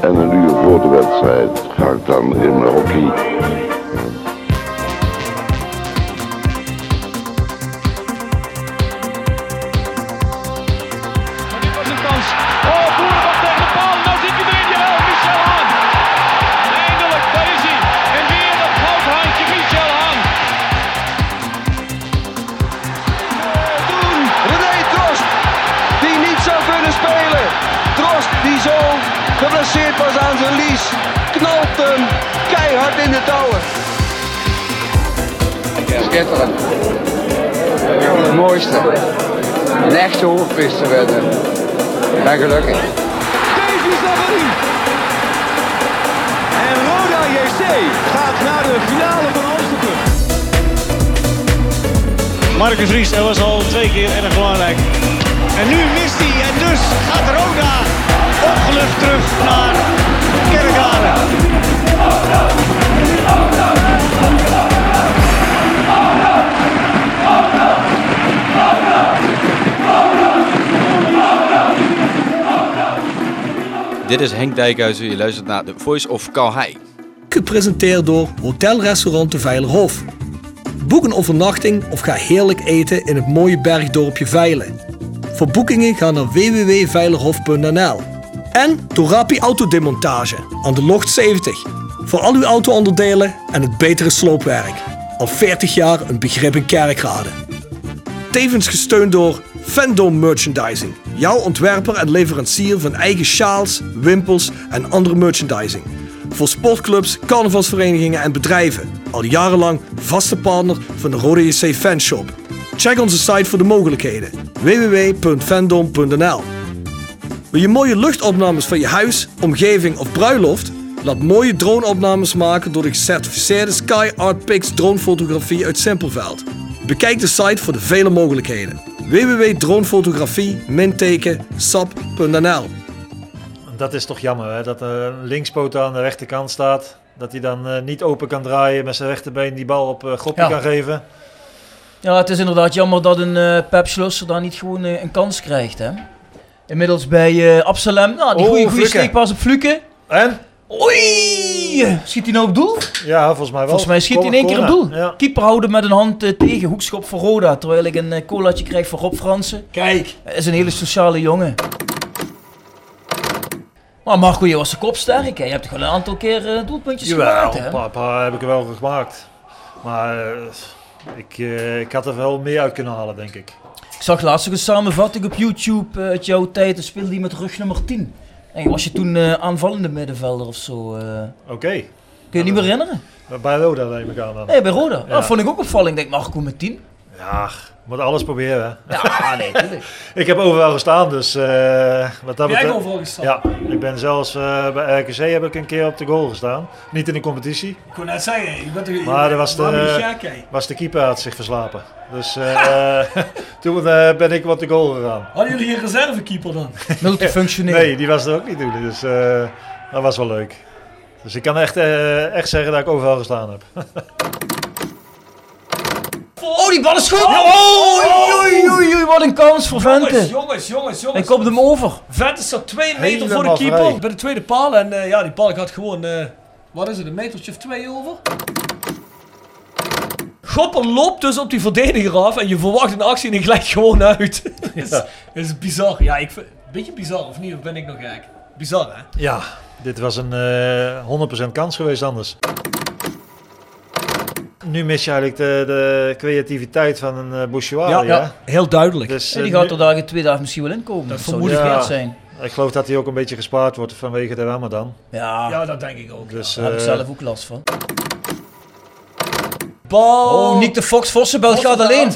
En een uur voor de wedstrijd ga ik dan in mijn hockey. Dit was een kans. Oh, Boeren was tegen de paal. Nou zit je erin. Jawel, Michel Haan. Eindelijk, daar is hij. En weer dat goudhandje Michel Haan. doen. Eh, René Trost, die niet zou kunnen spelen. Trost, die zo geblesseerd was aan zijn lies, knalt hem keihard in de touwen. Schitterend. Gewoon het mooiste. Een echte hoofdpiste winnen. Ik ben gelukkig. Davies daarin. En Roda JC gaat naar de finale van Amsterdam. Marcus Ries, dat was al twee keer erg belangrijk. En nu mist hij en dus gaat Roda opgelucht terug naar Kerkrade. Dit is Henk Dijkhuizen. Je luistert naar The Voice of Calhei. Gepresenteerd door Hotel Restaurant de Veilerhof. Boek een overnachting of ga heerlijk eten in het mooie bergdorpje Veilen. Voor boekingen ga naar www.veilerhof.nl. En door Rapi Autodemontage aan de Locht 70. Voor al uw auto-onderdelen en het betere sloopwerk. Al 40 jaar een begrip in kerkraden. Tevens gesteund door Fandom Merchandising. Jouw ontwerper en leverancier van eigen sjaals, wimpels en andere merchandising. Voor sportclubs, carnavalsverenigingen en bedrijven. Al jarenlang vaste partner van de Rode JC Fanshop. Check onze site voor de mogelijkheden. www.fandom.nl Wil je mooie luchtopnames van je huis, omgeving of bruiloft? Laat mooie droneopnames maken door de gecertificeerde Sky Art Pix dronefotografie uit Simpelveld. Bekijk de site voor de vele mogelijkheden. www.dronefotografie-sap.nl Dat is toch jammer, hè? dat een linkspoot aan de rechterkant staat. Dat hij dan eh, niet open kan draaien met zijn rechterbeen die bal op eh Groppie Ja. kan geven. Ja, het is inderdaad jammer dat een eh Pep Schlosser daar niet gewoon eh, een kans krijgt. Hè? Inmiddels bij eh, Absalem. Nou, die Oh, goede, goede Fluke. steekpas op Fluke. En? Oei! Schiet hij nou op doel? Ja, volgens mij wel. Volgens mij schiet hij in één keer op doel. Ja. Keeper houden met een hand eh, tegen. Hoekschop voor Roda. Terwijl ik een eh, colaatje krijg voor Rob Fransen. Kijk, Hij is een hele sociale jongen. Maar Marco, je was de kopsterk. Hè? Je hebt gewoon een aantal keer eh, doelpuntjes Jawel, gemaakt. Hè? een paar, paar heb ik er wel gemaakt. Maar eh, ik, eh, ik had er wel meer uit kunnen halen, denk ik. Ik zag laatst ook een samenvatting op YouTube eh, uit jouw tijd. Dan speelde hij met rug nummer 10. En was je toen eh, aanvallende middenvelder of zo? eh? Oké, kun je je niet meer herinneren? bij Roda neem ik aan dan. Nee, bij Roda. Nou, Ja. Dat vond ik ook opvallend. Ik denk, Marco met 10? Ja, moet alles proberen. hè. Ja, ah, nee, tuurlijk. Ik heb overal gestaan, dus eh wat dat Heb jij betreft... overal gestaan? Ja, ik ben zelfs eh, bij RKC heb ik een keer op de goal gestaan. Niet in de competitie. Ik kon net zeggen, je bent er Maar dat was de- waarom ben je gek, Was de keeper had zich verslapen. Dus eh, toen eh, ben ik op de goal gegaan. Hadden jullie een reservekeeper dan? Multifunctioneel. Nee, die was er ook niet toen. Dus eh, dat was wel leuk. Dus ik kan echt, eh, echt zeggen dat ik overal gestaan heb. Oh, die bal is goed! Oh, oei, oei, oei, oei, wat een kans voor Jongens, Vente. jongens, jongens, Hij jongens. komt hem over. Vent is staat twee meter Helemaal voor de keeper vrij. bij de tweede paal. En eh, ja, die paal gaat gewoon, eh, wat is het, een metertje of twee over? Gopper loopt dus op die verdediger af en je verwacht een actie en die glijdt gewoon uit. dat, is, dat is bizar. Ja, ik vind, beetje bizar of niet? Of ben ik nog gek? Bizar hè? Ja, dit was een eh 100% kans geweest anders. Nu mis je eigenlijk de, de creativiteit van een eh, Bouchouari, Ja, hè? ja. heel duidelijk. Dus, En die eh, gaat nu- er dagen twee dagen misschien wel inkomen. Dat, zou vermoed niet ik. verkeerd Ja. zijn. Ik geloof dat hij ook een beetje gespaard wordt vanwege de Ramadan. Ja, Ja, dat denk ik ook. Dus, daar heb ik eh, zelf ook last van. Bal. Oh, Nick de Fox Vossenbelt gaat alleen.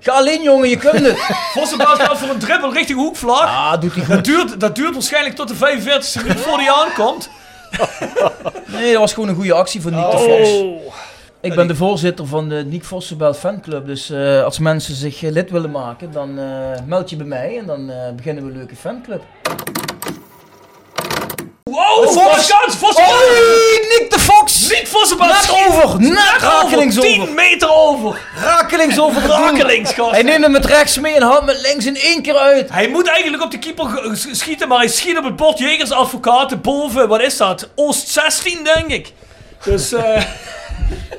Ga alleen, jongen, je kunt het. Vossenbaas gaat voor een dribbel richting hoekvlag. Ah, doet hij Dat duurt, dat duurt waarschijnlijk tot de 45 minuut voor hij aankomt. Nee, dat was gewoon een goede actie van Nick de Vos. Ik ben de voorzitter van de Nick Vossenbelt fanclub. Dus eh, als mensen zich eh, lid willen maken, dan eh, meld je bij mij en dan eh, beginnen we een leuke fanclub. Wow, Vos! Vos kans! Vos Oei, Nick de Fox! Nick Vossenbaas! Net over, net rakelings over. 10 meter over! Rakelings over het doel. Rakelings, gast. Hij neemt hem met rechts mee en haalt met links in één keer uit. Hij moet eigenlijk op de keeper ge- s- schieten, maar hij schiet op het bord Jegers Advocaten boven, wat is dat? Oost 16, denk ik. Dus, eh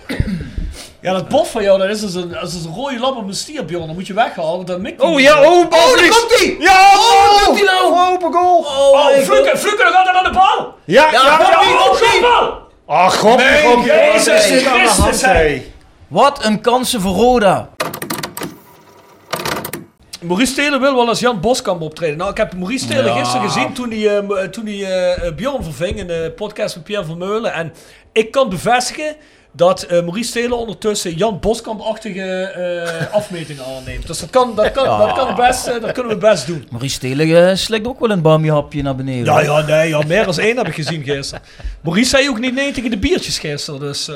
ja, dat bord van jou, dat is dus een, dat is dus een rode lap op mijn stier, Bjorn. Dat moet je weghalen, want dat mikt hij niet. oh, Oh, daar komt hij! Ja, Oh, wat doet hij nou? Open goal! Oh, Oh, my God. Fluke, Fluke, dan gaat hij aan de bal! Ja, Ja, ja, maar- Ja, ja. oh, oh, geen bal! Ah, god, Nee, god, Jezus wat is dit aan de hand, Christus, hij. hé? Wat een kansen voor Roda. Maurice Stelen wil wel als Jan Boskamp optreden. Nou, ik heb Maurice Stelen gisteren gezien toen hij, eh, m- toen hij eh, eh, Bjorn verving in de podcast met Pierre Vermeulen. En ik kan bevestigen dat eh Maurice Stelen ondertussen Jan Boskamp-achtige eh, afmetingen aanneemt. Dus dat, kan, dat, kan, dat, kan best, eh, dat kunnen we best doen. Maurice Stelen eh, slikt ook wel een bamihapje naar beneden. Ja, ja, nee, ja, meer dan één heb ik gezien gisteren. Maurice zei ook niet nee tegen de biertjes gisteren, dus... eh,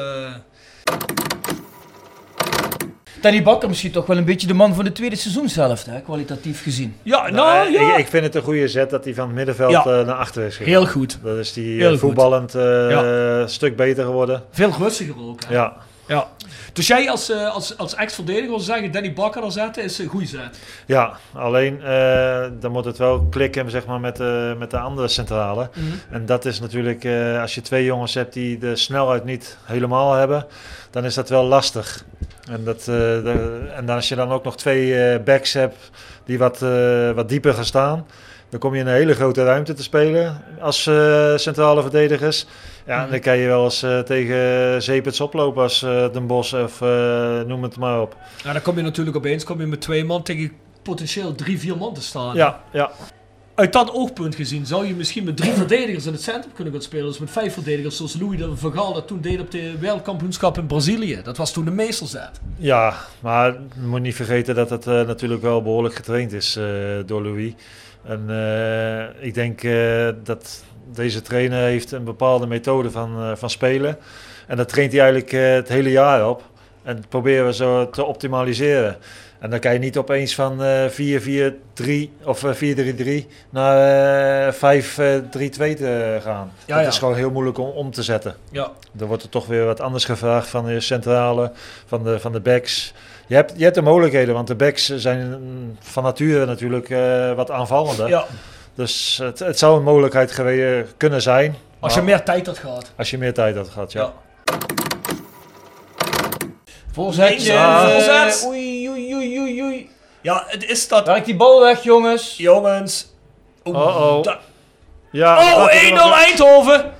Danny Bakker misschien toch wel een beetje de man van de tweede seizoenshelft, hè, kwalitatief gezien. ja, nou, Eh, ja. ik, ik vind het een goede zet dat hij van het middenveld Ja. eh, naar achter is gegaan. Heel goed. Dat is die eh, Heel goed. voetballend eh, stuk beter geworden. Veel rustiger ook. hè. Ja. Ja. Dus jij als, eh, als, als ex-verdediger wil zeggen, Danny Bakker er zetten is een goede zet. ja, alleen eh, dan moet het wel klikken zeg maar, met, eh, met de andere centrale. En dat is natuurlijk, eh, als je twee jongens hebt die de snelheid niet helemaal hebben, dan is dat wel lastig. En, dat, eh, de- en dan als je dan ook nog twee eh, backs hebt die wat, eh, wat dieper gaan staan, dan kom je in een hele grote ruimte te spelen als eh, centrale verdedigers. Ja, en dan kan je wel eens eh, tegen Zeepers oplopen als eh, Den Bos of eh, noem het maar op. Ja, dan kom je natuurlijk opeens kom je met twee man tegen potentieel drie, vier man te staan. Ja, ja. Uit dat oogpunt gezien zou je misschien met drie verdedigers in het centrum kunnen gaan spelen. Dus met vijf verdedigers zoals Louis de Vergaal dat toen deed op de wereldkampioenschap in Brazilië. Dat was toen de meesterzet. Ja, maar je moet niet vergeten dat het eh, natuurlijk wel behoorlijk getraind is eh, door Louis. En eh, ik denk eh, dat deze trainer heeft een bepaalde methode van, eh, van spelen. En dat traint hij eigenlijk eh, het hele jaar op. En dat proberen we zo te optimaliseren. En dan kan je niet opeens van eh 4-4-3 of eh, 4-3-3 naar eh 5-3-2 te gaan. Ja, ja. dat is gewoon heel moeilijk om om te zetten. Ja. Dan wordt er toch weer wat anders gevraagd van de centrale, van de, van de backs. Je hebt, je hebt de mogelijkheden, want de backs zijn mm, van nature natuurlijk eh, wat aanvallender. ja. Dus het, het zou een mogelijkheid gewe- kunnen zijn. Als je maar meer tijd had gehad. als je meer tijd had gehad, ja. Ja. Voorzetje. Ja. voorzet. Oei, oei, oei, oei, oei. Ja, het is dat. Raak die bal weg, jongens. Jongens. Oh, Uh-oh. da- Ja, Oh, dat is 1-0 nog- Eindhoven.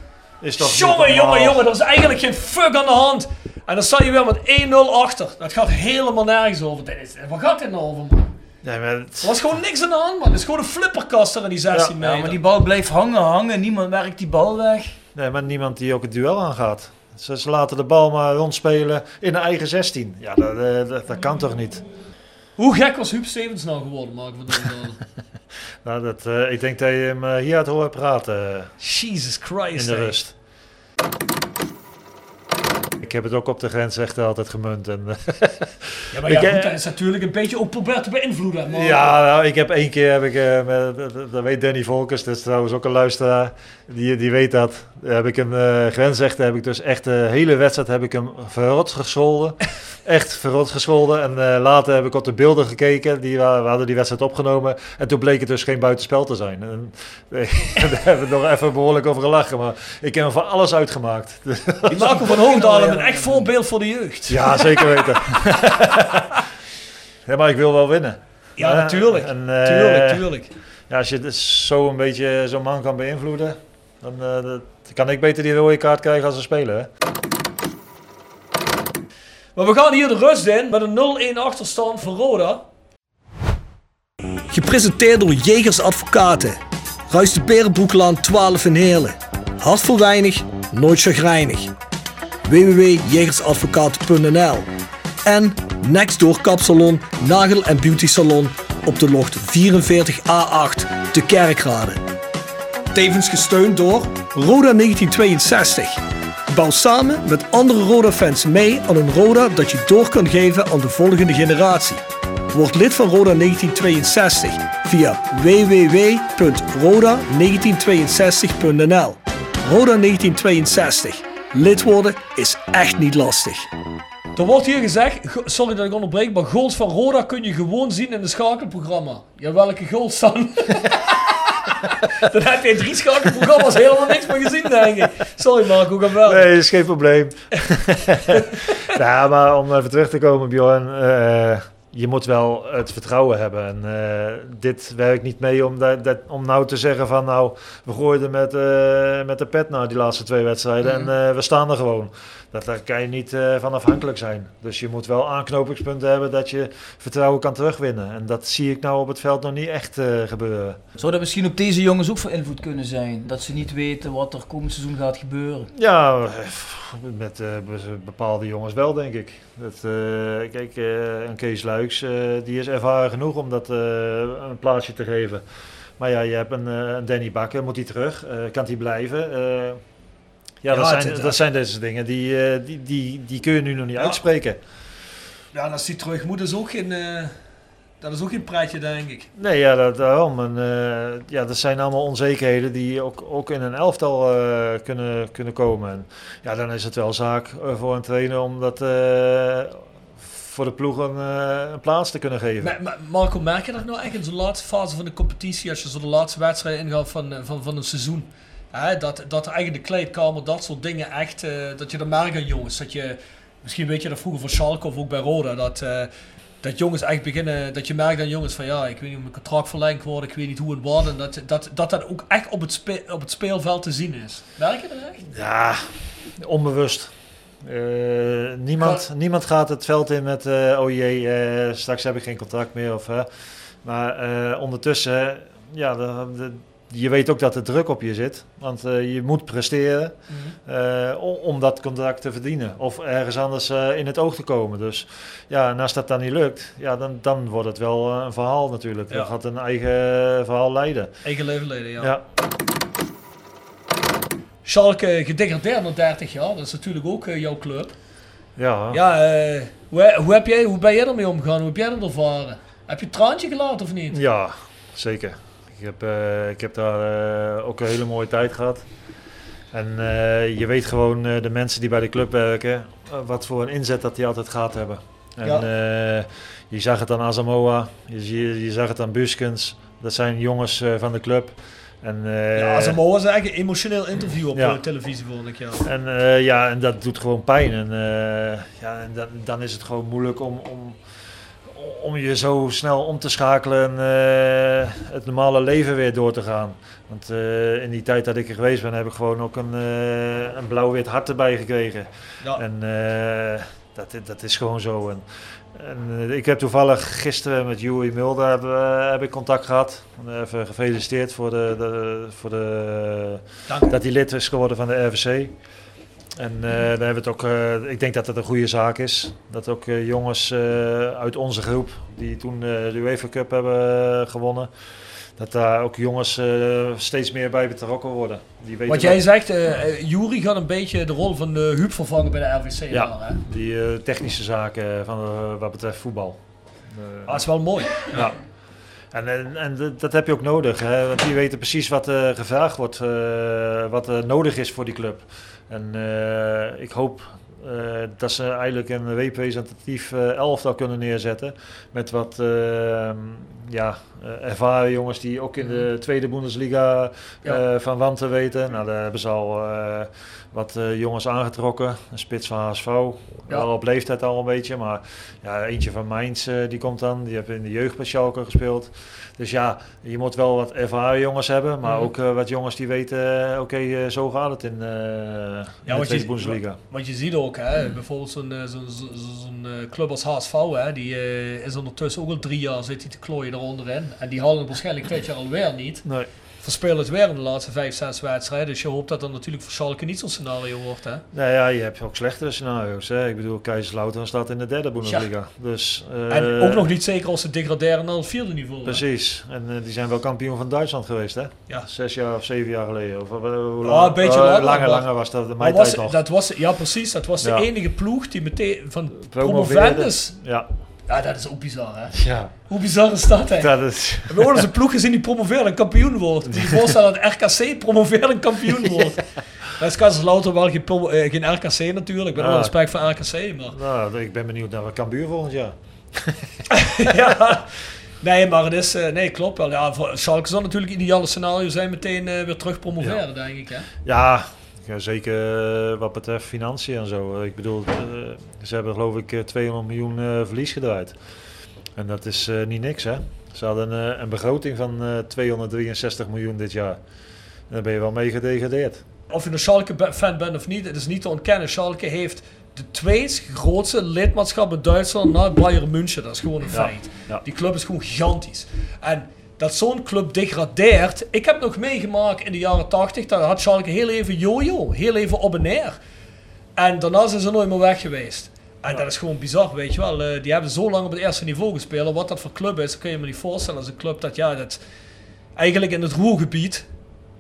is toch niet Jongen, jongen, normaal. jongen, er is eigenlijk geen fuck aan de hand. En dan sta je weer met 1-0 achter. Dat gaat helemaal nergens over. Dit is, waar gaat dit nou over, man? Nee, maar het- Er was gewoon niks aan de hand, man. Het is gewoon een flipperkast er in die 16 Ja, meter. Ja, maar die bal bleef hangen, hangen. Niemand werkt die bal weg. nee, maar niemand die ook het duel aangaat. Ze, ze laten de bal maar rondspelen in de eigen 16. Ja, dat, eh, dat, dat kan toch niet? Hoe gek was Huub Stevens nou geworden, Mark van Donderdalen? Nou, dat, eh, ik denk dat je hem eh, hier had horen praten. eh. Jesus in Christ, de hè. rust. Ik heb het ook op de grensrechten altijd gemunt. En, eh, Ja, maar Ik, ja, eh, goed, dat is natuurlijk een beetje op probeert te beïnvloeden, maar... ja, nou, ik heb één keer, heb ik, eh, met- dat- dat- dat weet Danny Volkers, dat is trouwens ook een luisteraar, die, die weet dat. Daar Heb ik een eh grensrechter, heb ik dus echt de hele wedstrijd heb ik hem verrot gescholden. Echt verrot gescholden. En eh, later heb ik op de beelden gekeken, die, wa- we hadden die wedstrijd opgenomen. En toen bleek het dus geen buitenspel te zijn. En, daar hebben we nog even behoorlijk over gelachen, maar ik heb hem van alles uitgemaakt. Dus Die Marco van Hoogdalen, een echt voorbeeld voor de jeugd. Ja, Ja, zeker weten. ja, maar ik wil wel winnen. Ja, natuurlijk. en, eh, tuurlijk, tuurlijk. Ja, als je dus zo een beetje zo'n man kan beïnvloeden, dan eh, dat- kan ik beter die rode kaart krijgen als een speler. Hè? Maar we gaan hier de rust in met een 0-1 achterstand voor Roda. Gepresenteerd door Jegers Advocaten. Ruist de Berenbroeklaan 12 in Heerlen. Hart voor weinig, nooit chagrijnig. www.jegersadvocaten.nl En Next Door Kapsalon, Nagel en Beauty Salon op de locht 44A8 te Kerkrade. Tevens gesteund door Roda 1962. Bouw samen met andere Roda-fans mee aan een Roda dat je door kan geven aan de volgende generatie. Word lid van Roda 1962 via www.roda1962.nl. Roda 1962. Lid worden is echt niet lastig. Er wordt hier gezegd, go- sorry dat ik onderbreek, maar goals van Roda kun je gewoon zien in het schakelprogramma. Ja, welke goals dan? dan heb je in drie schakelprogramma's helemaal niks meer gezien, denk ik. Sorry Marco, ga wel. Nee, is geen probleem. nou, maar om even terug te komen, Bjorn. eh, je moet wel het vertrouwen hebben. En eh, dit werkt niet mee om, dat, dat- om nou te zeggen van... nou, we gooiden met, eh, met de pet naar die laatste twee wedstrijden... Mhm. en eh, we staan er gewoon. Dat, daar kan je niet eh, van afhankelijk zijn. Dus je moet wel aanknopingspunten hebben... dat je vertrouwen kan terugwinnen. En dat zie ik nou op het veld nog niet echt eh, gebeuren. Zou dat misschien op deze jongens ook van invloed kunnen zijn? Dat ze niet weten wat er komend seizoen gaat gebeuren. Ja, met eh, be- bepaalde jongens wel, denk ik. Dat, eh, kijk, eh, een Kees Luiks, eh, die is ervaren genoeg om dat eh, een plaatsje te geven. Maar ja, je hebt een, eh, een Danny Bakker, moet hij terug? Eh, kan hij blijven? Eh, ja, Ja, dat, het- zijn, het- dat zijn deze dingen die, eh, die, die, die kun je nu nog niet Ja. uitspreken. Ja, dat is die terugmoed, is ook geen, eh, dat is ook geen praatje, denk ik. Nee, ja, dat, daarom. En, eh, ja, dat zijn allemaal onzekerheden die ook, ook in een elftal eh, kunnen, kunnen komen. En, ja, dan is het wel zaak eh, voor een trainer om dat eh, voor de ploeg een, eh, een plaats te kunnen geven. Maar, maar Marco, merk je dat nou echt in zo'n laatste fase van de competitie, als je zo de laatste wedstrijd ingaat van, eh, van, van een seizoen, hè, dat, dat eigenlijk de kleedkamer, dat soort dingen echt, eh, dat je dat merkt aan jongens. Dat je, misschien weet je dat vroeger van Schalke of ook bij Roda, dat, eh, dat jongens echt beginnen, dat je merkt aan jongens van ja, ik weet niet of mijn contract verlengd wordt, ik weet niet hoe het wordt, en dat dat, dat, dat ook echt op het, spe- op het speelveld te zien is. Merk je dat echt? Ja, onbewust. Eh, niemand, niemand gaat het veld in met, eh, oh jee, eh, straks heb ik geen contract meer. Of, eh. maar eh, ondertussen, ja, de- de- je weet ook dat er druk op je zit. Want eh, je moet presteren Mhm. eh, o- om dat contract te verdienen. Of ergens anders eh, in het oog te komen. Dus ja, en als dat dan niet lukt, ja, dan, dan wordt het wel eh, een verhaal natuurlijk. Ja. Dan gaat een eigen eh, verhaal leiden. Eigen leven leden, ja. Ja. Schalke gedegradeerd na 30 jaar, dat is natuurlijk ook eh, jouw club. Ja, Ja, eh, hoe, hoe, heb jij, hoe ben jij ermee omgegaan? Hoe heb jij dat ervaren? Heb je een traantje gelaten of niet? Ja, zeker. Ik heb, eh, ik heb daar eh, ook een hele mooie tijd gehad. En eh, je weet gewoon eh, de mensen die bij de club werken, eh, wat voor een inzet dat die altijd gaat hebben. En Ja. eh, je zag het aan Asamoah, je, zie- je zag het aan Buskens. Dat zijn jongens eh, van de club. En, eh, ja, Asamoah was eigenlijk een emotioneel interview op Ja. eh, televisie, vond ik. Ja. en eh, ja, en dat doet gewoon pijn. En, eh, ja, en dan, dan is het gewoon moeilijk om, om, om je zo snel om te schakelen en eh, het normale leven weer door te gaan. Want eh, in die tijd dat ik er geweest ben, heb ik gewoon ook een, eh, een blauw-wit hart erbij gekregen. Ja. En eh, dat, i- dat is gewoon zo. En, en, eh, ik heb toevallig gisteren met Joey Mulder heb, eh, heb ik contact gehad. Even gefeliciteerd voor, de, de- voor de, Dank. dat hij lid is geworden van de RVC. En eh, daar hebben we het ook, eh, ik denk dat dat een goede zaak is. Dat ook eh, jongens eh, uit onze groep, die toen eh, de UEFA Cup hebben eh, gewonnen, dat daar ook jongens eh, steeds meer bij betrokken worden. Die weten Wat wel- jij zegt, eh eh, Jury gaat een beetje de rol van eh Huub vervangen bij de RVC. Ja. daar, hè? die eh, technische zaken van, eh, wat betreft voetbal. Eh, Ah, dat is wel mooi. Ja. En, en, en dat- dat heb je ook nodig, hè? want die weten precies wat eh, gevraagd wordt, eh, wat er nodig is voor die club. En eh, ik hoop eh, dat ze eigenlijk een representatief eh, elftal kunnen neerzetten met wat eh, ja, eh, ervaren jongens die ook in de tweede Bundesliga eh, Mhm. Ja. van wanten weten. Nou, daar hebben ze al eh, wat eh, jongens aangetrokken, een spits van HSV, wel op leeftijd al een beetje, maar ja, eentje van Mainz eh, die komt dan. Die hebben in de jeugd bij Schalke gespeeld. Dus ja, je moet wel wat ervaren jongens hebben. Maar Mhm. ook eh, wat jongens die weten, eh, oké, eh, zo gaat het in, eh ja, de want Tweede je- Bundesliga. Want je ziet ook, hè, bijvoorbeeld zo'n eh, zo'n zo'n- zo'n, eh, club als HSV, hè, die eh, is ondertussen ook al drie jaar zit die te klooien eronder in. En die halen het waarschijnlijk dit jaar alweer niet. Nee. verspelers weer in de laatste vijf, zes wedstrijden. Dus je hoopt dat dat natuurlijk voor Schalke niet zo'n scenario wordt. Hè? Nou ja, je hebt ook slechtere scenario's. Hè. Ik bedoel, Keizerslautern staat in de derde Bundesliga. Ja. Dus, en eh, ook nog niet zeker als ze degraderen naar het vierde niveau. hè? Precies. En eh, die zijn wel kampioen van Duitsland geweest, hè? Ja. Zes jaar of zeven jaar geleden. Of, eh, hoe Ah, een beetje eh, langer, langer. maar- Langer was dat in mijn Maar was- tijd nog. Dat was, ja, precies. Dat was Ja. de enige ploeg die meteen van Promoveerde. promovendus. Ja. ja, dat is ook bizar, hè? Ja. Hoe bizar is dat, hè? Dat is... We horen ze ploeg gezien die promoveert en kampioen wordt. Moet je je voorstellen dat RKC promoveert en kampioen wordt. Dat is Kaiserslautern wel geen, pro- eh, geen RKC natuurlijk. Ik ben Ah. wel respect voor RKC, maar... Nou, ik ben benieuwd naar wat Cambuur volgend jaar. ja. Nee, maar het is... eh, nee, klopt wel. Ja, voor Schalke zal natuurlijk het ideale scenario zijn meteen eh, weer terug promoveren, denk ik, hè? Ja, ja, zeker eh, wat betreft financiën en zo. Eh, Ik bedoel, eh, ze hebben geloof ik eh, 200 miljoen eh, verlies gedraaid. En dat is eh, niet niks, hè? Ze hadden eh, een begroting van eh, 263 miljoen dit jaar. En dan ben je wel mee gedegradeerd. Of je nou een Schalke-fan bent of niet, het is niet te ontkennen. Schalke heeft de twee grootste lidmaatschap in Duitsland na Bayern München. Dat is gewoon een Ja, feit. ja. Die club is gewoon gigantisch. En dat zo'n club degradeert. Ik heb nog meegemaakt in de jaren 80. Daar had Schalke heel even jojo, heel even op en neer. En daarna zijn ze nooit meer weg geweest. En dat is gewoon bizar, weet je wel. Eh, die hebben zo lang op het eerste niveau gespeeld. En Wat dat voor club is, dat kun je me niet voorstellen. Als een club dat, ja, dat eigenlijk in het Roergebied...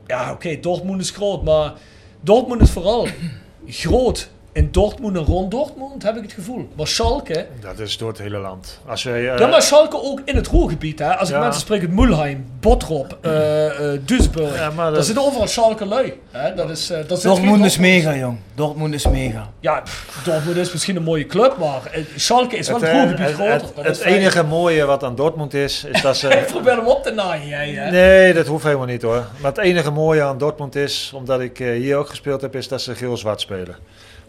Ja, oké, Dortmund is groot, maar Dortmund is vooral groot. In Dortmund en rond Dortmund heb ik het gevoel. Maar Schalke... Dat is door het hele land. Als wij, eh, Ja, maar Schalke ook in het Roergebied, hè. Als ik Ja. mensen spreek uit Mulheim, Bottrop, eh eh Duisburg. Ja, maar Daar dat- zitten overal Schalke lui. Hè. Dat is, eh, daar zit Dortmund geen is mega, jong. Dortmund is mega. Ja, pff, Dortmund is misschien een mooie club, maar eh, Schalke is wel het, eh, Ruhrgebied het- groter. het- Dat het is fijn. enige mooie wat aan Dortmund is, is dat Ik ze... probeer hem op te naaien, jij. Hè? Nee, dat hoeft helemaal niet hoor. Maar het enige mooie aan Dortmund is, omdat ik eh, hier ook gespeeld heb, is dat ze geel-zwart spelen.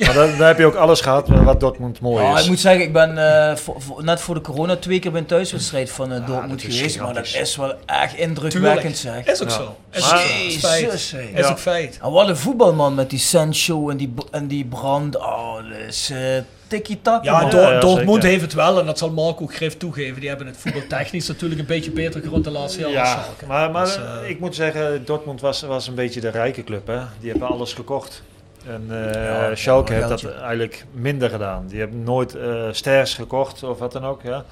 Maar dan, dan heb je ook alles gehad wat Dortmund mooi Nou, Ja, is. Oh, ik moet zeggen, ik ben eh, voor- voor- net voor de corona twee keer bij een thuiswedstrijd van eh, Dortmund is geweest. Maar dat gigantisch. is wel echt indrukwekkend, zeg. Tuurlijk. Is ook Ja. zo. Is ook zo. Is Jezus, feit. hé. Is Ja. ook feit. En wat een voetbalman met die Sancho en die, b- en die brand. Oh, dat is eh tiki-taka. Ja, man. Dor- ja, Dortmund zeker. heeft het wel en dat zal Marco Grif toegeven. Die hebben het voetbaltechnisch natuurlijk een beetje beter gerond de laatste jaren. dan Ja, Schalke. maar, maar Dus, eh, ik moet zeggen, Dortmund was, was een beetje de rijke club. Hè? Die hebben alles gekocht. En eh, Ja, Schalke ja, heeft dat geldje. eigenlijk minder gedaan. Die hebben nooit eh, sters gekocht of wat dan ook. Ja.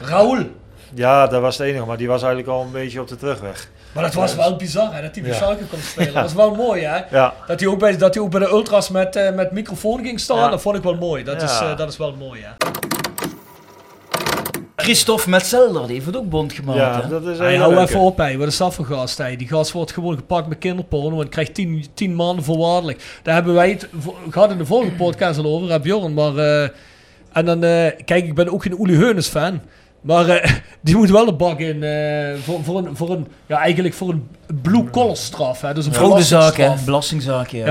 Raoul. ja, dat was het enige. Maar die was eigenlijk al een beetje op de terugweg. Maar dat was wel bizar hè, dat hij bij Ja. Schalke kon spelen. Dat was wel mooi hè. Ja, Dat hij ook bij, dat hij ook bij de Ultras met, eh, met microfoon ging staan. Ja. Dat vond ik wel mooi. Dat, Ja. is, eh, dat is wel mooi hè. Christophe Metzelder, die heeft het ook bond gemaakt. ja hè? dat is Oh, eh, Hey, een hou leuke. even op, hey. wat is dat voor gast? Hey? Die gast wordt gewoon gepakt met kinderporno en krijgt 10 10 maanden voorwaardelijk. Daar hebben wij het vo- gehad in de vorige podcast al over, hè, Bjorn. Maar, eh, en dan, eh, kijk, ik ben ook geen Uli Heunes fan. Maar eh, die moet wel de bak in eh, voor, voor, een, voor een, ja, eigenlijk voor een blue collar straf. Hè? Dus een Fraudezaak, hè? belastingstraf. Belastingzaak, ja.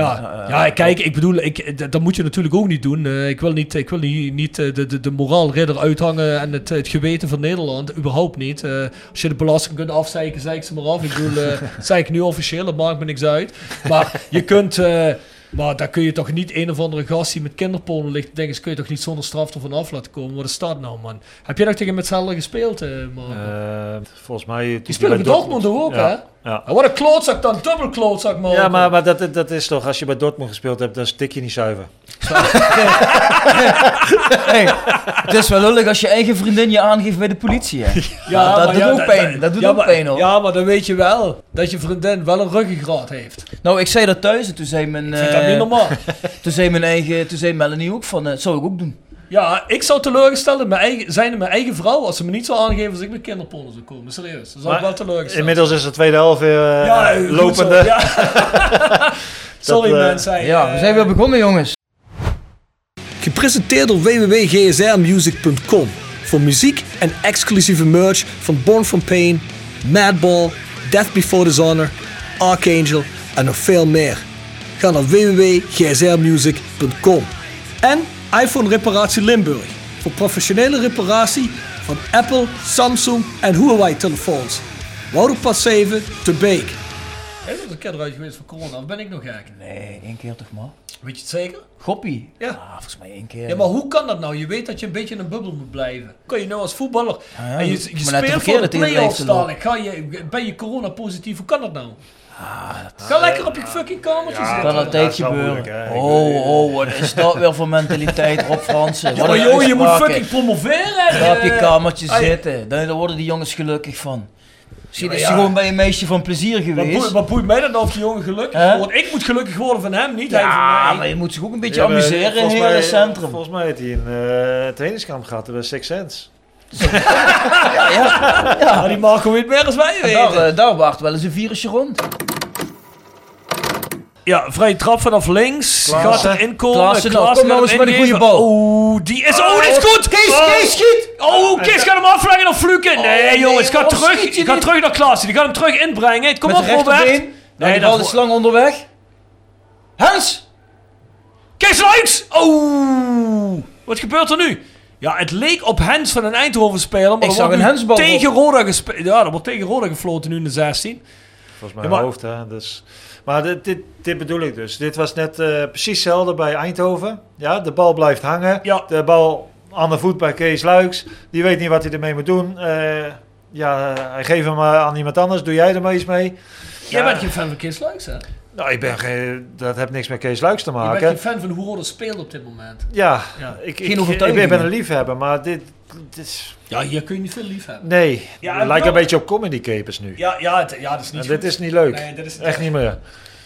Ja, ja, kijk, ik bedoel, ik, d- dat moet je natuurlijk ook niet doen. Eh, ik wil niet, ik wil niet, niet eh, de, de, de moraalridder uithangen en het, het geweten van Nederland. Überhaupt niet. Eh, als je de belasting kunt afzeiken, zeik ze maar af. Ik bedoel, eh, dat zei ik nu officieel, dat maakt me niks uit. Maar je kunt... eh, maar daar kun je toch niet een of andere gast die met kinderpolen ligt, denk eens, kun je toch niet zonder straf ervan af laten komen? Wat is dat nou, man? Heb jij nog tegen Metzelder gespeeld, eh Marco? Eh, volgens mij... Die spelen bij Dortmund toch ook, Ja, hè? ja. En Wat een klootzak dan, dubbel klootzak, man. Ja, maar, maar dat, dat is toch, als je bij Dortmund gespeeld hebt, dan stik je niet zuiver. Hey, het is wel lullig als je eigen vriendin je aangeeft bij de politie, hè? Ja, dat maar doet ja, ook pijn. Dat doet ja, ook maar- pijn, hoor. Ja, maar dan weet je wel dat je vriendin wel een ruggengraat heeft. Ik Nou, ik zei dat thuis en toen zei mijn... vind dat eh, niet normaal. Toen zei mijn eigen... Toen zei Melanie ook van... eh, dat zou ik ook doen. Ja, ik zou teleurgesteld in mijn eigen, zijn in mijn eigen vrouw als ze me niet zou aangeven als ik met kinderporno zou komen. Serieus, dan zou ik Maar wel teleurgesteld Inmiddels is de tweede helft weer eh, Ja, goed zo, lopende. ja. Sorry eh, mensen. Ja, we eh, zijn weer begonnen, jongens. Gepresenteerd door www.gsrmusic.com voor muziek en exclusieve merch van Born From Pain, Madball, Death Before Dishonor, Archangel en nog veel meer. Ga naar www.gsrmusic.com en iPhone Reparatie Limburg voor professionele reparatie van Apple, Samsung en Huawei telefoons. Wouderpad 7 te Beek. Is er een keer eruit geweest voor corona? Of ben ik nog gek? Nee, één keer toch maar. Weet je het zeker? Goppie. Ja. Ah, volgens mij één keer. Ja, maar hoe kan dat nou? Je weet dat je een beetje in een bubbel moet blijven. Kan je nou als voetballer... ja, en je, je- je maar net de speelt voor verkeerde de tegen de play-offs leeftijd lopen. dadelijk. Ga je, ben je corona positief? Hoe kan dat nou? Ah, Ga lekker op je fucking kamertje Dat zitten. kan altijd gebeuren. Oh, oh, wat is dat weer voor mentaliteit, Rob Fransen? Ja, maar joh, je moet fucking promoveren. Ga op je eh, kamertje ai. zitten. Daar daar worden die jongens gelukkig van. Misschien Ja, is ja. ze gewoon bij een meisje van plezier Wat geweest. boeit, wat boeit mij dan of die jongen gelukkig Hè? wordt? Ik moet gelukkig worden van hem, niet hij van Ja, mij. maar je moet zich ook een beetje Ja, maar amuseren in volgens het mij- hele centrum. Volgens mij heeft hij een eh, trainingskamp gehad bij Six Sense. Ja, ja. ja. die Marco weet meer als wij weten. Daar, eh, daar wacht wel eens een virusje rond. Ja, vrije trap vanaf links. Klaassen. Gaat erin komen. Klaassen, nou, Klaassen kom nou gaat eens met een erin goede geven. bal. Oeh, die is... Oh, dit is goed! Kees, Kees, schiet! Oh, Oh, Kees gaat hem afleggen of Fluken. Nee, nee, jongens, ga waarom terug. schiet je Ga niet? terug naar Klaassen. Die gaat hem terug inbrengen. Kom Met op, de rechterbeen. Robert. Nou, die bal is lang onderweg. Hans! Kees Luiks! Oh! Wat gebeurt er nu? Ja, het leek op Hens van een Eindhoven-speler. Maar Ik er zag wordt een nu hensbal Tegen op. Roda gespeeld. Ja, er wordt tegen Roda gefloten nu in de 16. Volgens mij Ja, maar- hoofd, hè. Dus. Maar dit, dit, dit bedoel ik dus. Dit was net eh, precies hetzelfde bij Eindhoven. Ja, de bal blijft hangen. De bal aan de voet bij Kees Luiks. Die weet niet wat hij ermee moet doen. Eh, ja, hij geeft hem eh, aan iemand anders. Doe jij er maar iets mee? Jij Ja. bent geen fan van Kees Luiks, hè? Nou, ik ben geen, dat heeft niks met Kees Luiks te Je maken. bent geen fan van hoe Roda speelt op dit moment. Ja, Ja. Ik, Geen ik, ik, overtuiging ben een meer. liefhebber, maar dit, dit is... Ja, hier kun je niet veel lief hebben. Nee, Ja, het lijkt wel- een beetje op comedy capers nu. Ja, ja, het- ja dat is niet En dit goed. is niet leuk. Nee, dat is Echt niet meer.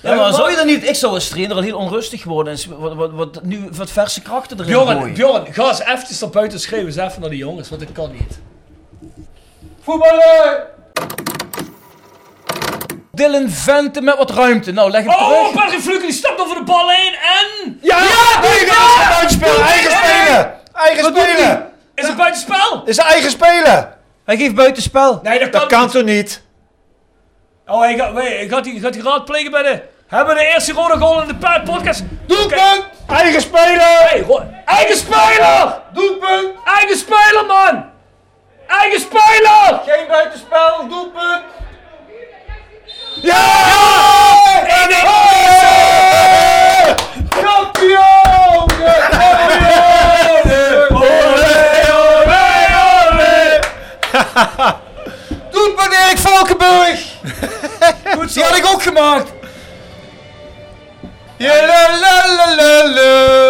Ja, maar zou je dan niet... Ik zou als trainer al heel onrustig worden. en Wat, wat, wat, nu, wat verse krachten erin Bjorn, gooien. Bjorn, ga eens eventjes naar buiten schreeuwen. Eens even naar die jongens, want dat kan niet. Voetballen! Dylan Vente met wat ruimte. Nou, leg hem Oh, terug. Patrick Fluken die stapt over de bal heen en... Ja, die gaat het buitenspelen. Eigen spelen. Eigen spelen. Is het buitenspel? nou? Is eigen spelen. Hij geeft buitenspel. Nee, dat kan Dat kan toch niet? Oh, hij gaat, wait, gaat, hij, gaat hij raadplegen bij de... Hebben we de eerste rode goal in de pa- podcast? Doelpunt! Eigen spelen. Hey, ro- eigen speler! Doelpunt. Eigen speler, man! Eigen speler! Geen buitenspel, doelpunt. Ja! Nee, nee, Kampioen! Doelpunt Erik Valkenburg. Goed zo. Die had ik ook gemaakt.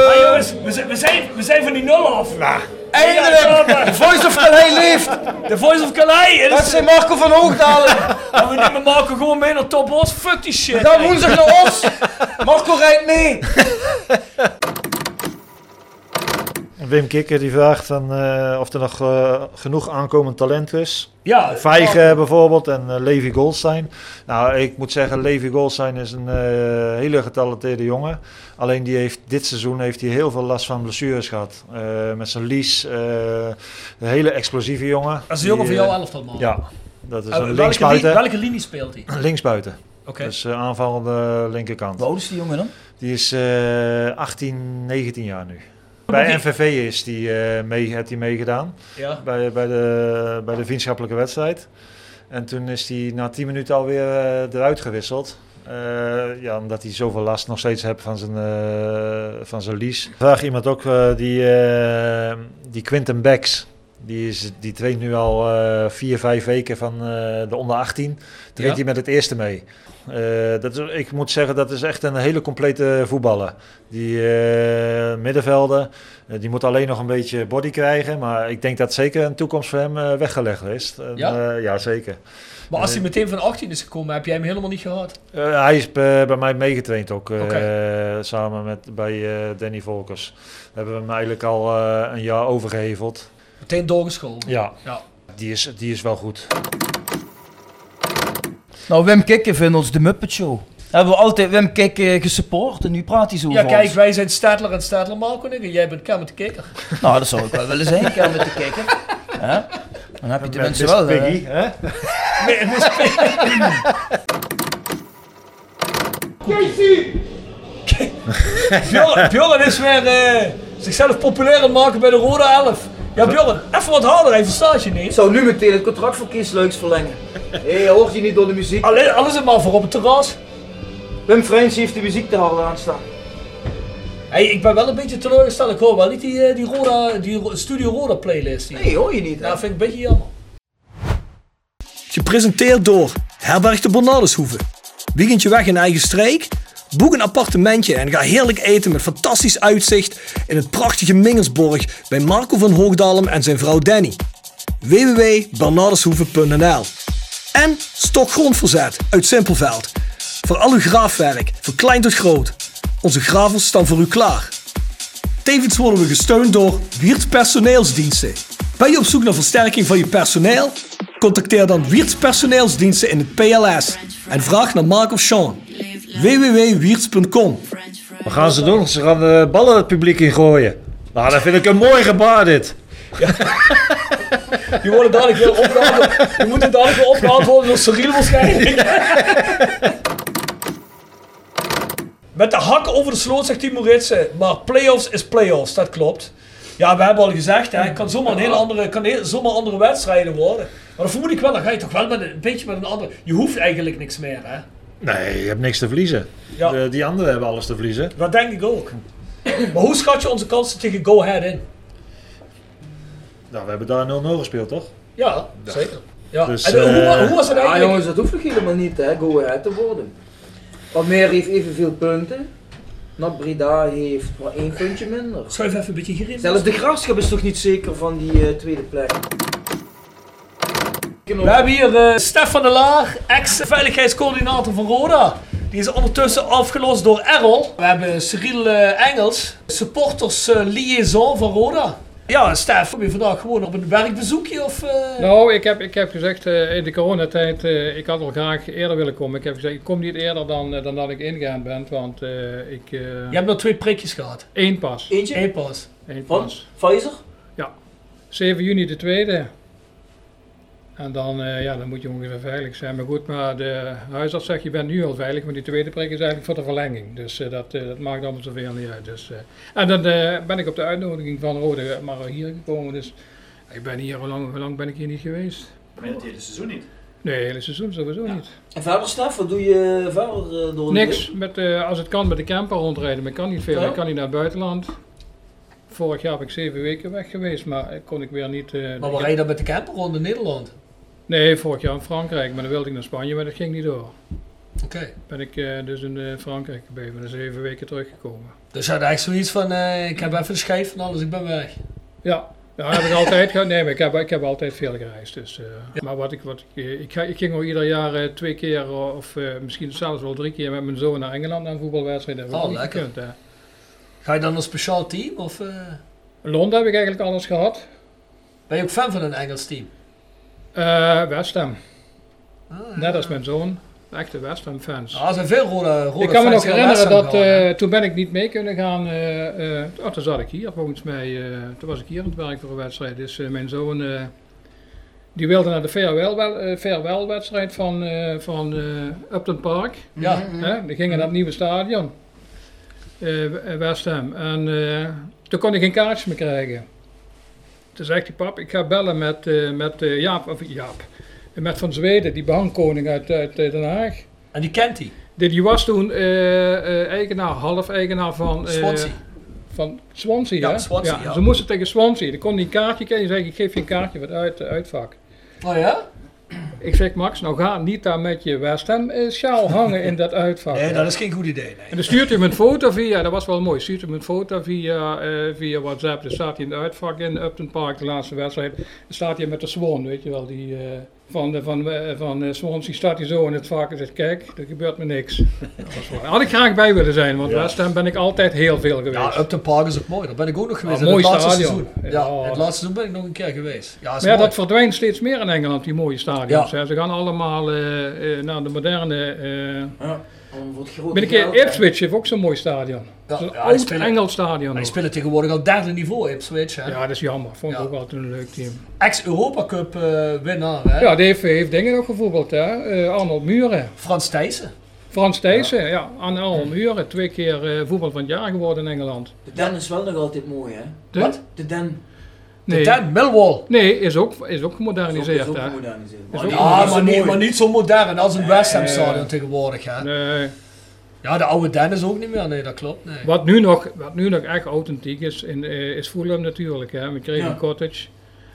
Maar jongens, we zijn, we, zijn, we zijn van die nul af. Eindelijk. Ja, De voice of Calais leeft. De Voice of Calais! Het Dat is, zijn Marco van Hoogdalen. Ja, we nemen Marco gewoon mee naar Top Os. Fuck die shit. Dan woensdag naar ons. Marco rijdt mee. Wim Kikker die vraagt van, eh, of er nog eh, genoeg aankomend talent is. Ja, Vijgen bijvoorbeeld en eh, Levi Goldstein. Nou, ik moet zeggen, Levi Goldstein is een eh, hele getalenteerde jongen. Alleen die heeft, dit seizoen heeft hij heel veel last van blessures gehad. Eh, met zijn lies, eh, een hele explosieve jongen. Dat is een jongen Die, van jouw eh, elftal, man. Ja, dat is Eh, een welke, li- linksbuiten. welke linie speelt hij? Oké. Linksbuiten, dus eh, aanvallende linkerkant. Hoe oud is die jongen dan? Die is eh 18, 19 jaar nu. Bij NVV is die, eh, mee, heeft hij meegedaan Ja. bij, bij, de, bij de vriendschappelijke wedstrijd. En toen is hij na 10 minuten alweer eh, eruit gewisseld. Eh, ja, omdat hij zoveel last nog steeds heeft van zijn, eh, van zijn lies. Vraag iemand ook, eh, die, eh, die Quinten Becks. Die, is, die traint nu al eh, vier, vijf weken van eh, de onder 18. Traint Ja. hij met het eerste mee. Eh, dat is, ik moet zeggen, dat is echt een hele complete voetballer. Die eh, middenvelder, eh, die moet alleen nog een beetje body krijgen. Maar ik denk dat zeker een toekomst voor hem eh, weggelegd is. En, Ja? eh, ja, zeker. Maar als hij meteen van 18 is gekomen, heb jij hem helemaal niet gehad? Eh, hij is bij, bij mij meegetraind ook, eh, Oké. samen met, bij eh, Danny Volkers. We hebben we hem eigenlijk al eh, een jaar overgeheveld. Meteen doorgeschoven. Ja, Ja. die is, die is wel goed. Nou, Wim Kikken vindt ons de Muppet Show. Hebben we altijd Wim Kikken gesupport en nu praat hij zo Ja, over kijk, ons. wij zijn Stadler en Stadler Marco en ik en jij bent Kermit de Kikker. Nou, dat zou ik wel willen zijn, Kermit de Kikker. Hè? Dan heb je de mensen wel... eh, Piggy, hè? Bjorn, Bjorn is weer eh, zichzelf populair aan het maken bij de Rode 11. Ja, Bjorn, even wat harder, hij verstaat je Ik niet. zou nu meteen het contract voor Kees Leuks verlengen. Hé, hoort je niet door de muziek? Alleen, alles is maar voor op het terras. Wim Friends heeft de muziek te hard aanstaan. Hey, ik ben wel een beetje teleurgesteld. Ik hoor wel niet die, eh, die, Roda, die Ro- Studio Roda playlist hier. Nee, hoor je niet. Dat Nou, vind ik een beetje jammer. Gepresenteerd door Herberg de Bonadeshoeve, Weekendje weg in eigen streek? Boek een appartementje en ga heerlijk eten met fantastisch uitzicht in het prachtige Mingelsborg bij Marco van Hoogdalem en zijn vrouw Danny. www.bernardeshoeven.nl En stok grondverzet uit Simpelveld. Voor al uw graafwerk, van klein tot groot. Onze gravels staan voor u klaar. Tevens worden we gesteund door Wiert Personeelsdiensten. Ben je op zoek naar versterking van je personeel? Contacteer dan Wiert Personeelsdiensten in het PLS en vraag naar Mark of Sean. www.wierts.com Wat gaan ze doen? Ze gaan eh, ballen het publiek in gooien. Nou, dat vind ik een mooi gebaar dit. Die worden dadelijk weer opgehaald. Die moeten dadelijk weer opgehaald worden door Cyril waarschijnlijk. Met de hakken over de sloot zegt Timo Ritsen. Maar playoffs is playoffs, dat klopt. Ja, we hebben al gezegd, hè, het kan zomaar een hele andere, kan heel- zomaar andere wedstrijden worden. Maar dan vermoed ik wel, dan ga je toch wel met een, een beetje met een andere. Je hoeft eigenlijk niks meer, hè? Nee, je hebt niks te verliezen. De- die anderen hebben alles te verliezen. Dat denk ik ook. Maar hoe schat je onze kansen tegen Go Ahead in? Nou, we hebben daar 0-0 gespeeld, toch? Ja, zeker. Ja. Dus, en hoe, wa- hoe was het Ja, eigenlijk? jongens, dat hoeft nog helemaal niet, hè, go ahead te worden. Want meer heeft evenveel punten. NAC Breda heeft maar één puntje minder. Schuif even een beetje hierin. Zelfs de graafschap is toch niet zeker van die eh, tweede plek. We hebben hier eh, Stefan de Laar, ex-veiligheidscoördinator van Roda. Die is ondertussen afgelost door Errol. We hebben Cyril eh, Engels, supporters eh, liaison van Roda. Ja, Stef, kom je vandaag gewoon op een werkbezoekje of... eh, Nou, ik heb, ik heb gezegd eh, in de coronatijd, eh, ik had al graag eerder willen komen. Ik heb gezegd, ik kom niet eerder dan, eh, dan dat ik ingaan ben, want eh, ik... Je hebt nog twee prikjes gehad. Eén pas. Eentje? Eén pas. Eén Van? pas. Pfizer? Ja. 7 juni de tweede. En dan, eh, ja, dan moet je ongeveer veilig zijn. Maar goed, maar de huisarts zegt, je bent nu al veilig, maar die tweede prik is eigenlijk voor de verlenging. Dus eh, dat, eh, dat maakt allemaal zoveel niet uit. Dus, eh, en dan eh, ben ik op de uitnodiging van Rode maar hier gekomen. Dus ik ben hier, hoe lang, hoe lang ben ik hier niet geweest? Maar het hele seizoen niet. Nee, het hele seizoen sowieso niet. En verder, Stef, wat doe je verder eh, door de Niks, week? met, eh, als het kan met de camper rondrijden, maar ik kan niet veel. Ja. Ik kan niet naar het buitenland. Vorig jaar ben ik zeven weken weg geweest, maar eh, kon ik weer niet... eh, Maar ik- waar rij je dan met de camper rond in Nederland? Nee, vorig jaar in Frankrijk, maar dan wilde ik naar Spanje, maar dat ging niet door. Oké. Ben ik eh, dus in eh, Frankrijk gebleven, dus zeven weken teruggekomen. Dus je had eigenlijk zoiets van, eh, ik heb even een schijf van alles, ik ben weg. Ja, daar heb ik altijd gehad. Nee, maar ik heb, ik heb altijd veel gereisd. Dus, eh, Maar wat ik, wat ik, eh, ik, ga, ik ging al ieder jaar eh, twee keer, eh, of eh, misschien zelfs wel drie keer met mijn zoon naar Engeland aan voetbalwedstrijden. Dat heb ik Oh, ook niet lekker. gekund, hè. Ga je dan een speciaal team of... eh, Londen heb ik eigenlijk alles gehad. Ben je ook fan van een Engels team? Eh West Ham. Net als mijn zoon. Echte West Ham fans. Ah, er zijn veel rode- rode Ik kan me fans nog die naar West herinneren Ham dat gaan, eh, toen ben ik niet mee kunnen gaan. eh, eh, oh, toen zat ik hier volgens mij. eh, toen was ik hier aan het werk voor een wedstrijd. Dus eh, mijn zoon eh, die wilde naar de farewell, wel- eh, farewell wedstrijd van, eh, van eh, Upton Park. Ja. Hè? Die gingen naar het nieuwe stadion. eh, West Ham. En eh, toen kon ik geen kaartjes meer krijgen. Toen zegt die pap, ik ga bellen met, eh, met eh, Jaap, of Jaap, met Van Zweden, die behangkoning uit, uit eh, Den Haag. En die kent hij? Die, die was toen eh, eh, eigenaar, half eigenaar van... eh, Swansea. Van Swansea, Ja, hè? Swansea, ja. Ze moesten tegen Swansea. Dan kon hij een kaartje krijgen. Zei ik, ik geef je een kaartje wat uit, eh, uitvak. Oh ja? Ik zeg, Max, nou ga niet daar met je West Ham eh, sjaal hangen in dat uitvak. Nee, hè. dat is geen goed idee. Nee. En dan stuurt hij me een foto via, dat was wel mooi, stuurt hij me een foto via, eh, via WhatsApp. Dan staat hij in het uitvak in Upton Park, de laatste wedstrijd. Dan staat hij met de Swan, weet je wel, die eh, van, de- van, eh, van eh, Swansea staat hij zo in het vak en zegt, kijk, er gebeurt me niks. Dat was wel- Had ik graag bij willen zijn, want Ja. West Ham ben ik altijd heel veel geweest. Ja, Upton Park is ook mooi. Daar ben ik ook nog geweest. Ja, in het mooi laatste stadion. seizoen. Ja, Ja. in het laatste seizoen ben ik nog een keer geweest. Ja, is Maar ja, mooi. dat verdwijnt steeds meer in Engeland, die mooie stadions. Ja. hè. Ze gaan allemaal eh, eh, naar de moderne... eh Om voor het grote Ben ik in geld, hè. Ipswich heeft ook zo'n mooi stadion. Ja, Zo'n ja, die oud spelen- Engels stadion. Hij ook. spelen tegenwoordig al derde niveau Ipswich. Hè? Ja, dat is jammer. Vond ik ook altijd een leuk team. Ex-Europa Cup eh, winnaar. Hè? Ja, die heeft, heeft dingen nog gevoetbald, hè? Eh, Arnold Muren. Frans Thijssen. Frans Thijssen, ja. Aan Arnold Muren. Twee keer eh, voetbal van het jaar geworden in Engeland. De Den is wel nog altijd mooi, hè? De? Wat? De Den. Nee. Den, Millwall. Nee, is ook, is ook gemoderniseerd, Is ook- is ook hè? gemoderniseerd. Is Ja, ook- Ah, maar, niet, maar niet zo modern als een West Ham stadion tegenwoordig. Hè? Nee. Ja, de oude Den is ook niet meer. Nee, dat klopt. Nee. Wat nu nog, wat nu nog echt authentiek is, in, eh, is Fulham natuurlijk, hè? Met Craven Ja. Cottage.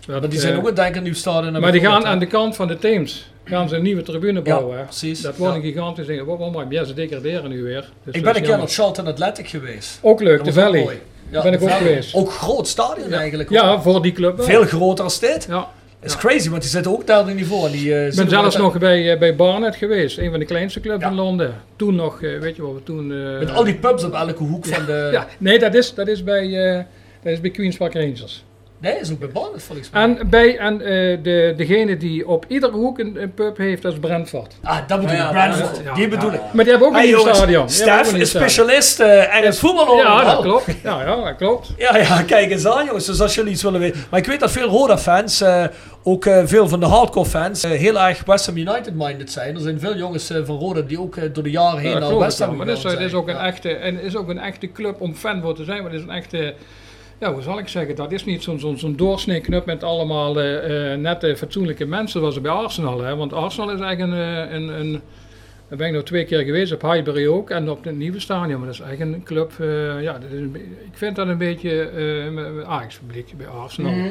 Wat, Maar die zijn eh, ook aan het denken aan nieuw stadion. Maar die gaan aan aan de kant van de Theems. gaan ze een nieuwe tribune bouwen. Ja, precies. Dat wordt Ja. een gigantisch ding. Dat wordt wel mooi. Maar ja, ze degraderen nu weer. Dus ik dat ben is een keer jammer. op Charlton Athletic geweest. Ook leuk, Dat de was Valley. mooi. Daar ben de ik ook Valley. geweest. Ook groot stadion eigenlijk. Ja, hoor. voor die club wel. Veel groter als dit. Ja. is crazy, want die zitten ook daar in niveau. en Die, eh, Ik zitten ben zelfs bij- nog bij, eh, bij Barnet geweest, een van de kleinste clubs in Londen. Toen nog, eh, weet je wat we toen... eh, Met al die pubs op elke hoek van de... Ja, nee, dat is, dat is bij, eh, dat is bij Queen's Park Rangers. Nee, dat is ook bij Barnet volgens mij. En, bij, en eh, de, degene die op iedere hoek een, een pub heeft, dat is Brentford. Ah, dat bedoel Ja, ik. Brentford. ja, die ja, bedoel ja. ik. Maar die hebben ook Hey, een nieuw jongens, stadion. Die hebben ook Stef een nieuw is Oh. stadion. specialist eh, ergens voetbal Ja, dat overal. klopt. Ja, ja, dat klopt. Ja, ja, kijk eens aan jongens. Dus als jullie iets willen weten. Maar ik weet dat veel Roda-fans, eh, ook eh, veel van de hardcore-fans, eh, heel erg West Ham United-minded zijn. Er zijn veel jongens eh, van Roda die ook eh, door de jaren heen Ja, naar klopt, West ja, Ham maar dit is, gegaan dit is zijn. ook een echte, en is ook een echte club om fan voor te zijn. Maar dit is een echte, ja, hoe zal ik zeggen, dat is niet zo'n zo'n zo'n doorsnee club met allemaal eh, eh, nette, fatsoenlijke mensen zoals bij Arsenal. Hè? Want Arsenal is eigenlijk een, eh, een, een, daar ben ik nog twee keer geweest, op Highbury ook en op het nieuwe stadion. Maar dat is eigenlijk een club, eh, ja, dat is een be- ik vind dat een beetje uh, Ajax-publiek bij Arsenal. Mhm.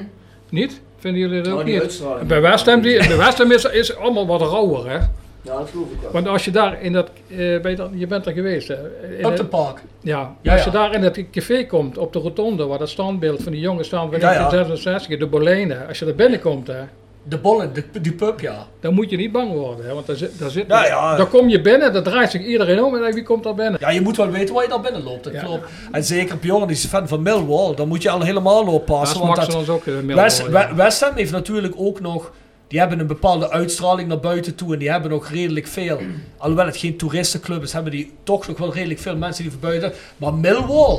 Niet? Vinden jullie dat Oh, ook die niet? uitstraling. Bij West Ham, die, bij West Ham is, is allemaal wat rauwer, hè? Ja, dat geloof ik wel. Want als je daar in dat, eh, bij dat- je bent er geweest. hè, in Upton het- Park. Ja, Ja, als ja. je daar in het café komt, op de rotonde, waar dat standbeeld van die jongen staan van Ja, ja. 1966, de Bolenen, als je daar binnenkomt, hè, De bollen, de, die pub, ja. dan moet je niet bang worden. Hè, want daar, zit, daar, zit, Ja, ja. daar kom je binnen, daar draait zich iedereen om en denkt, wie komt daar binnen? Ja, je moet wel weten waar je daar binnen loopt, dat klopt. En zeker Bjorn is fan van Millwall, dan moet je al helemaal oppassen. Daar want smaken dat- Nou, ze ons ook, eh, Millwall, West, ja. We- West Ham heeft natuurlijk ook nog... Die hebben een bepaalde uitstraling naar buiten toe en die hebben nog redelijk veel... Alhoewel het geen toeristenclub is, hebben die toch nog wel redelijk veel mensen die van buiten... Maar Millwall,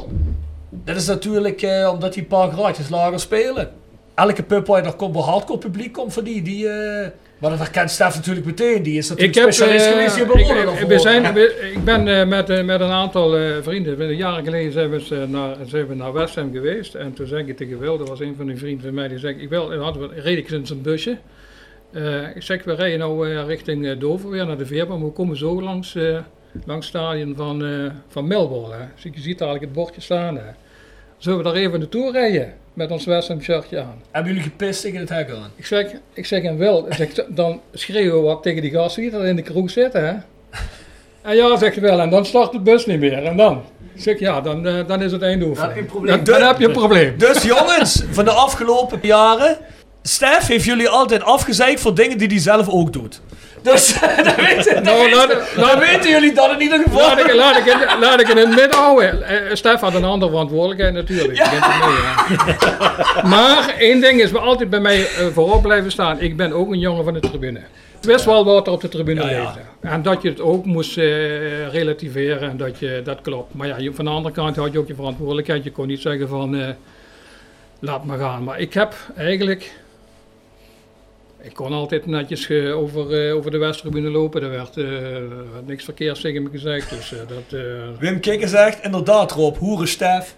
dat is natuurlijk eh, omdat die een paar graadjes lager spelen. Elke pub waar je daar komt, waar hardcore publiek komt van die, die... eh, maar dat herkent Stef natuurlijk meteen, die is natuurlijk specialist eh, geweest, die ik, hebben we ik- we zijn, we- ik ben eh, met, eh, met een aantal eh, vrienden, we- jaren geleden zijn we, eens, eh, naar, zijn we naar West Ham geweest. En toen zei ik tegen Wil, dat was een van die vrienden van mij, die zei, ik wil, en hadden we, reed ik in zijn busje. Eh, ik zeg, we rijden nou eh, richting eh, Dover weer naar de Veerman, maar we komen zo langs, eh, langs het stadion van, eh van Melbourne. Hè. Dus je ziet eigenlijk het bordje staan. Hè. Zullen we daar even naartoe rijden met ons West Ham shirtje aan? Hebben jullie gepist tegen het hek aan? Ik zeg, ik zeg hem wel. Ik zeg, dan schreeuwen we wat tegen die gasten die er in de kroeg zitten, hè? En ja, zegt hij wel. En dan start de bus niet meer. En dan? Ik zeg, ja, dan, eh, dan is het eindoefening. Dan heb je Nou, een probleem. Dan, heb je een probleem. Dus jongens, van de afgelopen jaren. Stef heeft jullie altijd afgezeikt voor dingen die hij zelf ook doet. Dus dat weten, dat Nou, laat- weten- laat- dat weten jullie dan in ieder geval. Laat ik, laat, ik, in- laat ik in het midden houden. Eh, Stef had een andere verantwoordelijkheid natuurlijk. Je bent er mee, hè. maar één ding is altijd bij mij eh, voorop blijven staan. Ik ben ook een jongen van de tribune. Ik wist wel wat er op de tribune Ja, ja. leefde. En dat je het ook moest eh, relativeren en dat, je, dat klopt. Maar ja, je- van de andere kant had je ook je verantwoordelijkheid. Je kon niet zeggen van eh, laat maar gaan. Maar ik heb eigenlijk... Ik kon altijd netjes eh, over, eh, over de Westtribune lopen. Er werd eh, er werd niks verkeerds tegen me gezegd. Dus eh, dat... eh, Wim Kikker zegt inderdaad Rob, hoeren Stef.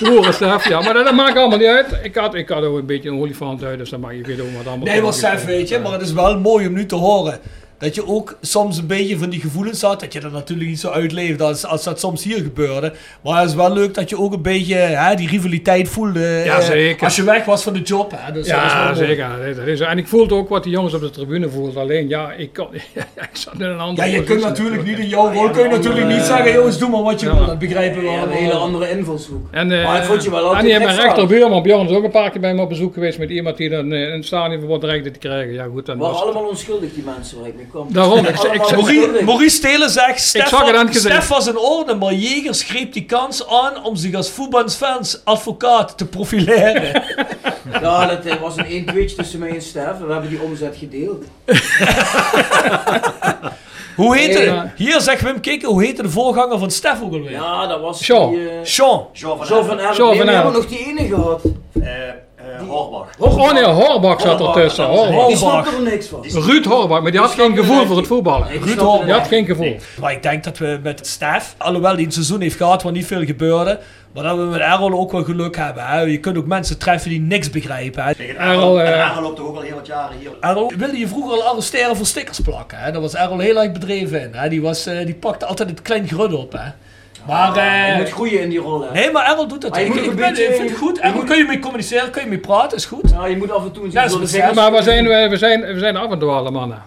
Boerenstaf, ja, maar dat, dat maakt allemaal niet uit. Ik had, ik had ook een beetje een olifant uit, dus dat maakt je weer ook wat allemaal. Nee, maar Stef weet je, maar het is wel mooi om nu te horen. Dat je ook soms een beetje van die gevoelens had, dat je dat natuurlijk niet zo uitleefde als, als dat soms hier gebeurde. Maar het is wel leuk dat je ook een beetje hè, die rivaliteit voelde. Ja, eh, zeker. Als je weg was van de job. Hè, dus dat is wel ja, mooi. zeker. Nee, Dat is, en ik voelde ook wat die jongens op de tribune voelden. Alleen, ja, ik, kan, ik zat in een Ja, andere je kunt positie. natuurlijk niet in jouw rol kun je natuurlijk niet zeggen, jongens, doe maar wat je wil. Dat begrijpen we eh, Ja, allemaal. een hele andere invalshoek. En, eh Maar ik vond je wel altijd en die hebben mijn gek verhaal. rechterbuurman Bjorn is ook een paar keer bij me op bezoek geweest met iemand die dan eh, een stadionverbod dreigde te krijgen. Ja, goed, dan waren was het. allemaal onschuldig die mensen waar ik mee kwam. Daarom, ik- ik- Allemaal Maurice, onschuldig. Maurice Stelen zegt, Stef, zag het aan was, het gezicht. Stef was in orde, maar Jegers greep die kans aan om zich als voetbalfans advocaat te profileren. Ja, dat eh, was een één tweetje tussen mij en Stef. We hebben die omzet gedeeld. hoe heette, Ja. hier zegt Wim Kikker, hoe heette de voorganger van Stef ook alweer? Ja, dat was Sean. die... eh, Sean. Zo van Erp. Zo Nee, Oh. van we Erp. hebben nog die ene gehad. Horbach. Oh nee, Horbach zat ertussen. Die Horbach. snapte er niks van. Ruud Horbach, maar die had geen gevoel voor het voetballen. Ruud Horbach. Horbach. Die had geen gevoel. Maar ik denk dat we met Stef, alhoewel hij een seizoen heeft gehad waar niet veel gebeurde, maar dat we met Errol ook wel geluk hebben. Hè. Je kunt ook mensen treffen die niks begrijpen. Hè. Errol, eh, Errol loopt toch ook al heel wat jaren hier. Errol wilde je vroeger al arresteren voor stickers plakken. Hè? Daar was Errol heel erg bedreven in. Hè? Die, was, eh, die pakte altijd het klein grud op. Hè? Maar, eh, Ah, je moet groeien in die rol. Hè. Nee, maar Errol doet dat. Maar je ik moet ook ik een ben- beetje- ik vind het goed. je Errol, moet- kun je mee communiceren? Kun je mee praten? Is goed? Ja, je moet af en toe eens Ja, iets dat is willen zeggen. besef. Maar we zijn, we, we zijn, we zijn af en toe alle mannen.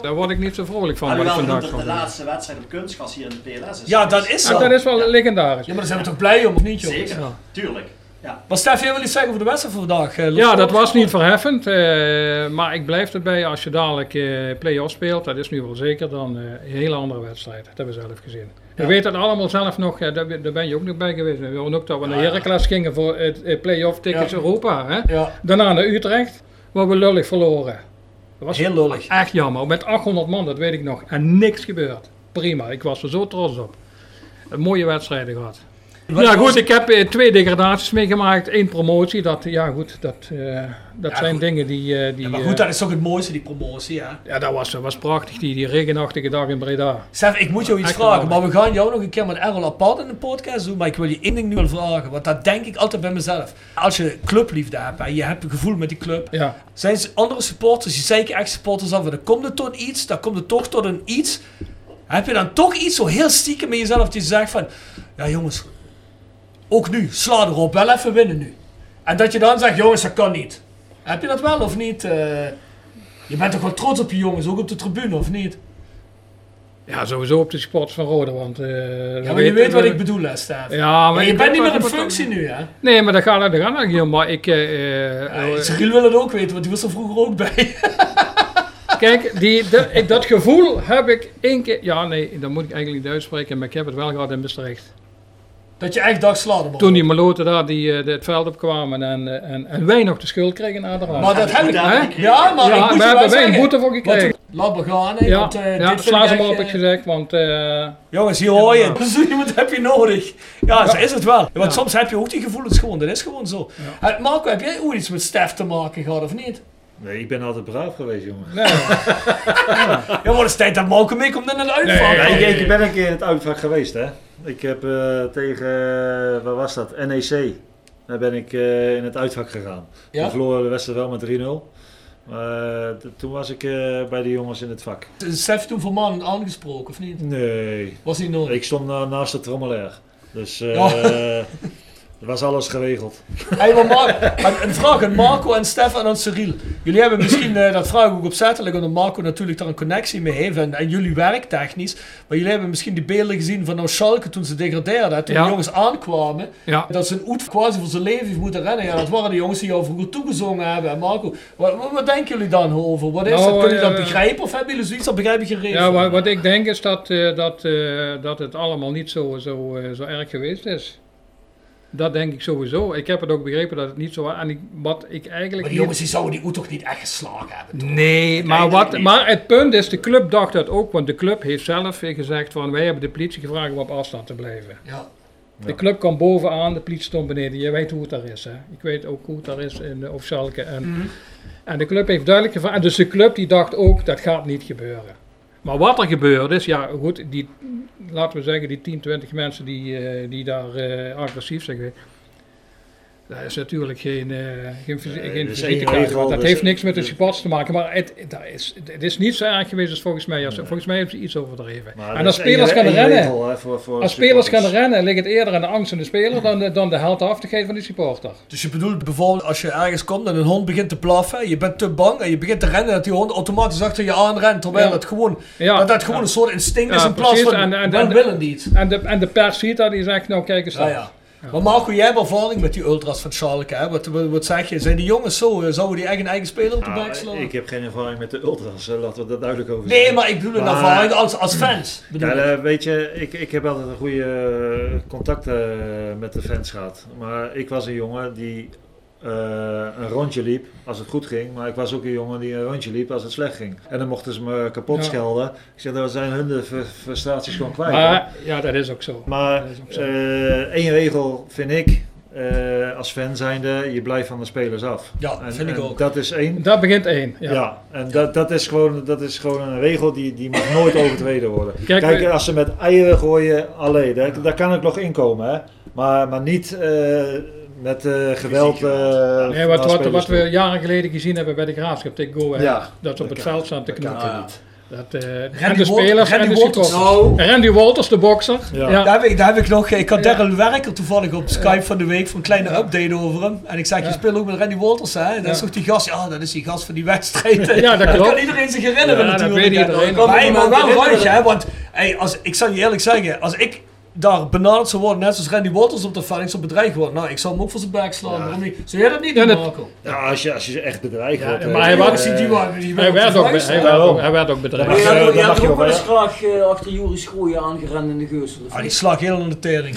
Daar word ik niet zo vrolijk van. Maar wat ik wel vandaag dat van de hoor. laatste wedstrijd op kunstgas hier in de PLS is. Ja, dat is Ah, zo. dat is wel legendarisch. Ja, maar daar zijn we toch blij om, of niet, joh? Zeker, Ja. tuurlijk. Ja. Maar Stef, jij wil iets zeggen over de wedstrijd van vandaag? eh, Los Ja, Volk? dat was niet verheffend. eh, maar ik blijf erbij. Als je dadelijk eh play-off speelt, dat is nu wel zeker, dan eh, een hele andere wedstrijd. Dat hebben we zelf gezien. We Ja. weten het allemaal zelf nog. eh, daar, ben- daar ben je ook nog bij geweest. We hoorden ook dat we naar Heracles gingen voor het eh, play-off tickets Ja. Europa. Hè? Ja. Daarna naar Utrecht, waar we lullig verloren. Dat was Heel lullig. Echt jammer. Met 800 man, dat weet ik nog. En niks gebeurd. Prima, ik was er zo trots op. Een mooie wedstrijden gehad. Wat ja, was- goed, ik heb eh, twee degradaties meegemaakt. één promotie. Dat, ja, goed, dat, eh, dat Ja, zijn goed. dingen die. eh, die Maar eh, goed, dat is toch het mooiste, die promotie, hè? ja, dat was, dat was prachtig, die, die regenachtige dag in Breda. Stef, ik moet jou iets Echt vragen, maar geweldig. we gaan jou nog een keer met Errol apart in de podcast doen. Maar ik wil je één ding nu wel vragen, want dat denk ik altijd bij mezelf. Als je clubliefde hebt en je hebt een gevoel met die club, Ja. zijn ze andere supporters, die zeker echt supporters af, dan komt het tot iets, dan komt het toch tot een iets. Heb je dan toch iets zo heel stiekem in jezelf die zegt van, ja jongens, ook nu, sla erop, wel even winnen nu. En dat je dan zegt, jongens, dat kan niet. Heb je dat wel of niet? Eh, je bent toch wel trots op je jongens, ook op de tribune of niet? Ja, sowieso op de sports van Rode. Want, eh, we Ja, maar je weten- weet wat we- ik bedoel, hè, Stef. Ja, maar je ik bent niet weet meer wat in ik bedoel. functie nu, hè? Nee, maar dat gaat dat gaat nog niet om. Maar ik. eh, eh, eh, Cyril dus wil het ook weten, want die was er vroeger ook bij. Kijk, die, de- ik- dat gevoel heb ik één keer. Ja, nee, dat moet ik eigenlijk niet uitspreken, maar ik heb het wel gehad in Maastricht. Dat je echt dacht slaan. Toen die maloten daar die, eh, de- het veld opkwamen en, eh, en, en wij nog de schuld kregen aan de hand. Maar dat heb ik Hè? Ja, maar ik moet we je wel hebben wij een zeggen. boete voor gekregen. Want- Laat me gaan, hè. ja, want, eh, ja dit sla vind ze ik maar op, heb echt, ik eh, gezegd, want... eh, Jongens, hier hoor je. Ja. Dus iemand heb je nodig. Ja, zo is het wel. Want soms heb je ook die gevoelens gewoon. Dat is gewoon zo. Eh, Marco, heb jij ooit iets met Stef te maken gehad of niet? Nee, ik ben altijd braaf geweest, jongen. Ja, maar het is tijd dat Marco meekomt naar de Nee, uitvang. ik- ik, ben een keer in het uitvak geweest, hè. Ik heb eh, tegen, eh, waar was dat? NEC. Daar ben ik eh, in het uitvak gegaan. Ja? We verloren de wedstrijd wel met 3-0. Maar eh, t- toen was ik eh, bij de jongens in het vak. Is Stef toen voor man aangesproken of niet? Nee. Was niet nodig? Ik stond na- naast de trommelair. Dus eh Ja. er was alles geregeld. Hey, maar Mar- een- een vraag aan Marco en Stef en aan Cyril. Jullie hebben misschien, eh, dat vraag ik ook opzettelijk, omdat Marco natuurlijk daar een connectie mee heeft en, en jullie werktechnisch. Maar jullie hebben misschien die beelden gezien van nou Schalke toen ze degradeerden. hè, Toen Ja. de jongens aankwamen, Ja. dat ze een oet quasi voor zijn leven heeft moeten rennen. Ja, dat waren de jongens die jou vroeger toegezongen hebben. En Marco, wat, wat, wat denken jullie dan over? Wat is Nou, dat? Kunnen jullie dat eh, begrijpen of hebben jullie zoiets dat begrijpen geregeld? Ja, wat, wat ik denk is dat, eh, dat, eh, dat het allemaal niet zo, zo, eh, zo erg geweest is. Dat denk ik sowieso. Ik heb het ook begrepen dat het niet zo was. En ik, wat ik eigenlijk. maar die niet- jongens die zouden die oet toch niet echt geslagen hebben? toch? Nee, maar, Eigenlijk wat, niet. maar het punt is, de club dacht dat ook, want de club heeft zelf eh, gezegd van wij hebben de politie gevraagd om op afstand te blijven. Ja. De club kwam bovenaan, de politie stond beneden. Je weet hoe het daar is, hè? Ik weet ook hoe het daar is in uh, Ofschalke. En, en de club heeft duidelijk gevraagd, en dus de club die dacht ook dat gaat niet gebeuren. Maar wat er gebeurd is, ja goed, die, laten we zeggen die 10, 20 mensen die, eh, die daar eh, agressief zijn geweest. Dat is natuurlijk geen, eh geen, verzi- Nee, geen dat is één visitekaartje, regel, want dat dus- heeft niks met de supporters te maken. Maar het, dat is, het is niet zo erg geweest als volgens mij. Als, Volgens mij hebben ze iets overdreven. Maar en dat als is spelers één- gaan één rennen, regel, hè, voor- voor als spelers gaan supporters. rennen, ligt het eerder aan de angst van de speler dan de, dan de heldhaftigheid van de supporter. Dus je bedoelt bijvoorbeeld als je ergens komt en een hond begint te blaffen, je bent te bang en je begint te rennen dat die hond automatisch achter je aanrent, terwijl Ja. het gewoon, Ja. dat dat gewoon een soort instinct is in plaats precies. van en, willen die. En de, en de pers ziet dat, die zegt nou kijk eens Ja, daar. ja. Maar Marco, jij hebt ervaring met die ultras van Schalke, hè? Wat, wat wat zeg je? Zijn die jongens zo? eh, Zouden die echt een eigen speler op de Nou, bek slaan? ik heb geen ervaring met de ultras, hè, laten we dat duidelijk over Nee, zijn. maar ik bedoel een ervaring als, als fans. Bedoel Ja, ik. eh, weet je, ik, ik heb altijd een goede eh, contacten eh, met de fans gehad. Maar ik was een jongen die eh, een rondje liep als het goed ging. Maar ik was ook een jongen die een rondje liep als het slecht ging. En dan mochten ze me kapot Ja. schelden. Ik zeg, dan zijn hun de fr- frustraties gewoon kwijt. Maar, ja, dat is ook zo. Maar eh, één regel vind ik, eh, als fan zijnde, je blijft van de spelers af. Ja, en, vind ik en ook. Dat is één. Dat begint één. Ja, Ja. en dat, dat, is gewoon, dat is gewoon een regel die, die mag nooit overtreden worden. Kijk, Kijk, we- als ze met eieren gooien, alleen, daar, daar kan ik nog inkomen, hè. Maar, maar niet eh, met eh, geweld. eh, Nee, wat, naar wat, spelers wat we toe. jaren geleden gezien hebben bij de Graafschap tegen Go Ahead, Ja, dat ze op het veld staan te dat kan knokken. niet. Dat, eh, en Randy de Wal- Nou. spelers Randy en de Walters. supporters. Randy Walters, de bokser. Ja. Daar, heb ik, daar heb ik nog. eh, Ik had Daryl Werker toevallig op Skype van de week voor een kleine update over hem. En ik zeg, je speelt ook met Randy Walters, hè? Dat is Ja. toch die gast? Ja, dat is die gast van die wedstrijd. Ja, dat klopt. kan iedereen zich herinneren Ja, dat natuurlijk. weet iedereen. Maar, hey, maar wel Herinneren. ruig, hè? Want hey, als, ik zal je eerlijk zeggen, als ik daar benaderd zou worden, net zoals Randy Walters op de veiling zou bedreigd worden, nou, ik zou hem ook voor zijn bek slaan. Waarom niet? Zou jij dat niet Ja, doen, dat- Marco? Ja, als je, als je echt bedreigd Ja, wordt. eh. maar hij was- die was- die Hij werd ook be- hij werd ook- hij werd ook Dan mag bedreigd. je- dan mag je wel, hè? graag eh, achter Joris Gooien aangerend in de geus. Ah, die slag heel aan de tering.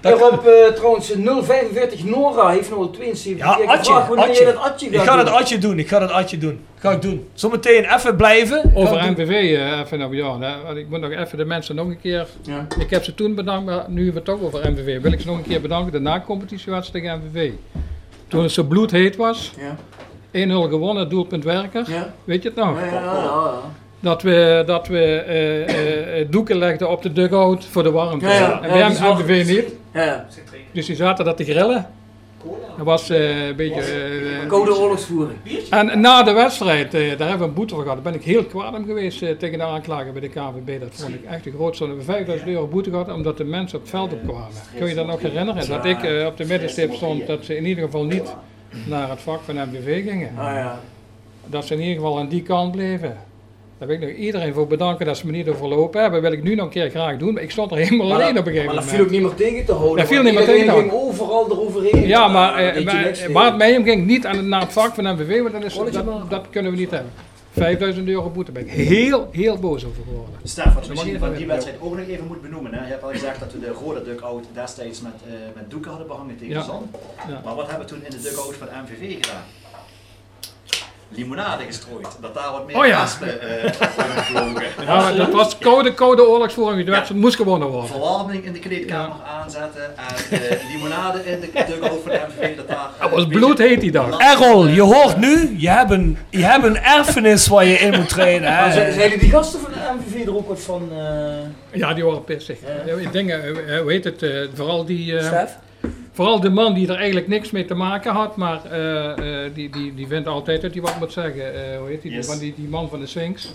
Daarop eh trouwens eh, 045 Nora heeft nog 72. Ja, Ik Adje. vraag wanneer Adje. je dat Adje ik gaat ga doen. dat Adje doen. Ik ga dat Adje doen. Ga ik doen. Zometeen even blijven. Ga ik Over doen. MVV, eh, even naar Bjorn. hè, want Ik moet nog even de mensen nog een keer... Ik heb ze toen bedankt, maar nu we het toch over MVV... wil ik ze nog een keer bedanken. De na-competitiewedstrijd tegen MVV. Toen het zo bloedheet was. 1-0 gewonnen, doelpunt Werker. Weet je het nog? Dat we, dat we eh, eh, eh, doeken legden op de dugout voor de warmte. Ja, ja. En Ja, bij die zag- MVV niet. Ja, ja. Dus die zaten dat te grillen. Dat was eh, een beetje... eh, Koude oorlogsvoering. en na de wedstrijd, eh, daar hebben we een boete voor gehad. Daar ben ik heel kwaad om geweest eh, tegen de aanklager bij de KVB. Dat vond ik echt de grootste. We hebben 5000 euro boete gehad omdat de mensen op het veld opkwamen. Kun je dat nog herinneren? Dat ik eh, op de middenstip stond dat ze in ieder geval niet naar het vak van MBV gingen. Ah, Dat ze in ieder geval aan die kant bleven. Daar wil ik nog iedereen voor bedanken dat ze me niet overlopen hebben. wil ik nu nog een keer graag doen. Maar ik stond er helemaal Maar dat- alleen op een gegeven Maar moment. dat viel ook niemand tegen te houden. Dat viel want niemand iedereen tegen te ging overal eroverheen. Ja, maar Daar eh deed je maar- niks tegen. Bart Meijem ging niet aan het, naar het vak van MVV, want dat, is, dat, dat kunnen we niet hebben. 5000 euro boete ben ik heel, heel boos over geworden. Stefan, Dat mag misschien je van niet die hebben. wedstrijd ook nog even moet benoemen. Hè? Je hebt al gezegd dat we de rode dugout destijds met, eh, met doeken hadden behangen tegen Ja. de zon. Ja. Maar wat hebben we toen in de dugout van MVV gedaan? Limonade gestrooid, dat daar wat meer Oh ja. aspen eh, worden gevlogen. Ja, maar dat was code, code oorlogsvoering, de wedstrijd moest gewonnen worden. Verwarming in de kleedkamer aanzetten en eh, limonade in de dugout van MVV. Dat daar Dat was bloedheet die dag. Errol, je hoort nu, je hebt een, je hebt een erfenis waar je in moet trainen. Maar Hè? Nou, ze- zeiden Dus die gasten van de MVV er ook wat van? eh, Ja, die waren pissig. Ja, ik denk, eh, eh, hoe heet het, eh, vooral die... eh, Stef? Vooral de man die er eigenlijk niks mee te maken had, maar eh, eh, die, die, die vindt altijd dat hij wat moet zeggen. Eh, hoe heet die, Yes. van die, die man van de Sphinx?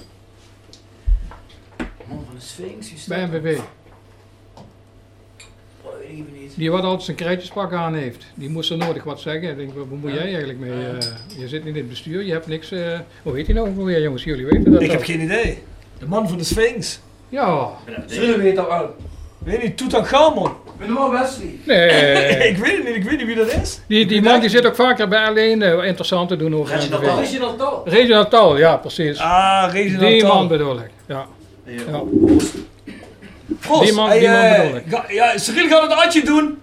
Man van de Sphinx, die staat Bij MVV. Oh, ik weet even niet. Die wat altijd zijn krijtjespak aan heeft, die moest er nodig wat zeggen. Ik denk, wat wat moet Ja. jij eigenlijk mee? Ja. Eh, je zit niet in het bestuur, je hebt niks. eh, hoe weet je nou ook alweer, jongens? Jullie weten dat. Ik heb al. geen idee. De man van de Sphinx. Ja. Zullen we het al aan? Weet niet, Tutankhamon. Benoit Wesley. Nee. ik weet het niet, ik weet niet wie dat is. Die, die man die zit ook vaker bij alleen eh, interessant te doen over Reginald MVV. Tal. Reginald Tal. Reginald Tal, ja, precies. Ah, Reginald Die Tal. man bedoel ik. Ja. ja. Proost. Die man- Hey, die man eh, bedoel ik. ga- ja, Cyril gaat het Adje doen.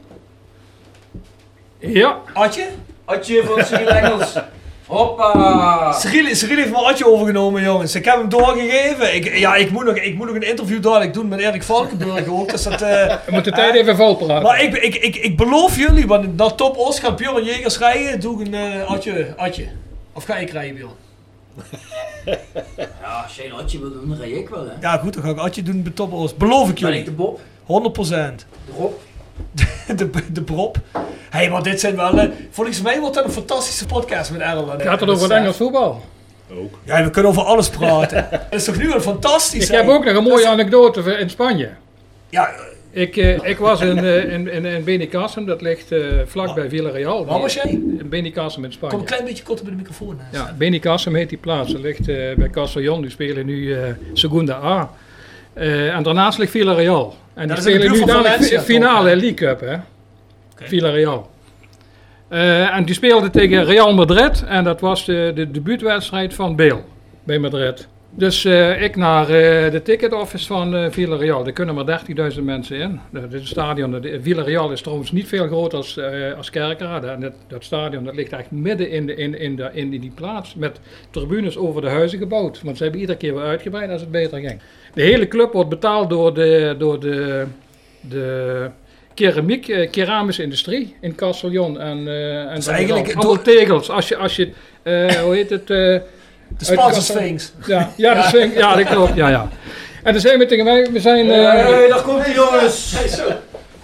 Ja. Adje? Adje van Cyril Engels. Hoppa. Cyril, Cyril heeft mijn Adje overgenomen, jongens. Ik heb hem doorgegeven. Ik, ja, ik moet, nog, ik moet nog een interview dadelijk doen met Erik Valkenburg ook. Dus dat, eh, We moeten de tijd even volpraten. Maar ik, ik, ik, ik beloof jullie, want dat top Os gaat Björn en Jegers rijden, doe ik een eh, atje, atje. Of ga ik rijden, Björn? Ja, als jij een Adje wil doen, dan rij ik wel hè. Ja, goed, dan ga ik atje doen bij top Os. Beloof ik Ben jullie. ik de Bob? 100%. De Rob? de, de Brop. Hé, hey, maar dit zijn wel... eh, volgens mij wordt dat een fantastische podcast met Errol. en- Gaat en het over het Stef. Engels voetbal? Ja, we kunnen over alles praten. dat is toch nu een fantastisch... Ik heb ook nog een mooie anekdote van- in Spanje. Ja. Ik, eh, ik was in, eh, in, in, in Benicàssim, dat ligt eh, vlak bij Villarreal. Waar was jij? In Benicàssim in Spanje. Kom een klein beetje korter bij de microfoon. hè. Ja, Benicàssim heet die plaats. Dat ligt eh, bij Castellón. Die spelen nu eh Segunda A. Eh, en daarnaast ligt Villarreal. En Dat die is in de spelen buurt nu van dadelijk Valencia, fi- toch, finale League Cup, hè? Villarreal. Eh, en die speelde tegen Real Madrid. En dat was de, de debuutwedstrijd van Beel bij Madrid. Dus eh, ik naar eh, de ticketoffice van eh, Villarreal. Er kunnen maar 30.000 mensen in. Nou, Dit is een stadion. dat- Villarreal is trouwens niet veel groter als, eh als Kerkrade. En dat, dat stadion dat ligt echt midden in, de, in, in, de, in die plaats. Met tribunes over de huizen gebouwd. Want ze hebben iedere keer weer uitgebreid als het beter ging. De hele club wordt betaald door de, door de, de keramiek, eh, keramische industrie in Castellon. En, eh, en Dus dan eigenlijk dan allemaal tegels. Als je, als je eh, hoe heet het? eh, uit Spaanse Castellon- Sphinx. Ja, ja, de Sphinx. Ja, dat klopt. Ja, ja. En dan zijn we tegen mij, we zijn... eh, Hey, daar komt die jongens. Hey, zo.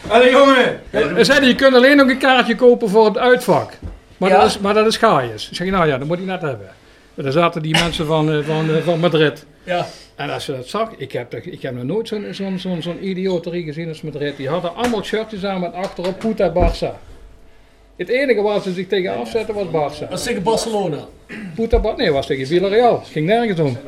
Allee jongen. we zeiden, je kunt alleen nog een kaartje kopen voor het uitvak. Maar, dat, is, maar dat is gaaiers. Ik zeg, nou ja, dat moet ik net hebben. Maar daar zaten die mensen van, eh, van, eh, van Madrid. Ja. En als je dat zag, ik heb, toch- ik heb nog nooit zo'n zo'n zo'n zo'n idioterie gezien als Madrid. Die hadden allemaal shirtjes aan met achterop Puta Barça. Het enige waar ze zich tegen afzetten was Barça. Dat is tegen Barcelona. Puta Barça, nee, was tegen Villarreal. Het ging nergens om.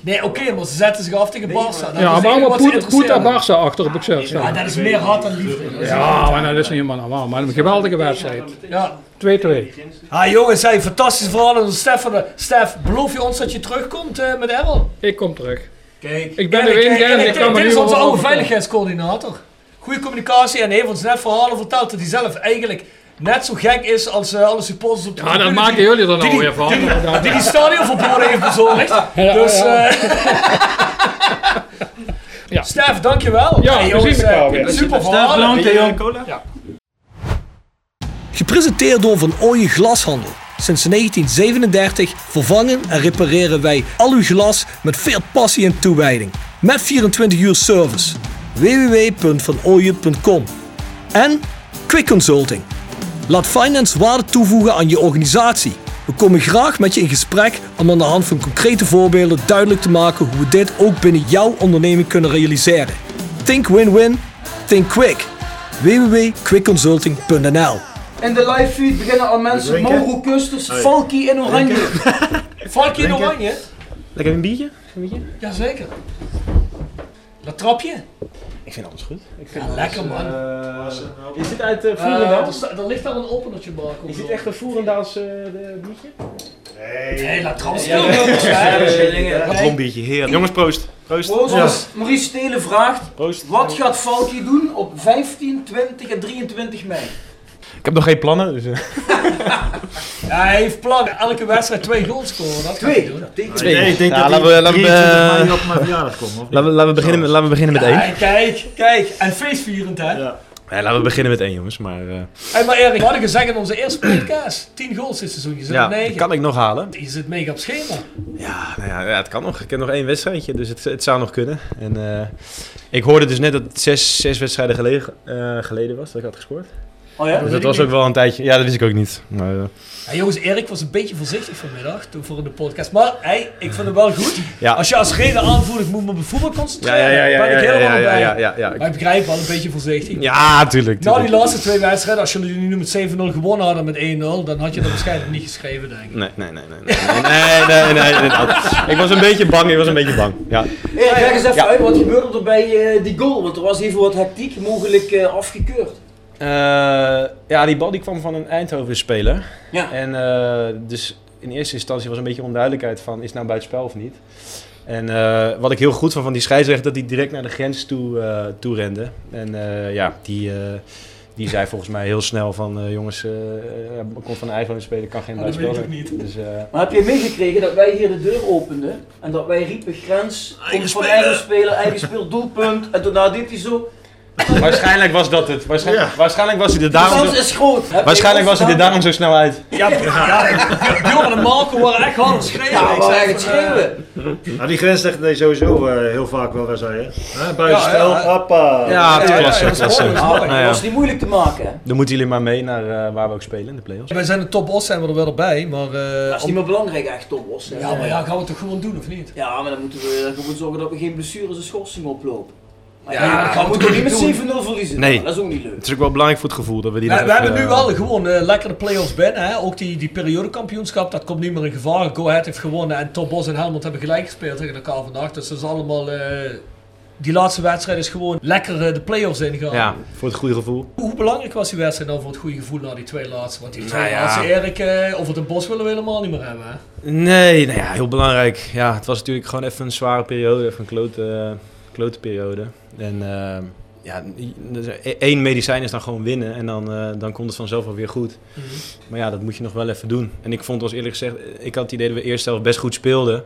Nee, oké, maar ze zetten zich af tegen Barca. Dat is Ja, het maar allemaal enige wat ze Puta, Puta interesseren. Barça achter op het shirt Ja, staan. dat is meer hart dan liefde. Ja, maar dat is niet helemaal normaal. Maar een geweldige wedstrijd. Ja. 2-2. Ah jongens, hey, fantastisch verhaal. En Stefan, Stef, beloof je ons dat je terugkomt eh, met Errol? Ik kom terug. Kijk, Ik ben Kijk, er in, kijk, Gern, kijk, ik kijk, kan me Dit nu is onze wel oude over- veiligheidscoördinator. Goede communicatie en heeft ons net verhalen verteld dat hij zelf eigenlijk net zo gek is als eh, alle supporters op de Ja, dat tribune die- maken jullie er nou die- weer van. Die die, die stadionverboden heeft bezorgd. Ja, dus, ja. eh Stef, dankjewel. Ja, we zien elkaar eh, weer. Super Stef, verhaal. bedankt, hè, jong. Ja. Gepresenteerd door Van Ooyen Glashandel. Sinds 1937 vervangen en repareren wij al uw glas met veel passie en toewijding. Met 24 uur service. www.vanooyen.com En Quick Consulting. Laat finance waarde toevoegen aan je organisatie. We komen graag met je in gesprek om aan de hand van concrete voorbeelden duidelijk te maken hoe we dit ook binnen jouw onderneming kunnen realiseren. Think win-win, think quick. www.quickconsulting.nl In de live feed beginnen al mensen Drinken? Mauro Kusters, Hey. Valky in oranje. Valky in Drinken? oranje? Lekker een biertje? Jazeker. Dat trapje? Ik vind alles goed. Ik Ja, lekker man. is dit uit eh Eh, Voerendaal? er sta- er ligt daar een openertje balkon. is dit echt een Voerendaals eh, de biertje? Nee, nee laat trouwens. Ja, ja, ja, ja. Nee. Rombiertje, heerlijk. Jongens, proost. Proost. Volgens Maurice Stelen vraagt, wat gaat Valky doen op 15, 20 en 23 mei? Ik heb nog geen plannen, dus... eh. Ja, hij heeft plannen. Elke wedstrijd twee goals scoren. Dat twee? Hij doen. Twee. Nee, ik denk Ja, dat laten die we- laten we, 23 eh, mei op mijn verjaardag komen, of Laten we, laten we beginnen, met, laten we beginnen met één. Ja, kijk, kijk. En feestvierend, hè? Nee, laten we beginnen met één, jongens. Maar eh, Hey, maar Erik, wat ik gezegd in onze eerste podcast. 10 goals dit seizoen. Je zit ja, op 9. kan ik nog halen. Je zit mega op schema. Nou ja, ja, het kan nog. Ik heb nog één wedstrijdje, dus het, het zou nog kunnen. En, eh, ik hoorde dus net dat het zes, zes wedstrijden gelegen, eh, geleden was dat ik had gescoord. Oh ja? Dat Dus weet ik dat was niet. ook wel een tijdje. Ja, dat wist ik ook niet. Maar, eh, Ja, jongens, Erik was een beetje voorzichtig vanmiddag toen voor in de podcast. Maar hey, ik vind het wel goed. Ja. Als je als reden aanvoert, ik moet me op het voetbal concentreren. Ja, ja, ja, ja, ben ik ja, helemaal ja, ja, bij. ja, ja, ja. Maar ik begrijp wel een beetje voorzichtig. ja, tuurlijk. Na die tuurlijk. laatste twee wedstrijden, als jullie nu met 7-0 gewonnen hadden met 1-0, dan had je dat waarschijnlijk niet geschreven, denk ik. Nee, nee, nee, nee, nee, nee, nee, nee, nee, inderdaad. Ik was een beetje bang, ik was een beetje bang. Ja. Erik, leg eens even Ja. uit, wat gebeurde er bij eh, die goal? Want er was even wat hectiek, mogelijk eh, afgekeurd. Eh, ja, die bal die kwam van een Eindhoven speler. Ja. En eh, dus in eerste instantie was een beetje onduidelijkheid van is het nou buitenspel of niet. En eh, wat ik heel goed vond van die scheidsrechter, dat hij direct naar de grens toe, eh, toe rende. En eh, ja, die, eh, die zei volgens mij heel snel van eh, jongens, eh eh, komt van een iPhone spelen, kan geen Ah, dat buitenspel weet ik zijn. Dus, eh, Maar heb je meegekregen dat wij hier de deur openden en dat wij riepen grens, komt van eigen speler, eigen speel, doelpunt. En daarna deed hij zo. eh, waarschijnlijk was dat het. Waarschijnlijk, waarschijnlijk was hij er De daarom kans zo, is groot. Heb waarschijnlijk je was hij er gedaan? daarom zo snel uit. Ja, Bjorn en Marco waren echt hard aan het schreeuwen. Ja, Ik we waren zei echt van, schreeuwen. Nou, die grensrechter deed sowieso eh, heel vaak wel wedstrijden. hè? Hè, Buitenspel, Ja, ja, ja. appa. Ja, ja, ja, klasse, dat is klasse. mooi, dat is mooi. Nou ja. Dat was niet moeilijk te maken. hè. Dan moeten jullie maar mee naar eh, waar we ook spelen in de play-offs. Wij zijn de top os zijn we er wel bij, maar... eh, Dat is niet meer belangrijk echt, Tom Bos. hè. Ja, maar ja, gaan we het toch gewoon doen, of niet? Ja, maar dan moeten we dan gewoon zorgen dat we geen blessures en schorsingen oplopen. Maar Ja, ja, dat gaan dan we moeten we toch niet niet met 7-0 verliezen. Nee. Dat is ook niet leuk. Het is ook wel belangrijk voor het gevoel dat we die We, nog we even, hebben nu eh, wel gewoon eh, lekker de play-offs binnen. Hè? Ook die, die periodekampioenschap, dat komt niet meer in gevaar. Go Ahead heeft gewonnen en Top Bos en Helmond hebben gelijk gespeeld tegen elkaar vandaag. Dus dat is allemaal... eh, die laatste wedstrijd is gewoon lekker eh, de play-offs ingaan. Ja, voor het goede gevoel. Hoe belangrijk was die wedstrijd dan voor het goede gevoel na die twee laatste? Want die twee Nou ja. laatste, Erik, eh, over het bos willen we helemaal niet meer hebben. Hè? Nee, nou ja, heel belangrijk. Ja, het was natuurlijk gewoon even een zware periode, even een klote, eh, klote periode. En eh, ja, dus e- één medicijn is dan gewoon winnen en dan, eh, dan komt het vanzelf wel weer goed. Mhm. Maar ja, dat moet je nog wel even doen. En ik vond, als eerlijk gezegd, eh, ik had het idee dat we eerst zelf best goed speelden.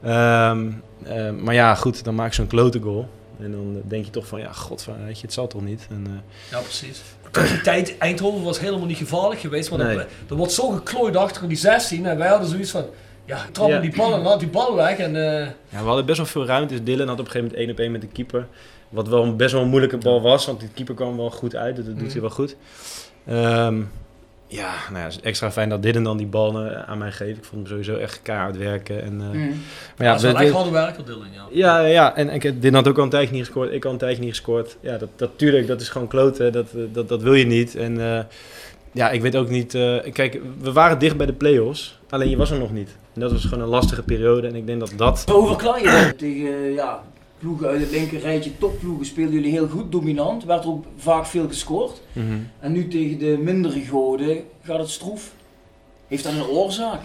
Ehm, eh, maar ja, goed, dan maak je zo'n klote goal. En dan eh, denk je toch van, ja, god, weet je, het zal toch niet. En, eh, Ja, precies. Tot die tijd, Eindhoven was helemaal niet gevaarlijk geweest. Maar Nee. er, er wordt zo geklooid achter in die 16. En wij hadden zoiets van, ja, trap Ja. hem die bal en laat die bal weg. En, eh, Ja, we hadden best wel veel ruimte. Dus Dylan had op een gegeven moment één op één met de keeper. Wat wel dus Mhm. een, best wel een moeilijke bal was, want die keeper kwam wel goed uit. Dat doet Mhm. hij wel goed. Ehm, ja, nou ja, het is extra fijn dat dit en dan die ballen aan mij geeft. Ik vond hem sowieso echt keihard werken. En, eh, Mm. maar ja, dat is wel we- echt we- harde werken, Dylan, ja. Ja, ja, en, en ik heb- dit had ook al een tijdje niet gescoord. Ik had een tijdje niet gescoord. Ja, dat, dat, tuurlijk, dat is gewoon kloten. Dat, eh, dat, dat wil je niet. En eh, ja, ik weet ook niet... eh, kijk, we waren dicht bij de play-offs. Alleen je was er nog niet. En dat was gewoon een lastige periode. En ik denk dat dat... Maar hoe verklaar je dat tegen eh, ja, ploegen uit het linker rijtje, topploegen, speelden jullie heel goed, dominant, werd ook vaak veel gescoord. Mhm. En nu tegen de mindere goden gaat het stroef. Heeft dat een oorzaak?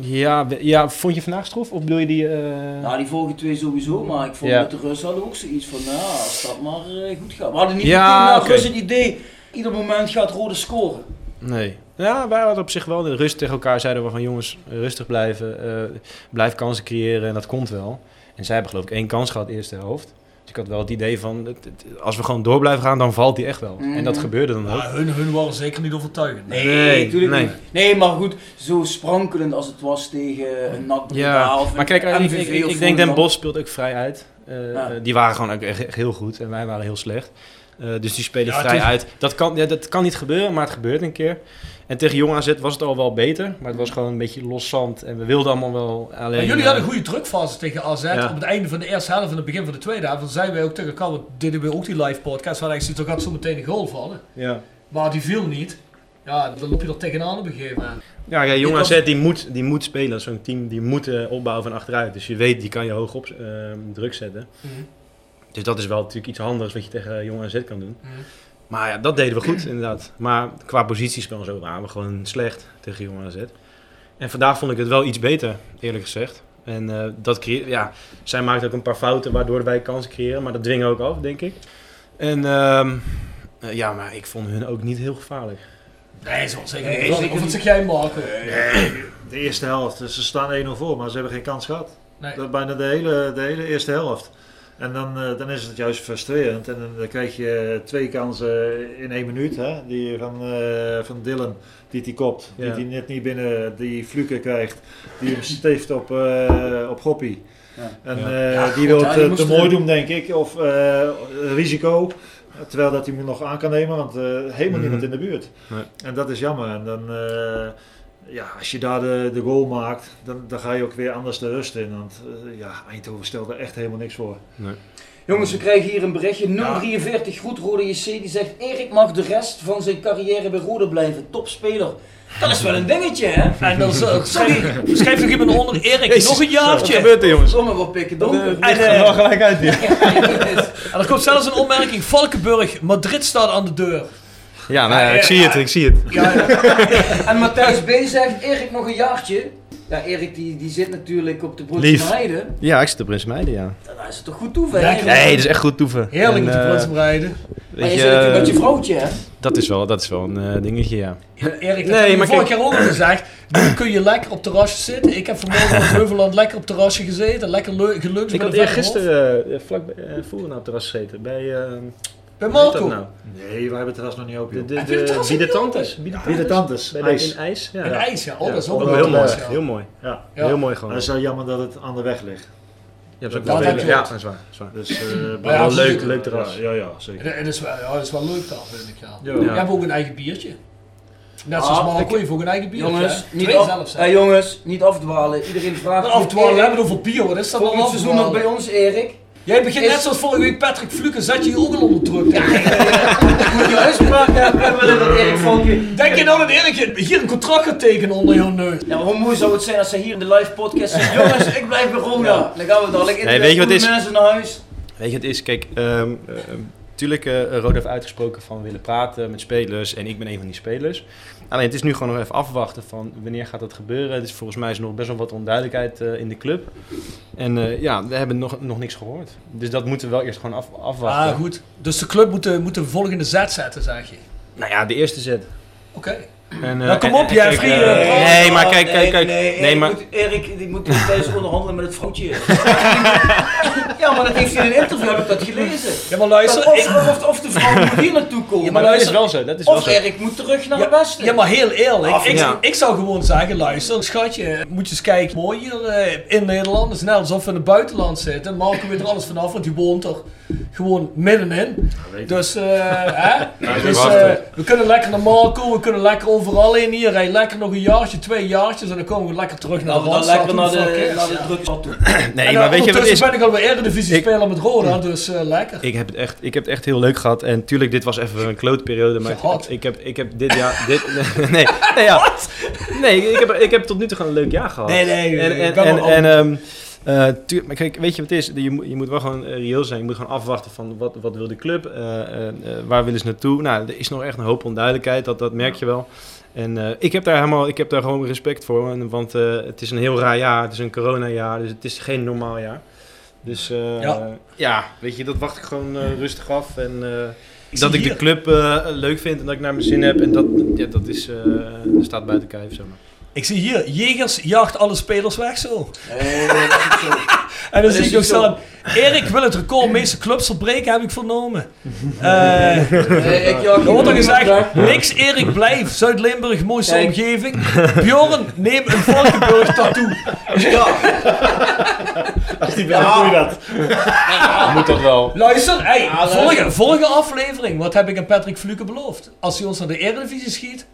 Ja, we- ja, vond je vandaag stroef? Of bedoel je die... eh, Nou, die vorige twee sowieso, maar ik vond Ja. met de Russen hadden we ook zoiets van, nou, als dat maar eh, goed gaat. We hadden niet Ja, meteen na oké. Rus het idee, ieder moment gaat Rode scoren. Nee. Ja, wij hadden op zich wel in rust tegen elkaar. Zeiden we van jongens, rustig blijven. eh, blijf kansen creëren en dat komt wel. En zij hebben geloof ik één kans gehad eerste helft. Dus ik had wel het idee van, het- het- als we gewoon door blijven gaan, dan valt die echt wel. En dat gebeurde dan ook. Ja, hun, hun waren zeker niet overtuigend. Nee, Nee, natuurlijk nee. niet. Nee, maar goed, zo sprankelend als het was tegen een NAC Breda Ja, of een maar kijk, ik, MVV ik, of ik denk Den Volendam. Bos speelt ook vrij uit. Eh, Ja. eh, Die waren gewoon ook echt, echt heel goed en wij waren heel slecht. Eh, dus die spelen Ja, vrij het is- uit. Dat kan, ja, dat kan niet gebeuren, maar het gebeurt een keer. En tegen Jong AZ was het al wel beter, maar het was gewoon een beetje los zand. En we wilden allemaal wel alleen... Maar jullie eh, hadden een goede drukfase tegen AZ. Ja. Op het einde van de eerste helft en het begin van de tweede helft. Dan zeiden wij ook tegen elkaar, want deden we ook die live podcast. Waar eigenlijk zo gaat zo meteen een goal vallen. Ja. Maar die viel niet. Ja, dan loop je er tegenaan op een gegeven moment. Ja, ja Jong Dit was- AZ die moet, die moet spelen. Zo'n team die moet eh, opbouwen van achteruit. Dus je weet, die kan je hoog op eh, druk zetten. Mhm. Dus dat is wel natuurlijk iets handigs wat je tegen Jong AZ kan doen. Mhm. Maar ja, dat deden we goed inderdaad. Maar qua positiespel en zo waren we gewoon slecht tegen Jong AZ. En vandaag vond ik het wel iets beter, eerlijk gezegd. En eh, dat creë- ja, zij maakt ook een paar fouten waardoor wij kansen creëren. Maar dat dwingen we ook af, denk ik. En ehm, eh, ja, maar ik vond hun ook niet heel gevaarlijk. Nee, zo zeker Nee, niet. Of zeker wat niet. zeg jij, Marco? De eerste helft, dus ze staan 1-0 voor, maar ze hebben geen kans gehad. Nee. Dat bijna de hele, de hele eerste helft. En dan, eh, dan is het juist frustrerend. En dan krijg je eh, twee kansen in één minuut. Hè? Die van, eh, van Dylan, die die kopt. Die Ja. die net niet binnen, die Fluke krijgt. Die hem stift op, eh, op Goppie. Ja. En Ja. eh, Ja, die God, wil ja, het die eh, moest te er- mooi doen, denk ik. Of eh, risico. Terwijl dat hij hem nog aan kan nemen, want eh, helemaal Mhm. niemand in de buurt. Nee. En dat is jammer. En dan, eh, ja, als je daar de, de goal maakt, dan, dan ga je ook weer anders de rust in. Want eh, ja, Eindhoven stelde echt helemaal niks voor. Jongens, we krijgen hier een berichtje. 043 Goed Rode JC die zegt: Erik mag de rest van zijn carrière bij Rode blijven. Topspeler. Dat is wel een dingetje, hè? En dan zo- Sorry. schrijf- schrijf nog iemand onder, Erik, Jezus, nog een Wat jaartje. gebeurt er, jongens? Zomaar wat pikken donker. En, eh, gelijk uit hier. en er komt zelfs een opmerking: Valkenburg, Madrid staat aan de deur. Ja, nou ja, ik Ja, zie ja. het, ik zie het. en Matthijs B zegt: Erik nog een jaartje. Ja, Erik die, die zit natuurlijk op de Broekse Lief. Heide. Ja, ik zit op Prins Meijden, ja. Daar is het toch goed toeven, Ja, hè? klopt. Nee, dat is echt goed toeven. Heerlijk En, met de eh, Brunsum rijden. weet eh, Maar je zit natuurlijk met je vrouwtje, hè? Dat is wel, dat is wel een eh, dingetje, ja. Erik, dat Nee, heb ik maar vorige kijk- keer ook al gezegd. Nu kun je lekker op terrasje zitten. Ik heb vanmorgen op Heuveland lekker op terrasje gezeten. Lekker leu- geluncht Ik met had een verre hof. eergisteren eh vlak bij, eh, voor nou op het terras gezeten. Bij, eh, Bij hoe heet dat Marco. nou? Nee, wij hebben het terras nog niet open. De, joh. de, Heb je het de terras Bidetantes. Bidetantes, Bij de- ijs. In ijs. Ja. In ijs, ja. Oh, dat is ook Ja, wel heel mooi. mooi. ja. Heel mooi. Ja. Ja. Heel mooi Maar gewoon. het is wel jammer dat het aan de weg ligt. Ja, dat dat is ook wel wel leuk. Ja, dat is waar. dat is waar. Dus, eh, Maar ja, wel absoluut. leuk, leuk terras. Ja, ja, ja, zeker. En, en dat, is wel, ja, dat is wel leuk daar, vind ik. Ja. Ja. Je hebt ook een eigen biertje. Net zoals Ah, Marco, ik- je hebt ook een eigen biertje. Jongens, hè? niet Twee af, zelfs. eh, jongens, niet afdwalen. Iedereen vraagt. Afdwalen, we Erik, hebben het over bier. Wat is dat Volgend allemaal? seizoen nog bij ons, Erik. Jij begint Is- net zoals vorige week Patrick Fluken, zet je je ook al onder druk. Denk, Moet je uitspraak hebben willen dat Erik Valkje. je nou dat Erik hier een contract gaat tekenen onder jouw neus? Ja, hoe mooi zou het zijn als ze hier in de live podcast zegt, jongens, ik blijf bij Roda. Dan gaan we dadelijk in Nee, weet je wat het is? mensen naar huis. Weet je, het is, kijk, ehm eh, tuurlijk, eh Rode heeft uitgesproken van willen praten met spelers en ik ben een van die spelers. Alleen het is nu gewoon nog even afwachten van wanneer gaat dat gebeuren. Het is volgens mij is er nog best wel wat onduidelijkheid eh, in de club. En eh, ja, we hebben nog, nog niks gehoord. Dus dat moeten we wel eerst gewoon af, afwachten. Ah, goed. Dus de club moet de, moet de volgende zet zetten, zeg je. Nou ja, de eerste zet. Oké. En, eh, Nou, kom en- op, en jij kijk, vrije eh, praat. Nee, maar kijk, kijk, kijk. Nee, Nee, Erik, maar... moet, Erik die moet tijdens onderhandelen met het vrouwtje. ja, Ja, maar dat heeft hij in een interview heb ik dat gelezen. Ja, maar luister, Dat of, ik- of, of de vrouw moet hier naartoe komen. Ja, maar dat is wel zo, dat is of wel zo. Erik moet terug naar het westen. Ja, maar heel eerlijk. Af- ik, ja. ik zou gewoon zeggen, luister, schatje, moet je eens kijken. Mooi hier eh, in Nederland. Het is net alsof we in het buitenland zitten. Marco weet er alles vanaf, want die woont er gewoon middenin. Dus, eh, hè? Hij is dus wachten. eh, we kunnen lekker naar Marco, we kunnen lekker overal heen hier. Rij lekker nog een jaartje, twee jaartjes en dan komen we lekker terug naar Nou, de dan Randstad. lekker naar de- Who the fuck naar de cares? Ja. drugsstad toe. Nee, En maar dan weet je wat het is? ondertussen ben ik alweer Eredivisie speler met Roda, dus eh, lekker. Ik heb, het echt, ik heb het echt heel leuk gehad. En tuurlijk, dit was even een klootperiode. Maar ik, ik, heb, ik heb dit jaar... Dit, nee, nee, ja. nee ik, heb, ik heb tot nu toe gewoon een leuk jaar gehad. Nee, nee, En, en, ik ben en, wel en, ehm, eh, tuur- maar kijk, weet je wat het is? Je moet, je moet wel gewoon eh, reëel zijn. Je moet gewoon afwachten van wat, wat wil de club? eh, eh, eh, waar willen ze naartoe? Nou, er is nog echt een hoop onduidelijkheid. Dat, dat merk je wel. En eh, ik, heb daar helemaal, ik heb daar gewoon respect voor. en- Want eh, het is een heel raar jaar. Het is een coronajaar. Dus het is geen normaal jaar. Dus eh, Ja. ja, weet je, dat wacht ik gewoon eh, rustig af. En eh, Ik dat zie ik de hier- club eh, leuk vind en dat ik naar mijn zin heb. En dat, ja, dat is, eh, staat buiten kijf, zeg maar. Ik zie hier, Jegers jaagt alle spelers weg zo. en dan Dat zie is ik nog niet zo. staan, Erik wil het record meeste clubs verbreken, heb ik vernomen. Eh Nee, ik jaag er wordt al niemand gezegd, weg. niks Erik, blijf. Zuid-Limburg, mooiste Kijk. omgeving. Bjorn, neem een Valkenburg tattoo. Als die belt, doe je dat. Moet dat wel. Luister, hey, Ja, volgende, luister. volgende aflevering, wat heb ik aan Patrick Fluke beloofd? Als hij ons naar de Eredivisie schiet,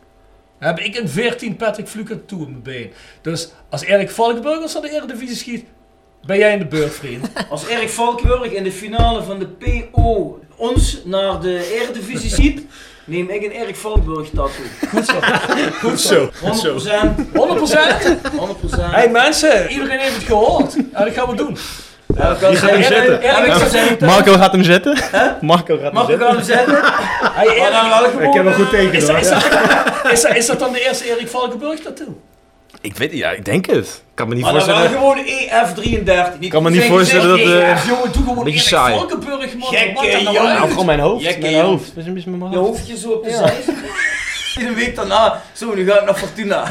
heb ik een 14 Patrick Fluke toe in mijn been. Dus als Erik Valkenburg ons naar de Eredivisie schiet, ben jij in de beurt, vriend. Als Erik Valkenburg in de finale van de PO ons naar de Eredivisie ziet, neem ik een Erik Valkenburg tattoo. Goed zo. Goed zo. 100%. Goed zo. 100%. 100%. Hey mensen, iedereen heeft het gehoord. Ja, dat gaan we doen. Ja, die gaat hem zetten. Eerlijk gezegd. Marco gaat hem zetten. Marco gaat hem zetten. Hey, Erik, Ik heb een goed teken. Is, hoor. dat- is, dat- is, dat- is dat dan de eerste Erik Valkenburg tattoo? Ik weet het, ja, ik denk het. Ik kan me niet Maar dan wel voorstellen. gewoon EF33. Ik kan me niet voorstellen dat... eh, Jongen, doe gewoon beetje Erik saai. Valkenburg, man. Gekke Wat dan nou jongen. uit? Nou, gewoon mijn hoofd. Jekke, mijn joh. hoofd. Dat is een beetje mijn Je hoofd. hoofdje zo op de zij. In een week daarna, zo, nu ga ik naar Fortuna.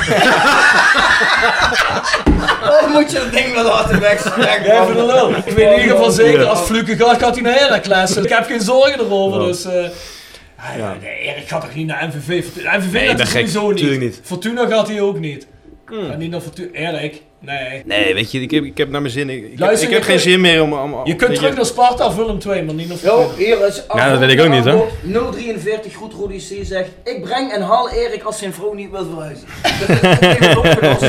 Dan moet je dat ding wel laten wegspreken. Jij voor de lul. Ik weet in ieder geval zeker, als Fluke gaat, gaat hij naar Heracles. Ik heb geen zorgen erover, Ja. dus... eh, ah, ja, nee, Erik gaat toch niet naar MVV? Fortuna- MVV Nee, gaat ik hij ben gek. sowieso niet. Tuurlijk niet. Hmm. Fortuna gaat hij ook niet. Gaat niet naar Fortuna. Erik, nee. Nee, weet je, ik heb, ik heb naar mijn zin. Ik, ik, Luister, heb, ik je heb geen kunt- zin meer om... om, om Je weet kunt terug naar Sparta of Willem II, maar niet naar Fortuna. Yo, hier is Ja, dat weet ik ook niet, hè. 043 Goed Rodi C zegt: Ik breng en haal Erik als zijn vrouw niet wil verhuizen. Dat is opgelost.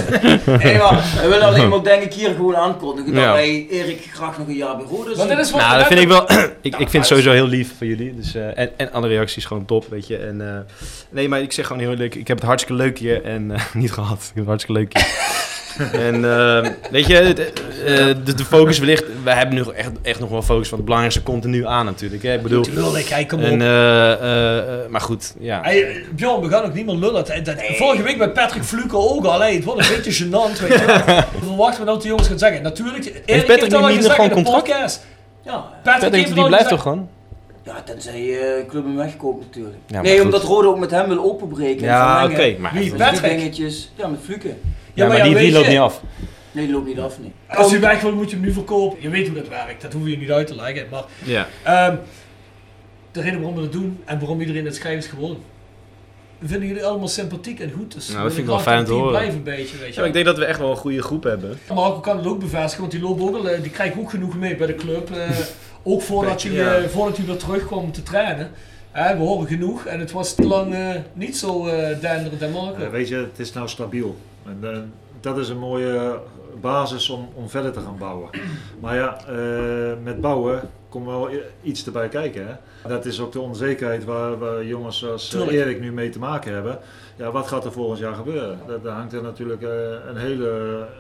Nee, maar hij wil alleen maar, denk ik, hier gewoon aankondigen dat Ja. wij Erik graag nog een jaar bij Roda Want dit is wat nou, we dat vind ik hebben- wel. ik, ik vind het sowieso heel lief van jullie. Dus, eh, en, en alle reacties gewoon top, weet je. En, eh, nee, maar ik zeg gewoon heel leuk. Ik heb het hartstikke leuk hier en eh, niet gehad. Ik heb het hartstikke leuk hier. en eh, weet je, het, eh, eh, de, de focus wellicht. We hebben nu echt, echt nog wel focus, want het belangrijkste komt er nu aan natuurlijk. Hè? Ik bedoel. Tuurlijk, hij komt en, op. eh, eh, eh, maar goed, ja. Hey, eh, Bjorn, we gaan ook niet meer lullen. Dat- dat- Vorige week bij Patrick Fluke ook al. Hey, het wordt een beetje gênant. Weet je. We verwachten we dat die jongens gaan zeggen. Natuurlijk, Erik heeft Patrick dat al niet gezegd nog in de gewoon contract? podcast. Ja, eh, Patrick, heeft het die al blijft gezegd. toch gewoon? Ja, tenzij je club hem wegkoopt natuurlijk. Ja, maar nee, goed. omdat Roda ook met hem wil openbreken. en Ja, verlengen. oké, maar- Wie, Dus die Patrick? dingetjes. Ja, met Fluke. Ja, Ja, maar maar die- ja, die weet loopt je- niet af. Nee, die loopt niet af, nee. Als je weg wil, moet je hem nu verkopen. Je weet hoe dat werkt, dat hoef je niet uit te leggen. Maar Ja. ehm, de reden waarom we dat doen en waarom iedereen het schrijft is gewoon. We vinden jullie allemaal sympathiek en goed. Dus Nou, dat we vind ik wel willen fijn graag om te dat die Blijven horen. een beetje, weet je. Ja, ik denk dat we echt wel een goede groep hebben. Marco kan het ook bevestigen, want die, lopen ook al, eh, die krijgen ook genoeg mee bij de club. eh, ook voordat Beetje, hij, ja. eh, voordat hij weer terugkwam te trainen. Hè, we horen genoeg en het was te lang eh, niet zo eh duinderend en Marco. Eh, weet je, het is nou stabiel. En eh, dat is een mooie basis om, om verder te gaan bouwen. Maar ja, eh, met bouwen komt wel i- iets erbij kijken. Hè? Dat is ook de onzekerheid waar, waar jongens als eh, Tuurlijk. Erik nu mee te maken hebben. Ja, wat gaat er volgend jaar gebeuren? Dat- Daar hangt er natuurlijk eh, een, hele,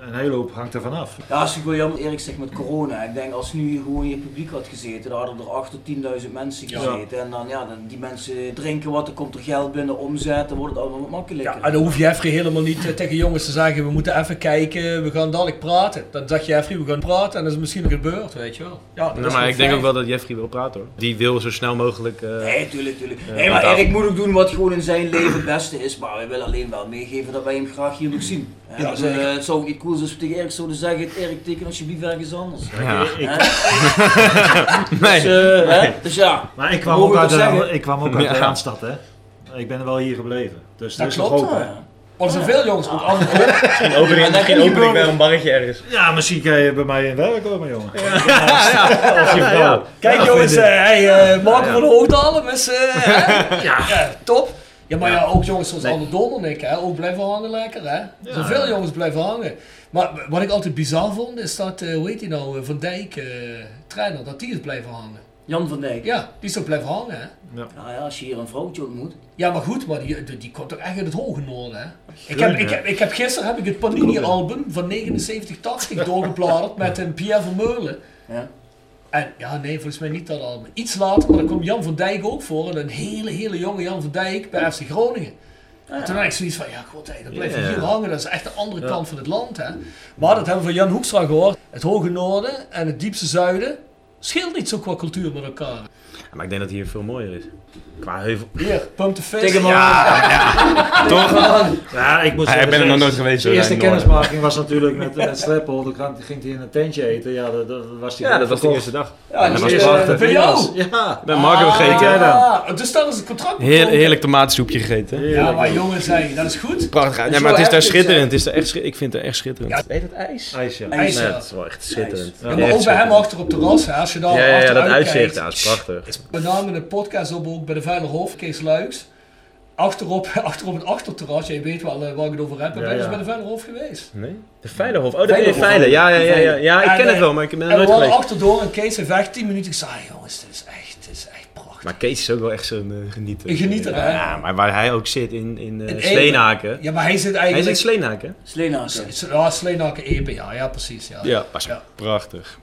een hele hoop hangt er vanaf. Ja, als ik wel jammer eerlijk zeg met corona. Ik denk als nu gewoon je publiek had gezeten, dan hadden er 8 tot 10.000 mensen Ja. gezeten. En dan ja, dan die mensen drinken wat, dan komt er geld binnen, omzet, dan wordt het allemaal wat makkelijker. En dan hoef je Jeffrey helemaal niet eh, tegen jongens te zeggen, we moeten even kijken, we gaan dadelijk praten. Dan zegt Jeffrey, we gaan praten en dat is misschien gebeurd, weet je wel. Ja, dat Nou, is maar wel ik denk fijn. ook denk wel dat Jeffrey wil praten hoor. Die wil zo snel mogelijk. eh, Nee, tuurlijk, tuurlijk. eh, nee, aan maar tafel. Erik moet ook doen wat gewoon in zijn leven het beste is. Maar we willen alleen wel meegeven dat wij hem graag hier nog zien. Hè, Ja, dus, zeker. eh, het zou ook iets cool zijn als we tegen Erik zouden zeggen, Erik teken alsjeblieft ergens anders. Ja. Hè? Ik- dus, eh, hè, dus ja. Maar ik kwam mogen ook we uit, toch de, zeggen? ik kwam ook uit Ja. de Randstad, hè? Ik ben wel hier gebleven. Dus Dat dat is nog klopt, open. eh, ja. Maar er zijn veel jongens met andere Misschien open ik- misschien open ik wel een barretje ergens. Ja, misschien kan je bij mij een werk komen, jongen. Ja, Of je ja. vrouw. Kijk Ja, jongens, vind eh ik. hey, eh Marco Ja. van Hoogdalen is eh, hè? ja. top. Ja, maar ja, Ja. ook jongens zoals Anne Dom en ik, hè, ook blijven hangen lekker. Hè? Zoveel jongens blijven hangen. Maar wat ik altijd bizar vond, is dat, eh hoe heet die nou, eh, Van Dijk, eh, trainer, dat die is blijven hangen. Jan van Dijk? Ja, die is toch blijven hangen, hè? Ja. Nou ja, als je hier een vrouwtje ontmoet. Ja, maar goed, maar die, die, die komt toch echt uit het hoge noorden, hè? Ik Tuurlijk, heb, ik, ja. heb, ik heb gisteren heb ik het Panini-album van 79-80 doorgebladerd met een Pierre Vermeulen. Ja. En ja, nee, volgens mij niet dat album. Iets later, maar dan komt Jan van Dijk ook voor. En een hele, hele jonge Jan van Dijk bij FC Groningen. En toen had ik zoiets van, ja god, hey, dat blijft Ja. hier hangen. Dat is echt de andere Ja. kant van het land, hè. Maar dat hebben we van Jan Hoekstra gehoord. Het hoge noorden en het diepste zuiden scheelt niet zo qua cultuur met elkaar. Ja, maar ik denk dat hier veel mooier is. Qua heuvel. Hier, pump de fist. Tik hem Ja, aan. ja. Toch? Ja, ik moet Ja, ik zeggen, ben er nog de- nooit geweest, dus- De hoor, eerste in het noorden. kennismaking was natuurlijk met, met Streppel. Dan kwam- ging hij in een tentje eten. Ja, dat, dat was die Ja, dat was de eerste dag. Ja, dat die was is, eh, prachtig. bij jou? Ja. Bij Marco gegeten. Jij dan? Ah, dus daar is het contract Heer, betrokken. heerlijk tomatensoepje gegeten. Ja, maar jongens, hey, dat is goed. Prachtig. Dat Ja, maar wel het is daar heftig, schitterend. hè? Het is daar echt, schi- ik vind het echt schitterend. Ja, weet het ijs? IJs, ja. IJs, Nee, ja. dat is wel echt schitterend. Ja, maar ook bij hem achter op terras, hè, als je daar Ja, ja, ja, achteruit dat uitzicht, kijkt. ja, dat is prachtig. We namen een podcast op ook bij de Veilig Hof, Kees Luiks. Achterop, achterop het achterterras, jij weet wel eh, waar ik het over heb. En Ja, ben je ja. eens bij de Veilig Hof geweest. Nee? De Veilerhof. Oh, dat ben je Veilerhof. Veiler. Ja, ja, ja, ja. Ja, ik En, ken het eh, wel, maar ik ben er en nooit we waren geweest. achterdoor en Kees heeft echt 10 minuten. Ik zei, jongens, dit is echt, dit is echt Maar Kees is ook wel echt zo'n eh, genieter. Een genieter, hè? Ja, maar waar hij ook zit in, in, eh, In Epe. Sleenaken. Ja, maar hij zit eigenlijk... Hij zit in Sleenaken. Sleenaken. Ja, Sleenaken, Epe, ja, ja, precies. Ja, Ja, was prachtig.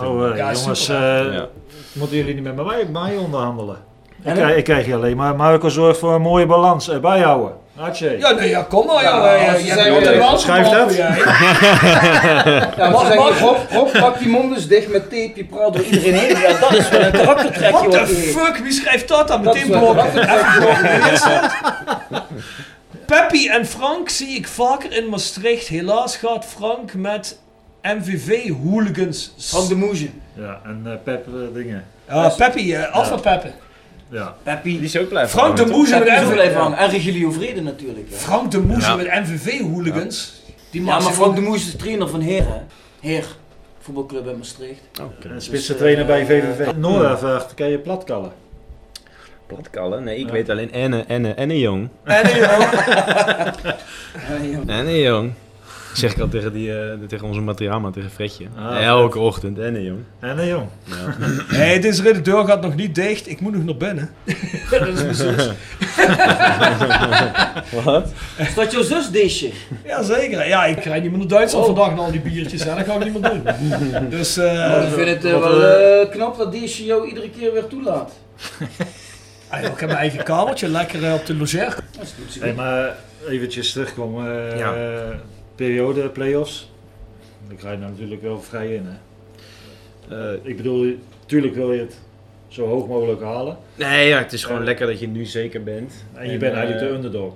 Oh, heel eh, Ja, jongens, super, eh, Ja. moeten jullie niet met mij, mij onderhandelen? Ik En- krijg, ik krijg hier alleen maar Marco zorgt voor een mooie balans. eh, bijhouden. Hartje. Ja, nee, ja, kom maar, Ja, ja, ja, ze je zijn bent er weer- wel schrijf getroffen, dat. jij. Ja, Mag- maar zeg mag- Rob, Rob, pak die mond dus dicht met tape, je praat door iedereen heen. Ja, dat is wel een karaktertrekje What the wat je- fuck, wie schrijft dat dan? Dat Meteen is wel- blokken. dat is wel- Even blokken. dat is wel- Peppy en Frank zie ik vaker in Maastricht. Helaas gaat Frank met MVV-hooligans. Van de Moesje. Ja, en eh, Pep eh, dingen. Ja, Peppy, eh, af Ja. van Peppe. Ja. Peppy. Die is ook blijven Frank de Moes Peppy met is ook MVV. blijven hangen. En Regilio Vrede natuurlijk. hè. Frank de Moes Ja. met MVV-hooligans. Die Ja, maakt maar zich Frank ook- de Moes is de trainer van Heren. Heer, voetbalclub in Maastricht. En spitse trainer bij VVV. Dus, eh, Noor vraagt, kan je platkallen? Platkallen? Nee, ik weet alleen Enne, Enne, Enne Jong. Enne Jong. Enne Jong. Zeg ik al tegen, die, eh, tegen onze materiaalman, tegen Fredje. Ah, Elke ochtend, Enne Jong. Enne Jong. Ja. Nee, deze reden deur gaat nog niet dicht. Ik moet nog naar binnen. dat is mijn zus. Wat? Is dat jouw zus, Deesje? Jazeker. Ja, ik rijd niet meer naar Duitsland vandaag na al die biertjes. Hè. Dat ga ik niet meer doen. Dus, eh, ik vind het eh, wat, wel eh, eh, knap dat Deesje jou iedere keer weer toelaat. ah, joh, ik heb mijn eigen kamertje, lekker eh, op de loger. Hey, maar eventjes terugkomen. eh, Ja. eh, periode, play-offs. Ik rijd nou natuurlijk wel vrij in. Hè. Eh, ik bedoel, tuurlijk wil je het zo hoog mogelijk halen. Nee, ja, het is gewoon lekker dat je nu zeker bent. En je bent eigenlijk eh, de underdog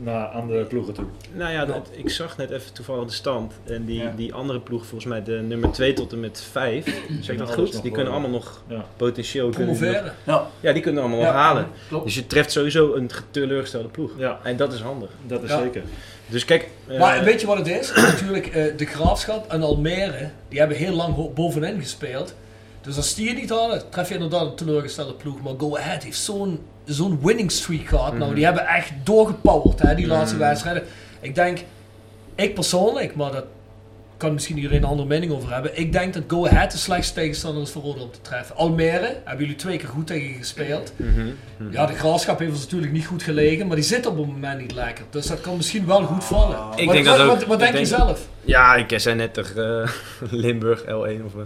naar andere ploegen toe. Nou ja, dat, ik zag net even toevallig de stand. En die, die andere ploeg, volgens mij de nummer 2 tot en met 5. Zeg ik dat alles nog goed? Die wel, ja. kunnen allemaal nog eh, Ja. potentieel kunnen die Promoveren. nog- Ja. die kunnen allemaal nog Ja, halen. klopt. Dus je treft sowieso een teleurgestelde ploeg. En dat is handig. Dat is Ja. zeker. Dus kijk. eh, Maar weet je wat het is? Natuurlijk, eh, de Graafschap en Almere, die hebben heel lang ho- bovenin gespeeld. Dus als die het niet hadden, tref je inderdaad een teleurgestelde ploeg. Maar Go Ahead heeft zo'n zo'n winning streak gehad. Nou, Mhm. die hebben echt doorgepowerd, hè, die laatste Mhm. wedstrijden. Ik denk, ik persoonlijk, maar dat kan misschien iedereen een andere mening over hebben. Ik denk dat Go Ahead de slechtste tegenstander is voor Roda om te treffen. Almere, hebben jullie twee keer goed tegen gespeeld. Mhm, mhm. Ja, de graafschap heeft ons natuurlijk niet goed gelegen, maar die zit op het moment niet lekker. Dus dat kan misschien wel goed vallen. Ik Wat- denk wat, dat ook. Wat, wat Ik denk je zelf? Ja, ik zei net tegen eh, Limburg L1 of eh,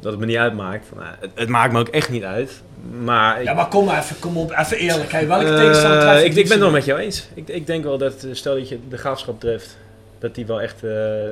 dat het me niet uitmaakt. Van, eh, het, het maakt me ook echt niet uit. Maar ik, Ja, maar kom maar even, kom op, even eerlijk. Hè. Welke Eh, tegenstander treft ik, ik ben het wel met jou eens. Ik, ik denk wel dat eh, stel dat je de graafschap treft, dat die wel echt eh,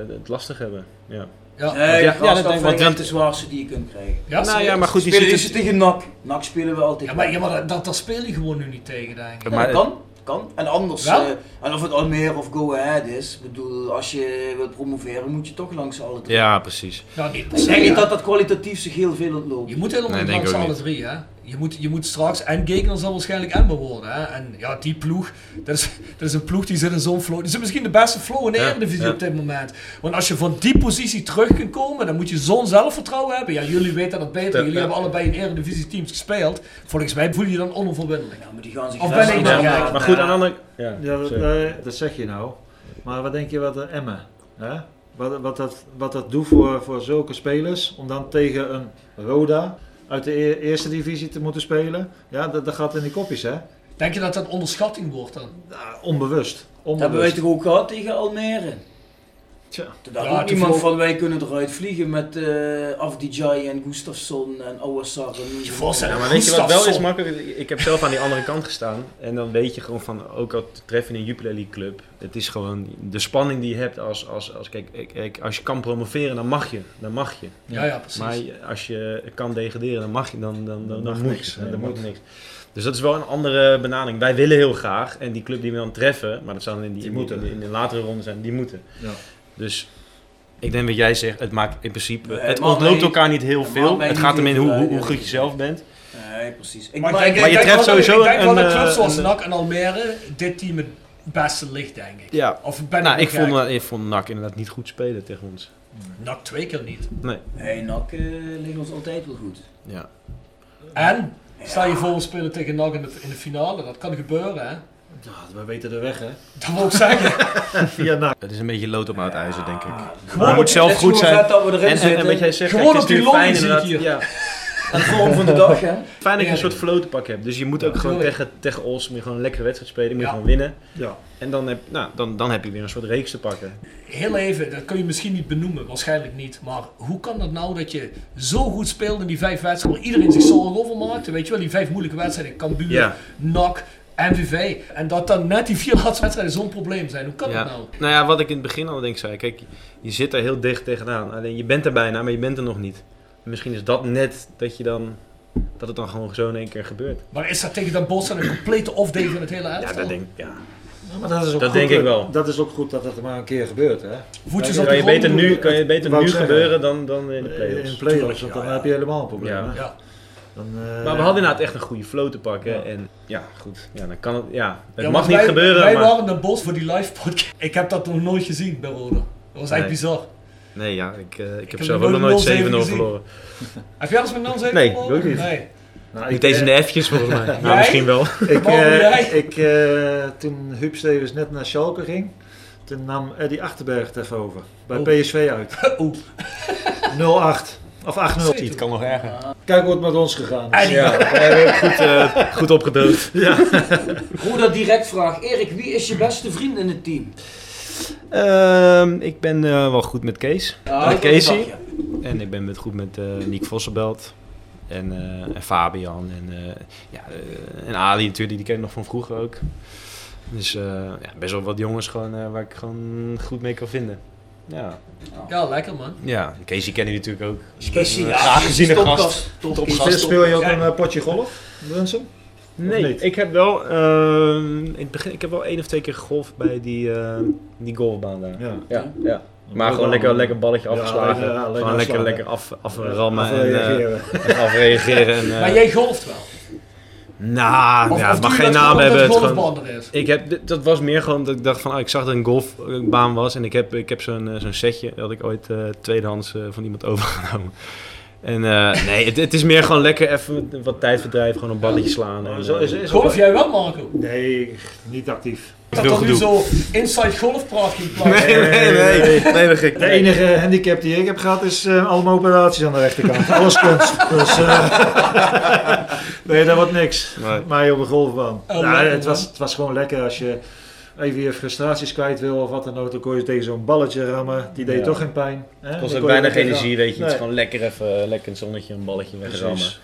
het lastig hebben. Ja. Ja. Ja, Nee, ja, ja, dat denk ik, want dat is Drenthe- de zwaarste die je kunt krijgen. Ja, Nou ja, maar goed, die spelen zit is dus- tegen NAC. NAC spelen we altijd. Ja, maar, ja, maar dat, dat, dat speel je gewoon nu niet tegen, denk ik. Ja, dat Eh, kan. Kan. En anders, Wel? eh, en of het Almere of Go Ahead is, ik bedoel, als je wilt promoveren moet je toch langs alle drie. Ja, precies. Nou, niet per Ik se, denk niet ja. dat dat kwalitatief zich heel veel ontloopt. Je moet helemaal Nee, niet denk langs ik ook alle niet. drie, hè. Je moet, je moet straks en Gegner zal waarschijnlijk Emmen worden, hè. En ja, die ploeg, dat is, dat is een ploeg die zit in zo'n flow. Die zit misschien de beste flow in de Ja, Eredivisie ja. op dit moment. Want als je van die positie terug kunt komen, dan moet je zo'n zelfvertrouwen hebben. Ja, jullie weten dat beter. Ja, jullie ja. hebben allebei in Eredivisie teams gespeeld. Volgens mij voel je je dan onoverwinnelijk. Ja, maar die gaan zich of ben ik dan gek? maar goed, aan de andere... Ja, Ja, dat, sorry. eh, dat zeg je nou. Maar wat denk je wat eh, Emmen? Hè? Wat, wat, dat, wat dat doet voor, voor zulke spelers om dan tegen een Roda uit de e- eerste divisie te moeten spelen? Ja, dat, dat gaat in die kopjes, hè? Nou, Denk je dat dat onderschatting wordt dan? Onbewust. Dat hebben wij Onbewust. toch ook gehad tegen Almere? Tja. Toen dacht Ja, ook toen iemand vloog- van wij kunnen eruit vliegen met eh Afdijay en Gustafsson en Awassar. Je Ja, maar weet je wat wel is makkelijk? Ik heb zelf aan die andere kant gestaan. En dan weet je gewoon van, ook al tref je een Jupiler League club. Het is gewoon de spanning die je hebt als, als, als kijk, ik- ik- als je kan promoveren, dan mag je. Dan mag je. Ja, ja, precies. Maar je- als je kan degraderen, dan mag je, dan, dan, dan, dan mag moet niks, Nee, hè, dan dat mag moet. niks. Dus dat is wel een andere benadering. Wij willen heel graag. En die club die we dan treffen, maar dat zou dan in, die, Die in, die- moeten. in de latere ronde zijn, die moeten. Ja. Dus ik denk wat jij zegt, het maakt in principe, Nee, het het maakt ontloopt mij- elkaar niet heel het maakt veel. mij Het niet gaat erin heel hoe, veel hoe, uit, hoe ja. goed je zelf bent. Nee, precies. Ik, Maar, maar, ik denk, maar je ik denk treft wel dat- sowieso Ik denk wel een, dat clubs eh, zoals een- NAC en Almere dit team het beste ligt, denk ik. Ja. Of ben nou, ik ik nog gek? vond, ik vond NAC inderdaad niet goed spelen tegen ons. NAC twee keer niet. Nee. hey, NAC eh, ligt ons altijd wel goed. Ja. En? Stel je voor we spelen tegen NAC in de, in de finale. Dat kan gebeuren, hè? Ja, we weten de weg, hè? Dat wil ik zeggen. Via NAC. Het is een beetje lood op aan het ijzer, denk ik. Gewoon- je moet zelf het is goed gewoon zijn. vet dat we erin en, en, en zitten. wat jij zegt, Gewoon kijk, het is op die natuurlijk fijn lolly zie ik inderdaad. Ja. hier. Aan het vorm van de dag, hè? Fijn dat je Ja. een soort flow te pakken hebt. Dus je moet ook gewoon tuurlijk. tegen, tegen Ols moet je gewoon een lekkere wedstrijd spelen. Moet je Ja. gewoon winnen. Ja. En dan heb, nou, dan, dan heb je weer een soort reeks te pakken. Heel even, dat kun je misschien niet benoemen, waarschijnlijk niet. Maar hoe kan dat nou dat je zo goed speelde in die vijf wedstrijden, waar iedereen zich zorgen over maakte? Weet je wel, die vijf moeilijke wedstrijden, Cambuur, Ja. NAC, MVV. En dat dan net die vier laatste wedstrijden zo'n probleem zijn. Hoe kan ja. dat nou? Nou ja, wat ik in het begin al denk ik zei. Kijk, je zit er heel dicht tegenaan. Alleen je bent er bijna, maar je bent er nog niet. Misschien is dat net dat je dan... Dat het dan gewoon zo in één keer gebeurt. Maar is dat tegen Den Bosch dan een complete off-day van het hele elftal? Ja, dat denk ik. Ja. Ja, maar dat is ook Dat goed, denk ik wel. Dat is ook goed dat dat maar een keer gebeurt, hè? Voetjes Kijk, op Kan de je grond beter nu, doen. kan je beter Wou nu ik zeggen. gebeuren dan, dan in de In play-offs. de play-offs, Tuurlijk, want ja, dan ja. heb je helemaal een probleem. Ja. hè? Ja. Dan, eh, Maar we hadden inderdaad echt een goede flow te pakken. Ja. En ja, goed. Ja, dan kan het. Ja, het Ja, mag maar niet wij- gebeuren. Wij maar... waren Den Bosch voor die live podcast. Ik heb dat nog nooit gezien bij Roda. Dat was echt Nee. bizar. Nee, ja, ik, eh, ik, heb heb zelf nog ook nog nooit nooit 7-0 0-7 gezien. verloren. Heb jij alles met Nans even Nee, verloren? ook niet. Nee. Nou, Niet eens in de F'jes volgens mij. Jij? Nou, misschien wel. Ik, Waarom eh, jij? ik, eh, toen Huub Stevens net naar Schalke ging, toen nam Eddie Achterberg het even over. Bij Oh. PSV uit. Oeh. 0-8. Of 8-0. Het kan nog erger. Kijk hoe het met ons gegaan is. Eddie. Ja, we hebben goed, eh, goed opgedoofd. Roda direct vraag. Erik, wie is je beste vriend in het team? Ehm, ik ben eh, wel goed met Kees. Ah, met dat Eh, Casey. dacht je. En ik ben met, goed met eh Nick Vossenbelt. En, eh, en Fabian. En, eh, ja, eh, en Ali natuurlijk, die ken ik nog van vroeger ook. Dus eh, ja, best wel wat jongens gewoon, eh, waar ik gewoon goed mee kan vinden. Ja, Ja, lekker man. ja. Casey ken je natuurlijk ook. Casey, ja. Graag gezien een Topgast. gast. Topgast, Speel- Speel je ook topgast. een eh, potje golf, Brunsum? Nee, Of niet? ik heb wel ehm, in het begin, ik heb wel één of twee keer gegolfd bij die, eh, die golfbaan daar. Ja. Ja, ja. Maar gewoon lekker, lekker balletje afgeslagen. Ja, ja, lekker gewoon lekker, afslaan, lekker ja. af, aframmen en, eh, Afreageren. en afreageren. En, eh, Maar jij golft wel. Nou, Of- ja, of het doe mag je geen dat naam gewoon hebben. omdat Het het gewoon- golfbaan er is? ik heb, dit- dat was meer gewoon dat ik dacht van, ah, ik zag dat een golfbaan was. En ik heb, ik heb zo'n eh, zo'n setje, dat had ik ooit eh, tweedehands eh, van iemand overgenomen. En eh, nee, het, het is meer gewoon lekker even wat tijdverdrijf, gewoon een balletje slaan. en, Zo eh, is, is Golf jij wel, Marco? Nee, niet actief. Dat Veel er nu gedoe. zo inside golfpraat ging plaatsen. Nee, nee, nee. Nee, dat gek. De enige handicap die ik heb gehad is eh, allemaal operaties aan de rechterkant. Alles kunst. Dus, eh, nee, dat wordt niks. Nee. Maar op een golfbaan. Oh, Nou, lekker, het, was, man. het was gewoon lekker als je even je frustraties kwijt wil of wat dan ook. Dan kon je tegen zo'n balletje rammen. Die deed Ja. toch geen pijn. hè? Dan Het kost kon ook je weinig lekker gaan. energie, weet je. Het is Nee. gewoon lekker even, eh, lekker een zonnetje, een balletje wegrammen. Precies.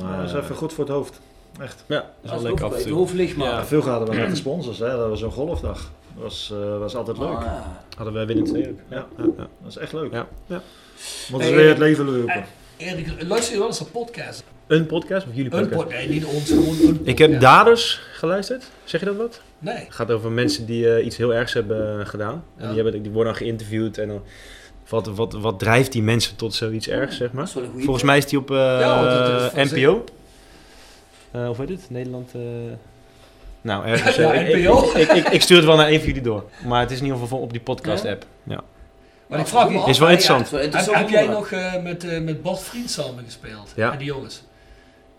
Maar, Ja, dat is even goed voor het hoofd. Echt. Ja, dat is Dat wel is lekker af ook en bij het toe. hoofd ligt, maar. Ja, veel hadden we met de sponsors. Hè. Dat was zo'n golfdag. was, eh, was Ah, altijd leuk. Oh, Hadden wij winnen twee ook. Ja, ja, ja. dat is echt leuk. Ja. ja. Moeten we weer het leven lopen. Eh. Erik, luister je wel eens een podcast? Een podcast of jullie Een podcast? pod- nee, niet ons, gewoon een Ik heb podcast. daders geluisterd. Zeg je dat wat? Nee. Het gaat over mensen die eh, iets heel ergs hebben eh, gedaan. En die, hebben, die worden dan geïnterviewd en dan... Wat, wat, wat drijft die mensen tot zoiets ergs, zeg maar? Volgens mij is die op eh, Ja, want het is van NPO. Eh, of weet het? Nederland... eh, Nou, ergens. Ja, eh, ik- NPO. Ik, ik, ik, ik stuur het wel naar een van jullie door. Maar het is in ieder geval op die podcast-app. Ja. Maar ik vraag je Is wel interessant. Heb, heb jij nog eh, met, eh, met Bart Vriend samen gespeeld? Ja. En die jongens?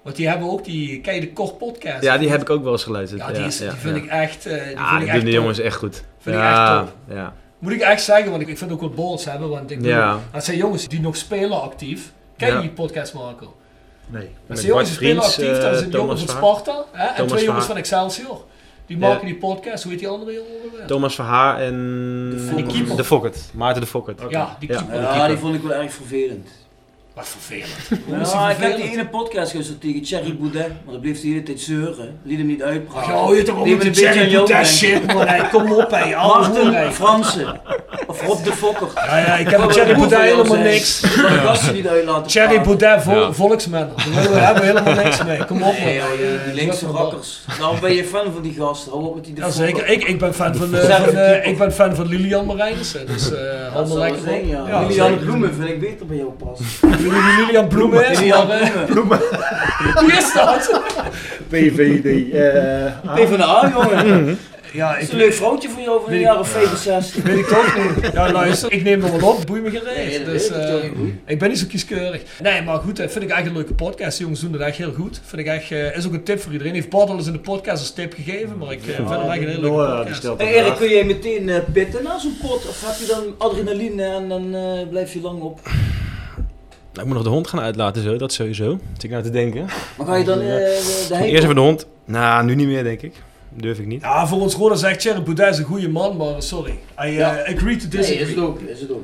Want die hebben ook die... Kijk, de Kort podcast. Ja, die heb ik ook wel eens geluisterd. Ja, die, is, ja, die vind ja. ik echt... eh, die Ja, vind ik die doen echt de top. jongens echt goed. Vind Ja, ik echt top. ja. Moet ik echt zeggen, want ik, ik vind ook wat balls hebben. Want ik Ja. bedoel, dat zijn jongens die nog spelen actief. Ken je Ja. die podcast, Marco? Nee. Dat Met zijn jongens die Bart spelen Vriends, actief. eh, Dat zijn Thomas jongens van Vaar. Sparta. Hè? En Thomas twee jongens Vaar. van Excelsior. Die Ja. maken die podcast. Hoe heet die andere jongen? ook alweer? Thomas Verhaar en Fokker. Die keeper. de Fokkert. Maarten de Fokkert. Ja, die keeper. Ja, Ah, die vond ik wel erg vervelend. Wat vervelend. Nou, is die ik heb vervelend? die ene podcast geluisterd tegen Thierry Boudet, maar dat bleef hij de hele tijd zeuren. Liet hem niet uitpraten. Ja, hou oh, je toch op Die met me die een beetje Thierry aan jou Boudet denken. shit, man. Hey, kom op, hey, oude hoer, hey. Maarten Fransen. Of Rob de Fokker. Ja, ja, ik heb met Thierry Boudet helemaal niks. Ik gasten niet uit laten Thierry praten. Boudet, vol, volksman. Daar willen we- hebben we helemaal niks mee. Kom op, Nee, man. joh, die- die linkse rakkers. Nou, ben je fan van die gasten? Hou op met die de Ja, zeker. Fokker. Ik, ik, ben fan van, eh, Zelf van, eh, keeper. ik ben fan van Lilian Marijnissen, dus eh Dat allemaal zal lekker wel zijn, op. ja. Ja, Lilian zeker. Bloemen vind ik beter bij jou passen. Wie die Lilian Bloemen is, Lilian maar, eh, Bloemen. Wie is dat? PVD. eh, PvdA, jongen. Ja, is ik- een leuk vrouwtje voor jou van een Weet ik- jaar of 65. Weet ik ook niet. Ja, luister, ik neem er wel op, boei me gereed. Nee, dat dus, weet ik, eh, Johnny, ik ben niet zo kieskeurig. Nee, maar goed, dat vind ik echt een leuke podcast. Die jongens doen dat echt heel goed. Vind ik echt, eh, is ook een tip voor iedereen. Heeft Bart al eens in de podcast als tip gegeven, maar ik eh, vind het echt een hele leuke Noah, die podcast. stelt Hey, Erik, kun jij meteen eh, pitten na zo'n pot? Of heb je dan adrenaline en dan eh, blijf je lang op? Nou, ik moet nog de hond gaan uitlaten, zo. dat sowieso. Zit ik nou te denken. Maar ga je dan, eh, de- de hei- Eerst even de hond. Nou, nu niet meer, denk ik. Durf ik niet. Ja, voor ons Roda zegt Thierry Boudet is een goede man, maar sorry. I eh, Ja. agree to disagree. Nee, is het ook. Is het ook.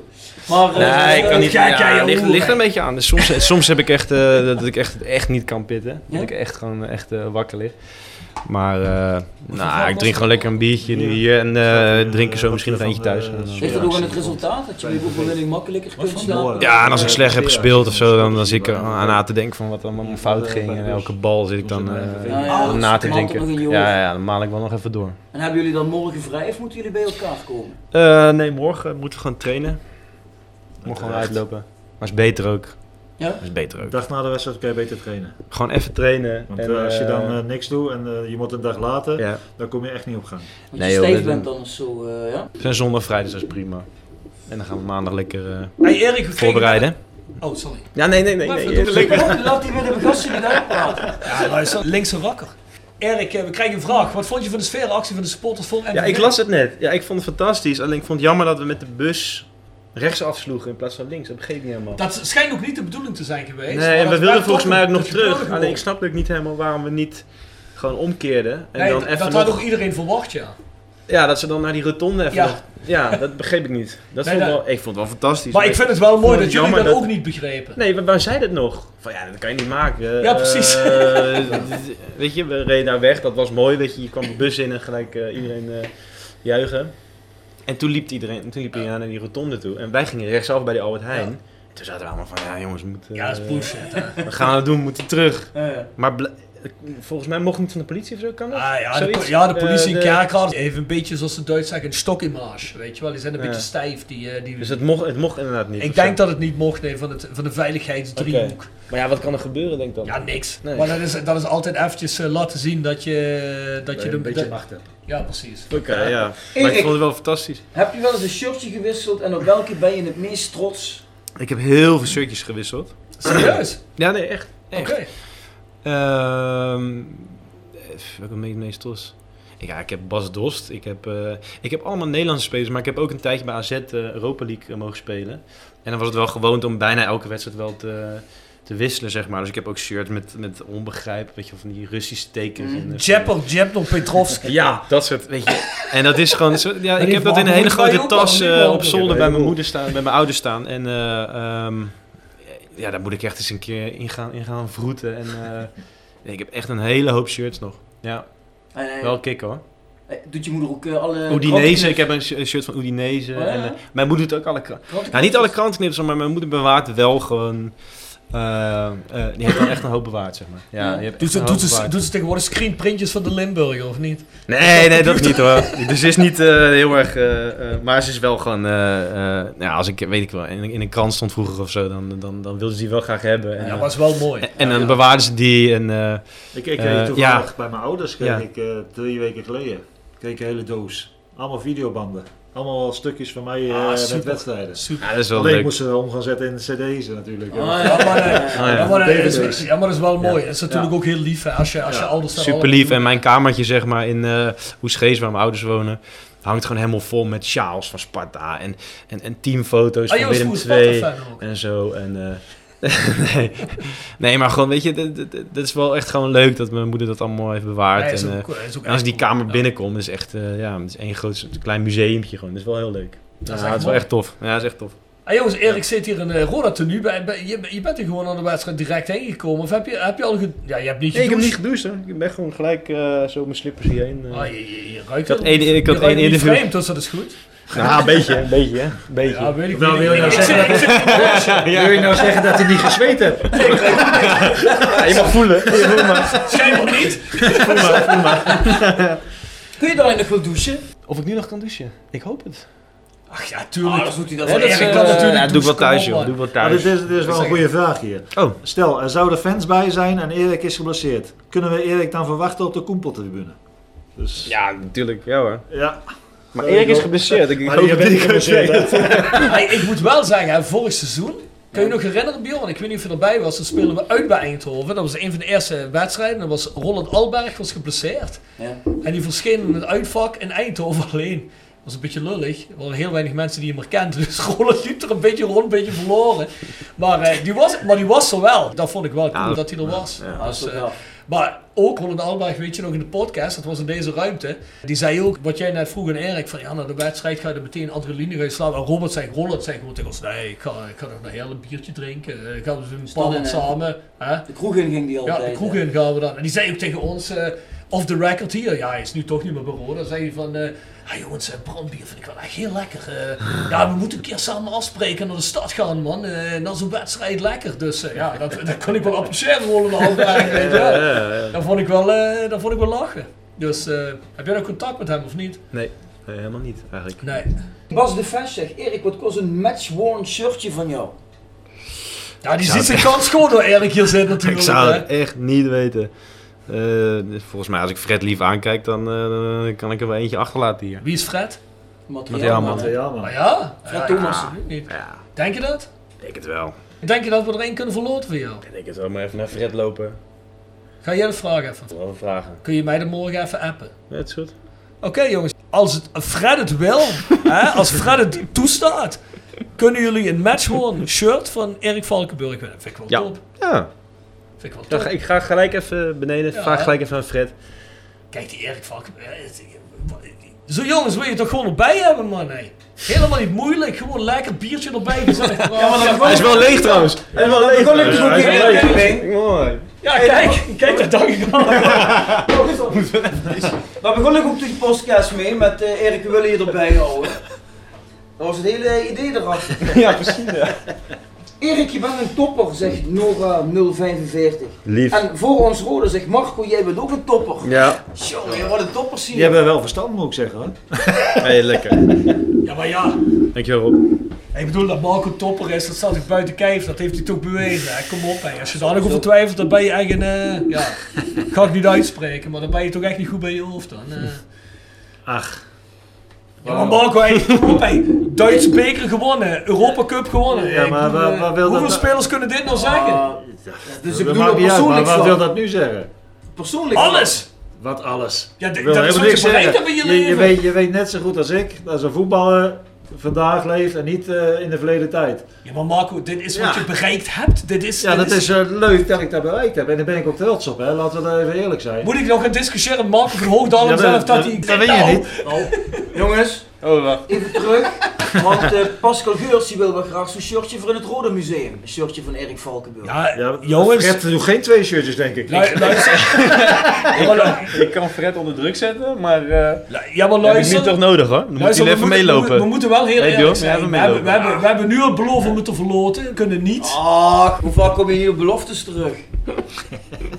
Maar, eh, nee, ik kan niet. kijk, ja, jij, het ligt, jongen. ligt er een beetje aan. Dus soms, soms heb ik echt eh, dat ik echt, echt niet kan pitten. Dat Ja? ik echt gewoon eh, echt eh, wakker lig. Maar eh, nou, ik drink gewoon lekker een biertje nu hier en eh drinken zo misschien nog eentje thuis. En dan- Ligt dat ook aan het resultaat? Dat je bij overwinning makkelijker kunt slaan? Ja, en als ik slecht heb gespeeld of zo, dan, dan zit ik er aan na te denken van wat er allemaal fout ging. En elke bal zit ik dan eh, Ja, ja, aan na te dat Oh, knalt nog denken. in je hoofd. Ja, ja, dan maal ik wel nog even door. En hebben jullie dan morgen vrij of moeten jullie bij elkaar komen? Eh, nee, morgen moeten we gewoon trainen. Morgen gewoon Echt? uitlopen. Maar is beter ook. Ja? Is beter ook. dag na de wedstrijd kun je beter trainen. Gewoon even trainen. Want en, eh, als je dan eh, eh, niks doet en eh, je moet een dag later, Ja. dan kom je echt niet op gang. Want Nee, je joh, stijf dit- bent dan of zo, eh, ja? we zijn zondag vrij, dus dat is prima. En dan gaan we maandag lekker eh, Hey, Erik, we kregen- voorbereiden. Oh, sorry. Ja, nee, nee, nee. Maar nee, even eh, lekker. Laat die met de gasten niet uitpraten. Ja, luister, linkse rakker. Erik, eh, we krijgen een vraag. Wat vond je van de sfeeractie van de supporters voor Ja, ik las het net. Ja, ik vond het fantastisch. Alleen ik vond het jammer dat we met de bus rechts afsloegen in plaats van links. Dat begreep ik niet helemaal. Dat schijnt ook niet de bedoeling te zijn geweest. Nee, en maar dat we wilden werd volgens toch mij ook een- nog dat werd terug. wel Alleen ik gewoon. snapte ook niet helemaal waarom we niet gewoon omkeerden. En Nee, dan dat- even dat nog... had ook iedereen verwacht, ja. Ja, dat ze dan naar die rotonde even... Ja. nog- Ja, dat begreep ik niet. Dat Nee, vond dat- Wel, ik vond het wel fantastisch. Maar ik vind het wel mooi vond dat jullie jammer dat, ook niet begrepen. Nee, waar, waar zei dat nog? Van ja, dat kan je niet maken. Ja, precies. Eh, weet je, we reden daar weg. Dat was mooi. Weet je, je kwam de bus in en gelijk eh, iedereen eh, juichen. En toen liep iedereen, toen liep iedereen naar die rotonde toe. En wij gingen rechtsaf bij die Albert Heijn. En toen zaten we allemaal van, ja jongens, we moeten... Ja, dat is eh, bullshit, hè. We gaan het doen, we moeten terug. Ja, ja. Maar bl- volgens mij mocht niet van de politie of zo, kan dat? Ah, ja, de, Zoiets? po- ja, de politie Eh, in de- Kerkrade heeft een beetje, zoals ze Duits zeggen, een stok in marge. Weet je wel, die zijn een Ja. beetje stijf. Die, eh, die... Dus het mocht, het mocht inderdaad niet. ik of zo. denk dat het niet mocht, nee, van, het, van de veiligheidsdriehoek. Oké. Maar ja, wat kan er gebeuren, denk ik dan? Ja, niks. Nee. Maar dat is, dat is altijd eventjes eh, laten zien dat je... Dat Dat je je de- een beetje de- macht hebt. Ja, precies. Oké, ja. Maar Erik. ik vond het wel fantastisch. Heb je wel eens een shirtje gewisseld en op welke ben je het meest trots? Ik heb heel veel shirtjes gewisseld. Serieus? ja, nee, echt. echt. Oké. Ehm, eh, welke ben ik het meest trots? Ik, ja, ik heb Bas Dost. Ik heb, eh, ik heb allemaal Nederlandse spelers, maar ik heb ook een tijdje bij AZ eh, Europa League eh, mogen spelen. En dan was het wel gewoond om bijna elke wedstrijd wel te, te wisselen, zeg maar. Dus ik heb ook shirts met, met onbegrijp, weet je, of van die Russische tekens. Mm, en, eh, Jepper, Jepper, Petrovski. ja, dat soort, weet je. En dat is gewoon, zo, ja, Maar ik die heb dat in een verhaal hele moet je grote ook tas wel eh, niet op mogen. zolder Ja, bij mijn joh. moeder staan, bij mijn ouders staan. En eh, ehm, ja, daar moet ik echt eens een keer in gaan, in gaan vroeten. En eh, nee, ik heb echt een hele hoop shirts nog. Ja, Nee, nee. wel Oh, kick hoor. Eh, Doet je moeder ook eh, alle... Udinese, ik heb een sh- een shirt van Udinese. Oh, ja, en, eh, ja. mijn moeder doet ook alle kranten. Krantenknippers. Nou, niet alle krantenknippers, maar mijn moeder bewaart wel gewoon. eh, eh, die heeft wel echt een hoop bewaard, zeg maar. Ja, die heeft Doet echt ze, een doet, hoop ze, bewaard. doet ze tegenwoordig screenprintjes van de Limburger of niet? Nee, nee, dat niet hoor. Dus is niet eh, heel erg. eh, eh, maar ze is wel gewoon. eh, eh, nou, ja, als ik, weet ik wel, in, in een krant stond vroeger of zo, dan, dan, dan wilden ze die wel graag hebben. En, Ja, eh, was wel mooi. En, en dan bewaarden ze die. En, eh, Ik, ik eh, kreeg toevallig ja. bij mijn ouders, kreeg Ja. ik eh, drie weken geleden, kreeg ik een hele doos. Allemaal videobanden. Allemaal wel stukjes van mij eh, Ah, met super. wedstrijden. Super. Ja, dat is wel Alleen leuk. ik moest ze om gaan zetten in cd's natuurlijk. Ja, maar, eh, ja, maar, eh, dat is- DVD's. ja, maar dat is wel mooi. Dat is natuurlijk Ja. ook heel lief hè, als je, als je Ja. ouders daar Super alle- lief. En mijn kamertje, zeg maar, in eh Hoeschees, waar mijn ouders wonen, hangt gewoon helemaal vol met sjaals van Sparta. En, en, en teamfoto's Ah, van joh, is Willem goed, II. Sparta-fan ook. En zo. En, eh, nee. nee, maar gewoon, weet je, dat- dat- dat- dat is wel echt gewoon leuk dat mijn moeder dat allemaal heeft bewaard. Ja, is en, ook- eh, is ook en als ik die echt cool, kamer binnenkom, is echt, eh, ja, het is één groot soort klein museumtje gewoon. Dat is wel heel leuk. Dat is echt ja, het is wel mooi. echt tof. Ja, dat is echt tof. Ah, jongens, Erik zit hier in eh Roda tenue. Bij, bij- je, je bent er gewoon aan de wedstrijd direct heen gekomen. Of heb je, heb je al ge, Ja, je hebt niet Nee, ik heb niet gedoucht. gedoucht, hè. Ik ben gewoon gelijk eh, zo mijn slippers hierheen. eh. Ah, je, je, je ruikt Ik had het. één- ik Je had ruikt één niet interview. vreemd, dus dat is goed. Nou, een beetje, een beetje, hè. Een beetje. Ja, weet ik Wel, niet. wil je nou Ik zit- zeggen ik dat- zit in de bosje. Wil je nou zeggen dat hij niet gezweet hebt? Ja, je mag voelen. Je voelt maar. Schijnbaar niet. Voel maar, voel maar. Kun je daar nog wel douchen? Of ik nu nog kan douchen? Ik hoop het. Ach ja, tuurlijk. Ah, dat doet hij dat Hè, wel. dat is- Erik ik kan kan dat- natuurlijk eh, ja, doe ik wel douchen, kom thuis, op, joh. man. Doe ik wel Maar thuis. dit is, dit is wel een goede vraag hier. Oh. Stel, er zouden fans bij zijn en Erik is geblesseerd. Kunnen we Erik dan verwachten op de Koempeltribune? Dus... Ja, natuurlijk. Ja hoor. Ja. Maar Erik is geblesseerd. Ik, ik Maar hoop die dat bent hij geblesseerd, geblesseerd hè? Hey, ik moet wel zeggen, hè, vorig seizoen. Kun je je nog herinneren, Bjorn? Ik weet niet of je erbij was. Dan speelden we uit bij Eindhoven. Dat was een van de eerste wedstrijden. Dat was Roland Alberg was geblesseerd. Ja. En die verscheen in het uitvak in Eindhoven alleen. Dat was een beetje lullig. Er waren heel weinig mensen die hem herkenden. Dus Roland liep er een beetje rond, een beetje verloren. Maar, eh, die, was, maar die was er wel. Dat vond ik wel cool Ja, dat hij er was. ja. Dus, Dat is eh, wel. maar ook Roland Alberg, weet je nog, in de podcast, dat was in deze ruimte. Die zei ook, wat jij net vroeg aan Erik, van ja, na de wedstrijd ga je er meteen adrenaline gaan slaan. En Robert zei, Roland zei gewoon tegen ons, nee, ik ga, ik ga nog een hele biertje drinken. Eh, Gaan we een Staan paar in, eh, samen. Hè? De kroeg in ging die altijd. Ja, de kroeg in gaan we dan. En die zei ook tegen ons, eh off the record hier, ja, hij is nu toch niet meer bij Roda. zei hij van, eh ja jongens, eh, brandbier vind ik wel echt heel lekker. eh. ja, we moeten een keer samen afspreken en naar de stad gaan, man. Eh, en dan zo'n wedstrijd lekker. Dus eh, ja, dat, dat kon ik wel appreciëren, Roland Alberg. weet je wel. Ja, ja, ja. Dat vond ik wel, eh, dat vond ik wel lachen. Dus eh, heb jij nog contact met hem of niet? Nee, nee, helemaal niet eigenlijk. Nee. Bas de Vest zegt, Erik, wat kost een match-worn shirtje van jou? Ja, die zou ziet het zijn echt- kans gewoon door Erik hier zit natuurlijk. Ik zou hè. het echt niet weten. Eh, volgens mij, als ik Fred lief aankijk, dan eh, kan ik er wel eentje achterlaten hier. Wie is Fred? Materiaalman. Ah, ja? Fred ja, Thomas. absoluut niet. Denk je dat? Ik denk het wel. Denk je dat we er één kunnen verloten voor jou? Ik denk het wel, maar even naar Fred lopen. Ga jij de vraag even? Wel vragen. Kun je mij dan morgen even appen? Ja, het is goed. Oké jongens, als het, Fred het wil, hè, als Fred het toestaat, kunnen jullie een match worden shirt van Erik Valkenburg winnen. Vind ik wel Ja. top. Ja. Vind ik wel Dan top. ga- ik ga gelijk even beneden. Ja, vraag hè? gelijk even aan Fred. Kijk, die Erik Valkenburg. eh, het- Zo jongens, wil je toch gewoon erbij hebben, man? hé? Helemaal niet moeilijk, gewoon lekker biertje erbij gezellig. Hij is wel leeg trouwens. Hij is wel leeg. Gewoon even trouwens. zo'n Hij is wel keer- leeg. Mooi. Ja, kijk, kijk, dat dacht ik al. Daar begon ik ook de podcast mee met eh, Erik, we willen je erbij houden. Dat was het hele idee erachter. Ja, precies. Ja. Erik, je bent een topper, zegt Nora045. Lief. En voor ons rode zegt Marco, jij bent ook een topper. Ja. Jongen, wat een topper zien. Die hebben wel verstand, moet ik zeggen. Hoor. Hey, lekker. Ja, maar ja. Dankjewel Rob. Ik bedoel, dat Marco topper is, dat staat zich buiten kijf, dat heeft hij toch bewezen. hè? Kom op, hè. als je daar nog over twijfelt, dan ben je echt een... eh, ja, ga ik niet uitspreken, maar dan ben je toch echt niet goed bij je hoofd dan. eh. Ach. Ja, maar Marco, hey, kom op, hè. Duitse beker gewonnen, Europa Cup gewonnen. Ja, maar Ik bedoel, waar- eh, waar wil dat- Oh. hoeveel spelers kunnen dit nou Ah, zeggen? Dus Dat ik bedoel maakt er niet uit, persoonlijk maar van. wat wil dat nu zeggen? Persoonlijk van. Alles! Wat alles? Ja, d- Wil dat helemaal is wat niks je bereikt zeggen. hebt in je Je, leven. weet, je weet net zo goed als ik dat een voetballer vandaag leeft en niet eh, in de verleden tijd. Ja, maar Marco, dit is wat Ja. je bereikt hebt. Dit is, Ja, dit dat is eh, leuk dat ik dat bereikt heb en daar ben ik ook trots op. Hè. Laten we daar even eerlijk zijn. Moet ik nog gaan discussiëren, Marco van Hoogdalen Ja, zelf, dat- dat dat- hij... dat weet je Nou, niet. Nou, jongens, Oh, wacht. Even terug, want eh, Pascal Geurs die wil wel graag zo'n shirtje voor in het Rode Museum. Een shirtje van Erik Valkenburg. Ja, jongens. Fred doet geen twee shirtjes, denk ik. Lu- luister. ik, kan, ik kan Fred onder druk zetten, maar... eh ja, maar Heb ik luister. niet toch nodig, hoor. Dan moet Luister, hij even moeten- meelopen. We, we moeten wel heel Nee, eerlijk joh, zijn. We We hebben hebben, we, meelopen. hebben, we hebben nu al beloven moeten verloten. We kunnen niet. Ah, hoe vaak kom je hier op beloftes terug?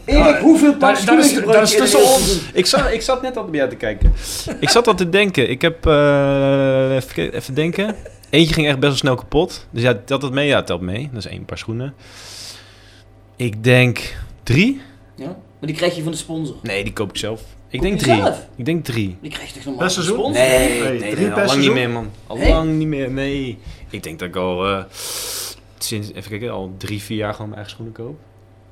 Erik, hoeveel paar Dat schoenen gebruik je in de hele seizoen? Ik zat, ik zat net al bij jou te kijken. Ik zat al te denken. Ik heb... eh, even, ke- even denken. Eentje ging echt best wel snel kapot. Dus ja, telt dat mee? Ja, telt mee. Dat is één paar schoenen. Ik denk drie. Ja, maar die krijg je van de sponsor. Nee, die koop ik zelf. Ik Koop denk je drie. zelf? Ik denk drie. Die krijg je toch normaal Per van de seizoen? sponsor? Nee, nee, drie nee, per al lang seizoen? niet niet meer, meer, man. man. Al Al Nee? lang niet meer, nee. Ik denk dat ik al eh, sinds, even kijken, al drie, vier jaar gewoon mijn eigen schoenen koop.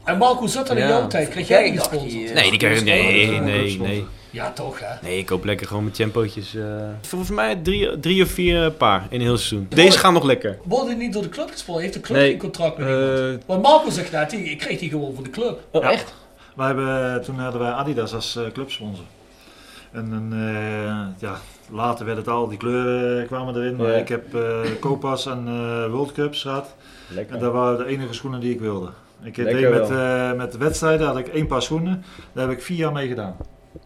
En Marco, hoe zat dat in Ja. jouw tijd? Kreeg jij die gesponsord? nee, die krijg ik Nee, nee, nee, Ja, toch hè? Nee, ik koop lekker gewoon mijn tempootjes. eh volgens mij drie, drie of vier paar in een heel seizoen. Deze gaan nog lekker. Worden die niet door de club gesponsord? Heeft de club Nee. Eh, geen contract met iemand? Want Marco zegt net, die- ik kreeg die gewoon van de club. echt? Wij hebben, eh, toen hadden wij Adidas als eh, clubsponsor. En dan, eh, ja, later werd het al, die kleuren eh, kwamen erin. Ja. Ik heb eh Copas en eh, World Cups gehad. Lekker. En dat waren de enige schoenen die ik wilde. Ik Lekker deed met, wel. eh, met wedstrijden had ik één paar schoenen. Daar heb ik vier jaar mee gedaan.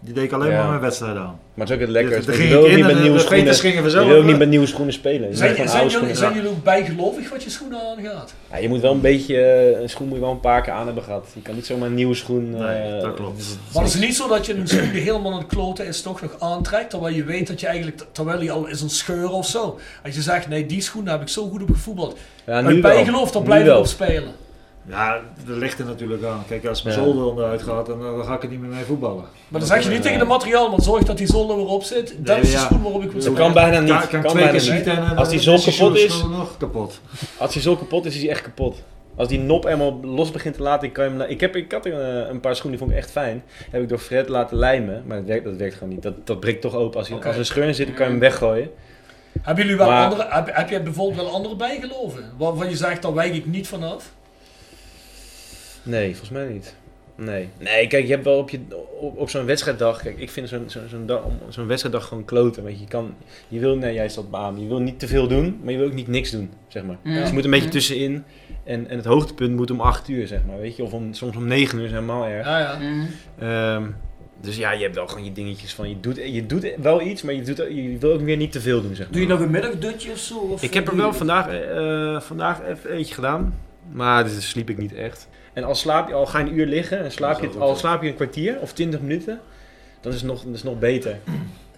Die deed ik alleen Ja. maar met wedstrijden aan. Maar het is ook het lekker. Dus, daar Je ging wil ook ik in niet en met de- nieuwe de schoenen. veters gingen Je vanzelf. wil ook niet met nieuwe schoenen spelen. Je moet Zijn, gewoon zijn, oude jullie, schoenen. zijn jullie ook bijgelovig wat je schoenen aangaat? Ja, je moet wel een beetje, eh, een schoen moet je wel een paar keer aan hebben gehad. Je kan niet zomaar een nieuwe schoen... eh, nee, dat klopt. Maar het is niet zo dat je een schoen die helemaal aan het kloten is toch nog aantrekt, terwijl je weet dat je eigenlijk, terwijl hij al is een scheur of zo. Als je zegt, nee die schoenen heb ik zo goed op gevoetbald. Ja, Uit nu wel. bijgeloof, dan Nu blijf ik wel. op spelen. Ja, dat ligt er natuurlijk aan. Kijk, als mijn Ja. zolder onderuit gaat, dan, dan ga ik er niet meer mee voetballen. Maar dan zeg je niet tegen de materiaalman, zorg dat die zolder erop zit. Dat Nee, is de ja. schoen waarop ik wil Dat spelen. kan bijna niet. Kan- kan Kan twee bijna keer niet. schieten en, eh, Als die dan zon is die kapot is- schoen nog kapot. Als hij zo kapot is, is hij echt kapot. Als die nop eenmaal los begint te laten, kan je hem... la- Ik, heb, ik had er, eh, een paar schoenen, die vond ik echt fijn. Heb ik door Fred laten lijmen, maar dat werkt, dat werkt gewoon niet. Dat, dat breekt toch open. Als, hij, Oké. als er een scheur in zit, dan kan je hem weggooien. Hebben jullie wel Maar- andere, heb, heb jij bijvoorbeeld wel andere bijgeloven? Waarvan je zegt, daar wijk ik niet vanaf. Nee, volgens mij niet. Nee. Nee, kijk, je hebt wel op, je- op, op zo'n wedstrijddag... Kijk, ik vind zo'n zo'n zo'n dag- om- zo'n wedstrijddag gewoon kloten. Weet je, je, kan, je wil, nee, jij staat aan, je wil niet te veel doen, maar je wil ook niet niks doen, zeg maar. Ja. Dus je moet een beetje Mhm. tussenin. En, en het hoogtepunt moet om 8 uur, zeg maar, weet je. Of om, soms om 9 uur, is helemaal erg. Ja, ja. Ehm, dus ja, je hebt wel gewoon je dingetjes van... Je doet, je doet wel iets, maar je, doet, je wil ook weer niet te veel doen, zeg maar. Doe je nog een middagdutje of zo? Of Ik heb er wel vandaag, eh, vandaag even eentje gedaan, maar dus sliep ik niet echt. En al, slaap, je- al ga je een uur liggen en slaap je, al slaap je een kwartier of twintig minuten, dan is het nog, dat is nog beter.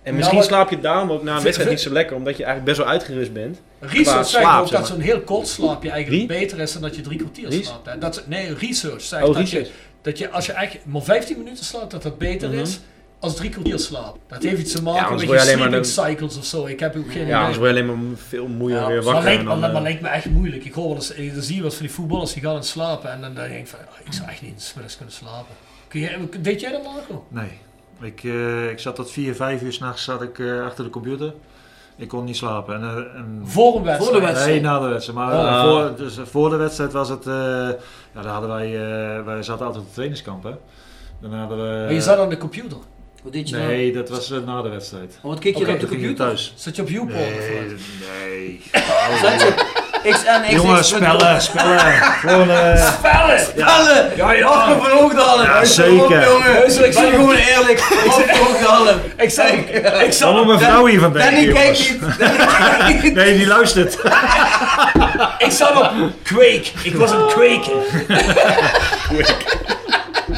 En misschien maar- slaap je daarom ook na Vind- een wedstrijd vind- niet zo lekker, omdat je eigenlijk best wel uitgerust bent. Qua Research zegt slaap, ook zeg dat maar. zo'n heel kort slaapje eigenlijk beter is dan dat je drie kwartier Ries? slaapt. hè. Dat, ze- nee, research zegt Oh, dat, research. Je, dat je als je echt maar 15 minuten slaapt, dat dat beter Mhm. is als drie kwartier slaapt. Dat heeft iets te Ja, maken anders met word je je alleen maar sleeping cycles of zo. Ik heb ook geen Ja, idee. anders word je alleen maar veel moeier Ja, weer maar wakker. lijkt, en maar, dan, maar eh, lijkt me echt moeilijk. Ik hoor wel eens, eh, dan zie je wat van die voetballers die gaan aan het slapen en dan denk ik van, ah, ik zou echt niet eens middags kunnen slapen. Kun jij, deed jij dat Marco? Nee. Ik, eh, ik zat tot 4, 5 uur s'nachts zat ik eh, achter de computer. Ik kon niet slapen. En, eh, en... Voor een wedstrijd? Voor de wedstrijd? Nee, na de wedstrijd. Maar eh, Ah. voor, dus voor de wedstrijd was het... eh, ja, daar hadden wij... eh, wij zaten altijd op de trainingskamp, hè. Dan hadden we... Maar je zat aan de computer. Wat deed je dan? Nee, dat was eh, na de wedstrijd. nou? Oh, wat keek je Oké, dan op de dan ging ik computer? thuis. Zat je op YouPorn of Nee, wat? nee. Zat je XNXX? Jongen, spellen, spellen. Gewoon, eh, Spellen! Spellen! Ja, ja. Mag ik van Hoogdalen? Ja, Kom op, zeker. jongen. Heus, ik ik ben zeg- gewoon eerlijk. Mag ik van Hoogdalen? Ik zeg... Ik Wat moet mijn vrouw hiervan denken, Danny kijkt jongens? niet. Nee, die luistert. Ik zat op Quake. Ik was Oh. een kweken.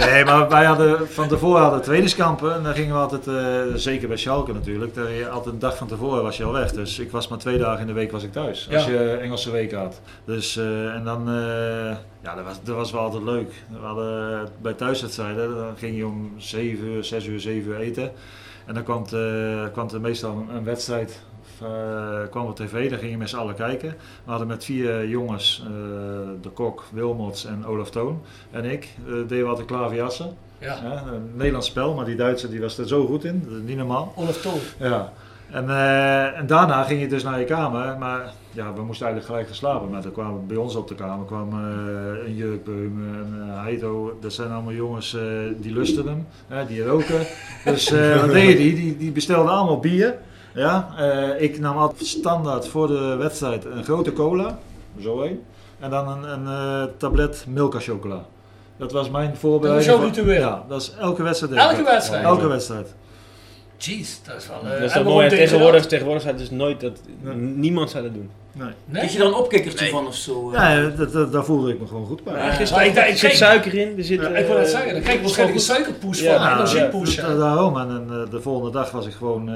Nee, maar wij hadden van tevoren hadden trainingskampen. En dan gingen we altijd, eh, zeker bij Schalke natuurlijk, daar je altijd een dag van tevoren was je al weg. Dus ik was maar twee dagen in de week was ik thuis. Als Ja. je Engelse week had. Dus, eh, en dan, eh, ja, dat was, dat was wel altijd leuk. We hadden eh, bij thuiswedstrijden, dan ging je om 7 uur, 6 uur, 7 uur eten. En dan kwam, het, eh, kwam er meestal een, een wedstrijd. eh, kwam op tv, daar gingen mensen allen kijken. We hadden met vier jongens, eh, de kok, Wilmots en Olaf Toon en ik, eh, deden we altijd klaverjassen. Ja. een Nederlands spel, maar die Duitser die was er zo goed in, dat is niet normaal. Olaf Toon. Ja. En, eh, en daarna ging je dus naar je kamer, maar ja, we moesten eigenlijk gelijk gaan slapen. Maar er kwamen bij ons op de kamer kwam eh, een Jurkbeum, een eh, Heido. Dat zijn allemaal jongens eh, die lusten hem, hè, die roken. Dus eh, wat deed die? die? Die bestelden allemaal bier. Ja, eh, ik nam altijd standaard voor de wedstrijd een grote cola, zo één. En dan een, een eh, tablet Milka chocola. Dat was mijn voorbereiding. Dat was voor- jouw ritueel? Ja, dat is elke wedstrijd. Elke deed ik dat. wedstrijd? Elke wedstrijd. Jeez, dat is wel... eh, dat is en dat waarom mooi. deed je Tegenwoordig, dat? tegenwoordig zou het dus nooit dat niemand zou dat doen. Nee. Krijg je daar een opkikkertje van of zo? eh? Ja, dat, dat, daar voelde ik me gewoon goed bij. Ja, gisteren- ik dacht- ik er zit kreeg- suiker in. Er zit, eh, Ja, ik wou net zeggen, dan krijg je waarschijnlijk een suikerpoes van, hè, energiepoes, ja, ja. Daarom, en, en, eh, de volgende dag was ik gewoon, eh,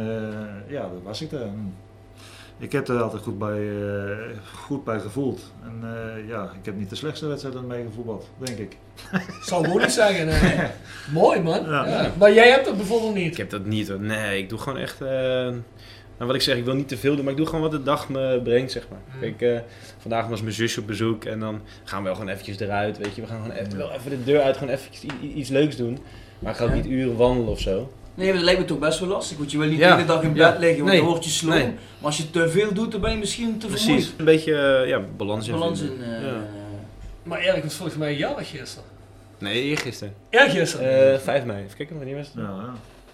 ja, daar was ik daar. En Ik heb er altijd goed bij, eh, goed bij gevoeld. En eh, ja, ik heb niet de slechtste wedstrijd aan meegevoetbald, denk ik. Zou ik ook niet zeggen. hè. Mooi man. Ja. Ja. Maar jij hebt dat bijvoorbeeld niet. Ik heb dat niet. hoor. Nee, ik doe gewoon echt. eh, nou, wat ik zeg, ik wil niet te veel doen, maar ik doe gewoon wat de dag me brengt, zeg maar. Kijk, eh, vandaag was mijn zusje op bezoek en dan gaan we wel gewoon eventjes eruit, weet je. We gaan gewoon even, wel even de deur uit, gewoon eventjes i- i- iets leuks doen. Maar ik ga ook Ja. niet uren wandelen of zo. Nee, maar dat lijkt me toch best wel lastig, want je wil niet Ja. de hele dag in bed Ja. liggen, want Nee. dan word je sloom. Nee. Maar als je te veel doet, dan ben je misschien te Precies. vermoeid. Een beetje eh, ja, balans in. Balans in. vinden. eh, Ja. Maar Erik was volgens mij jarig gisteren. Nee, eergisteren. Eergisteren? Eh, 5 mei. Even kijken, wanneer was het? Ja,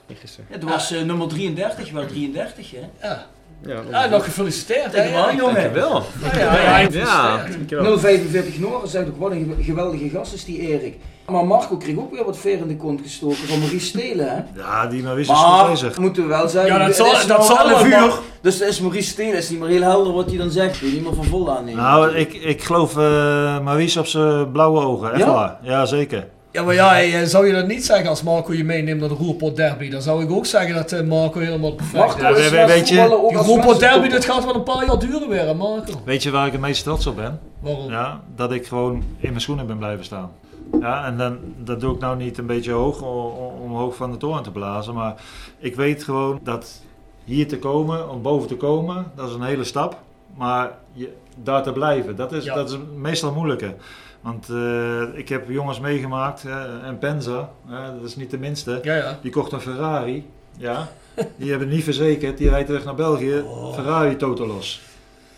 Eergisteren. Het was eh, nummer 33, wel 33 hè? Ja. Ja, Ah, nog gefeliciteerd. hè, Helemaal, Erik. jongen. Dankjewel. Ja, ja, ja, ja. Ja. Dankjewel. 045 Noren zegt ook wat een geweldige gast is die Erik. Maar Marco kreeg ook weer wat ver in de kont gestoken van Maurice Stelen hè? Ja, die maar wist is goed Maar, bezig. moeten we wel zeggen, Ja, dat het zal- is dat nou zal wel een wat, vuur. maar- Dus dan is Maurice Stelen is niet meer heel helder wat hij dan zegt, wil je niet meer van vol aannemen. Nou, ik, ik geloof eh Maurice op zijn blauwe ogen, echt Ja? waar. Ja, zeker. Ja, maar ja, eh, zou je dat niet zeggen als Marco je meeneemt naar de Roerpot Derby? Dan zou ik ook zeggen dat eh, Marco helemaal perfect Marco Ja, is we- we- als weet je- voetballer ook Die als Roerpot mensen- Derby, dat gaat wel een paar jaar duren weer, hè, Marco. Weet je waar ik het meest trots op ben? Waarom? Ja, dat ik gewoon in mijn schoenen ben blijven staan. Ja, en dan, dat doe ik nou niet een beetje hoog o- o- om hoog van de toren te blazen. Maar ik weet gewoon dat hier te komen, om boven te komen, dat is een hele stap. Maar je, daar te blijven, dat is, Ja. dat is meestal moeilijker. Want eh, ik heb jongens meegemaakt, eh, en Penza, eh, dat is niet de minste, die kocht een Ferrari. Ja, die hebben het niet verzekerd, die rijdt terug naar België, Oh. Ferrari totaal los.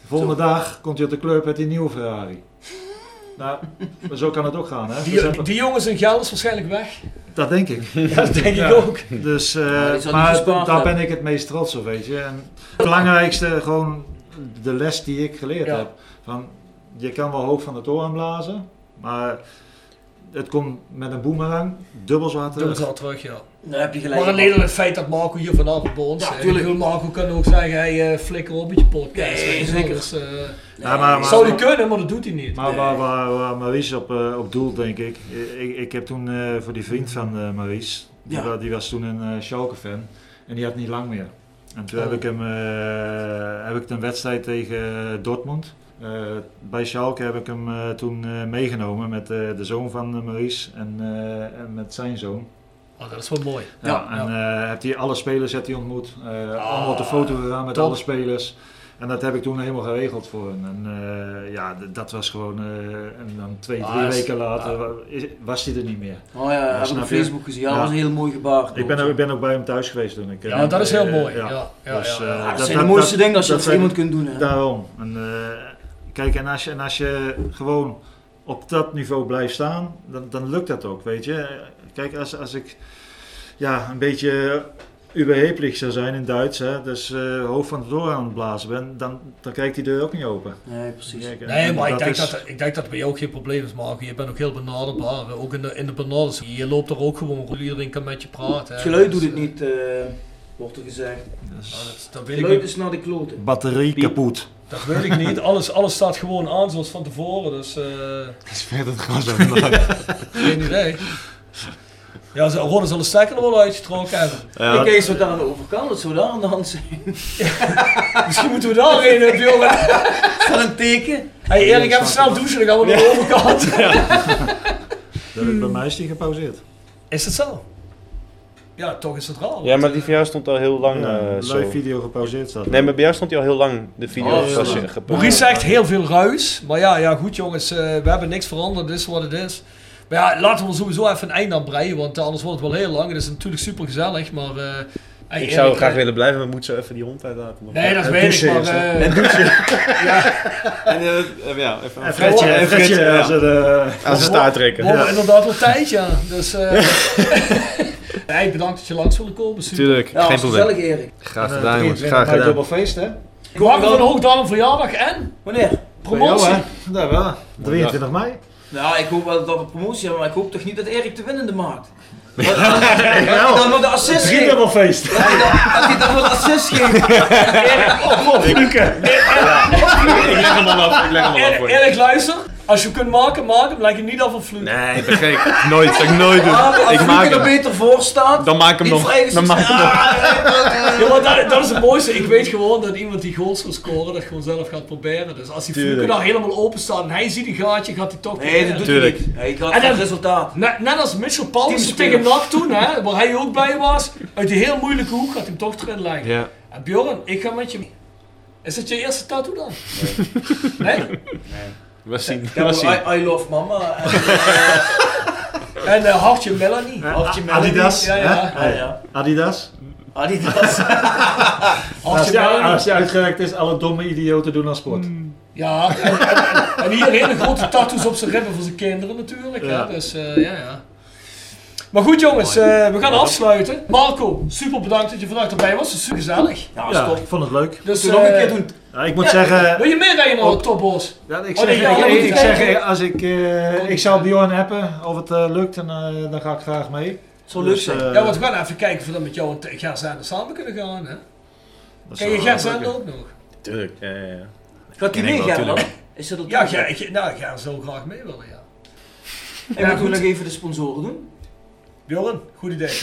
De volgende dag komt hij op de club met die nieuwe Ferrari. Nou, maar zo kan het ook gaan, hè? Dus Die, dat- die jongens in Geld is waarschijnlijk weg. dat denk ik. Ja, dat denk ik ook. Dus, eh, Ja, die zal niet maar gespaard daar hebben. ben ik het meest trots op, weet je. En het belangrijkste, gewoon de les die ik geleerd Ja. heb. Van, je kan wel hoog van de toren blazen, maar het komt met een boemerang dubbel zo hard Doen terug. ze al terug, ja. Dan heb je gelijk. Maar alleen al het feit dat Marco hier vanavond bij ons Ja, is. tuurlijk. Ik bedoel, Marco kan ook zeggen, eh, hij flikker op met je podcast. Nee, weet je wel. zeker. Ah, Dus, eh, Ja, maar- maar- Oh, zou die kunnen, maar dat doet hij niet. Maar waar, waar, waar Maurice op, eh, op doel, denk ik. ik. Ik heb toen eh, voor die vriend van eh Maurice, die, Ja. wa- die was toen een eh Schalke-fan, en die had niet lang meer. En toen Oh. heb ik hem, eh, heb ik een wedstrijd tegen eh, Dortmund. Eh, bij Schalke heb ik hem eh, toen eh, meegenomen met eh, de zoon van eh, Maurice en, eh, en met zijn zoon. Oh, dat is wel mooi. Ja, en eh heeft hij alle spelers heeft hij ontmoet. eh, Ah, allemaal op de foto gegaan met top. alle spelers. En dat heb ik toen helemaal geregeld voor hem. En eh, ja, d- dat was gewoon... eh, en dan twee, Ah, drie is- weken later ja. wa- is- was hij er niet meer. Oh ja, heb ik snap op je? Facebook gezien. Ja, dat was een heel mooi gebaar. Ik ben, ook- ik ben ook bij hem thuis geweest toen. Ik, Ja, eh, maar dat is heel eh, mooi. Ja, ja, Dus, ja, eh, ja. Ja, dat zijn de mooiste dingen als je dat voor zijn- iemand kunt doen, hè? Daarom. En, eh, kijk, en als, je, en als je gewoon op dat niveau blijft staan, dan, dan lukt dat ook, weet je. Kijk, als, als ik ja, een beetje überheblich zou zijn in Duits, hè, dus eh, hoofd van de door aan het blazen ben, dan, dan kijkt die deur ook niet open. Nee, precies. Nee, maar ik denk, is- dat, ik denk dat bij jou ook geen probleem is, Marco. Je bent ook heel benaderbaar. Ook in de, in de benaders. Je loopt er ook gewoon rond. Iedereen kan met je praten. Het hè. geluid Dus, doet het niet, eh, wordt er gezegd. Ja, dat, dat Het weet ik geluid niet. is naar de kloten. Batterie kapot. Dat weet ik niet. Alles, alles staat gewoon aan zoals van tevoren. Dus, eh Is verder gewoon zo Geen idee. Ja, ze Ron zal de stekker er wel uitgetrokken hebben. Ik kijk eens wat daar aan de overkant, dat zou daar aan de hand zijn. Misschien moeten we eh, daarheen, hè, jongen. Van een teken. Hey, Erik, even snel douchen, dan gaan we naar de overkant. Dat- Bij mij is die gepauzeerd. Is dat zo? Ja, toch is het raar. Ja, maar die van jou stond al heel lang Ja, eh, live zo. video gepauzeerd staat. Nee, maar bij jou stond hij al heel lang de video Oh, gepauze- ja. gepauzeerd. Maurice zegt heel veel ruis. Maar ja, ja goed jongens, eh, we hebben niks veranderd. Dit is wat het is. Maar ja, laten we er sowieso even een eind aan breien. Want eh, anders wordt het wel heel lang. Het is natuurlijk super gezellig, maar... eh, hey, Ik zou Erik, graag eh, willen blijven, maar moet zo even die hond uitlaten. nog. Nee, dat En weet ik, douchen maar... en zo. eh, En douchen. ja. En eh, eh, ja, even En Fredje, en Fredje, Fredje, ja. eh, als het, Aan zijn staart trekken. We hebben inderdaad wel tijd, ja. Dus, eh, Hey, bedankt dat je langs wilde komen. Super. Tuurlijk, Ja, geen was probleem. gezellig, Erik. Graag gedaan, jongens. Graag gedaan. feest, hè? Ik maak van hoog dan een verjaardag en? Wanneer? Promotie. Bij jou, Daar wel. 23 mei. Nou, ik hoop wel dat we promotie hebben, maar ik hoop toch niet dat Erik de winnende maakt. Dat hij dan nog de assist Drie geeft. dubbel feest. Dat hij dan- dat hij dan nog de assist geeft. Erik, oh, oh, Luke. Ik leg hem al af, ik leg hem al af voor je. Erik, E-, luister. Als je hem kunt maken, maak hem. Leg je niet af op vloed. Nee, ik ben gek. Nooit, zou ik nooit doen. Ah, maar als ik Luke maak er hem. beter voor staat. Dan maak ik hem die nog. vrede Dan maak ik hem nog. Ja, maar dat, dat is het mooiste. Ik weet gewoon dat iemand die goals wil scoren, dat gewoon zelf gaat proberen. Dus als die Tuurlijk. Fluke daar helemaal open staat en hij ziet een gaatje, gaat hij toch Nee, dat doet hij Tuurlijk. niet. Hij gaat En voor dan- het resultaat. Net, net als Mitchell Paulsen Teamspeler. tegen NAC toen, hè, waar hij ook bij was. Uit die heel moeilijke hoek gaat hij hem toch erin leggen. Ja. En Bjorn, ik ga met je mee. Is dat je eerste tattoo dan? Nee. nee? We zien. Ja, We zien. I, I love mama. En, eh, en eh, hartje Melanie. Hartje A- Melanie. Adidas. Ja, ja. hè? ja, ja. Ah, Adidas. Adidas. Als je, Melanie. als je uitgewerkt is, alle domme idioten doen aan sport. Ja, en, en, en hier hele grote tattoos op zijn ribben voor zijn kinderen natuurlijk. Ja. Hè? Dus eh, ja, ja. Maar goed jongens, eh, we gaan afsluiten. Marco, super bedankt dat je vandaag erbij was. Het is super gezellig. Ja, ik vond het leuk. Dus, eh, Ja, ik moet ja, zeggen... Wil je meerijden naar de topbos? Ja, ik Oh, zeg, nee, ja, ik- je ik, moet ik kijken. zeg als ik, eh, ik zou Bjorn hebben, of het eh, lukt, en, eh, dan ga ik graag mee. Zo leuk Dus, zijn. eh, ja, want we gaan even kijken of we dan met jou en Gerzijde samen kunnen gaan. Hè? Ken je zou wel Gerzijde lukken. ook nog? Tuurlijk, ja, ja, ja. Gaat Ken hij ik wel, meegaan dan? tuurlijk. Is dat op Ja, Ger, ik- nou, Ger zou graag mee willen, ja. En moeten we goed. nog even de sponsoren doen? Bjorn, goed idee.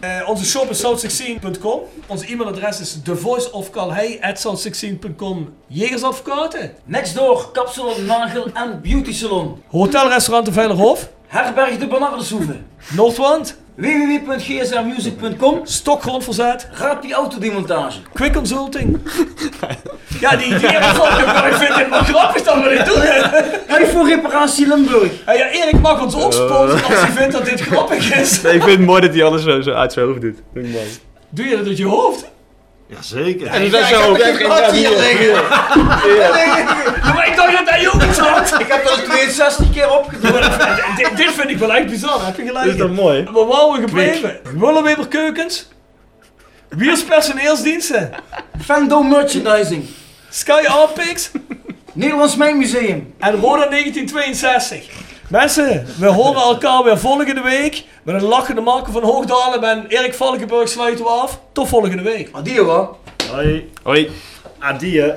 Eh, onze shop is south16.com. Ons e-mailadres is thevoiceofcalhei.south16.com. Jegersadvocaten. Next door, kapsalon, nagel en beauty salon. Hotelrestaurant de Veilerhof. Herberg de Bernardeshoeve. Noordwand. www.gsrmusic.com. Stokgrondverzet. Rapie autodemontage. Quick Consulting. Ja, die idee hebben we ook. Ik vind het wel grappig dat we dit doen. Hij voor reparatie Limburg. Ja, Erik mag ons opsporen als hij vindt dat dit grappig is. Nee, ik vind het mooi dat hij alles zo, zo uit zijn hoofd doet. Vind ik mooi. Doe je dat uit je hoofd? Jazeker. En dat is zo. Ja, maar ik dacht dat hij ook iets had. Ik heb dat 62 keer opgedrongen. Dit, dit vind ik wel echt bizar, heb je gelijk. Is dat mooi? Maar waar waren we gebleven? Willeweber Keukens. Wiers personeelsdiensten. Fandom merchandising. Sky Apex. Nederlands Mijnmuseum. En Roda 1962. Mensen, we horen elkaar weer volgende week. Met een lachende Marco van Hoogdalen en Erik Valkenburg sluiten we af. Tot volgende week. Adio Ah, hoor. Hoi. Hoi. Adieu.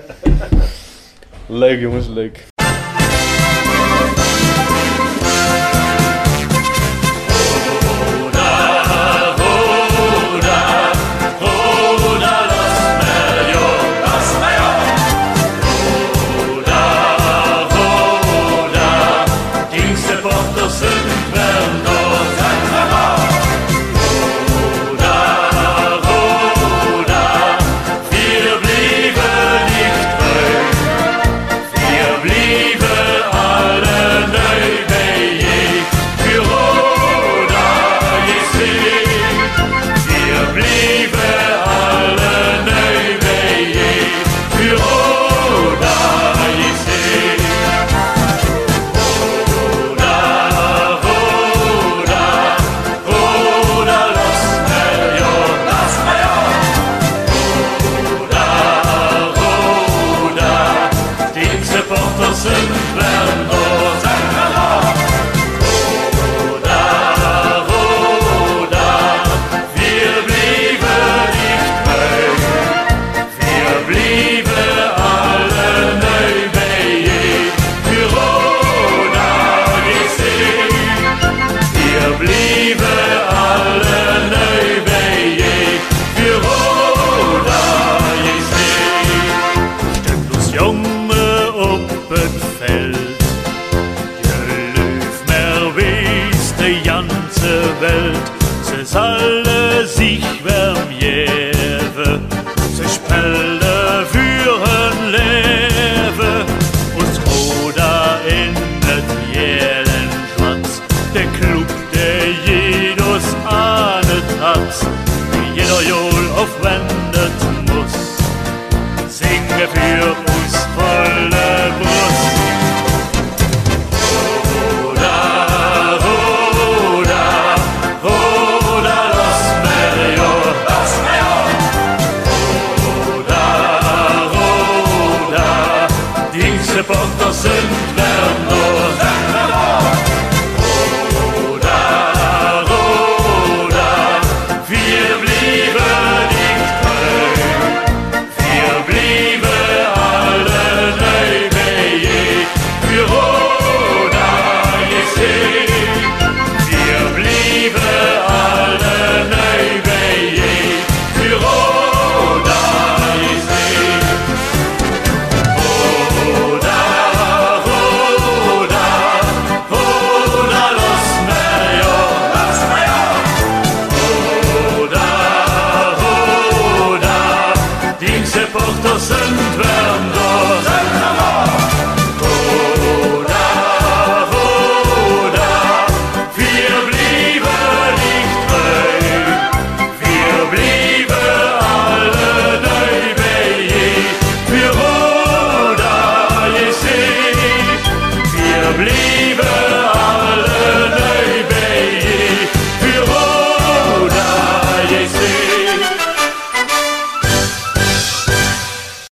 Leuk jongens, leuk. jongen op het veld. Je leuf maar wees de ganze Welt, ze zullen zich wel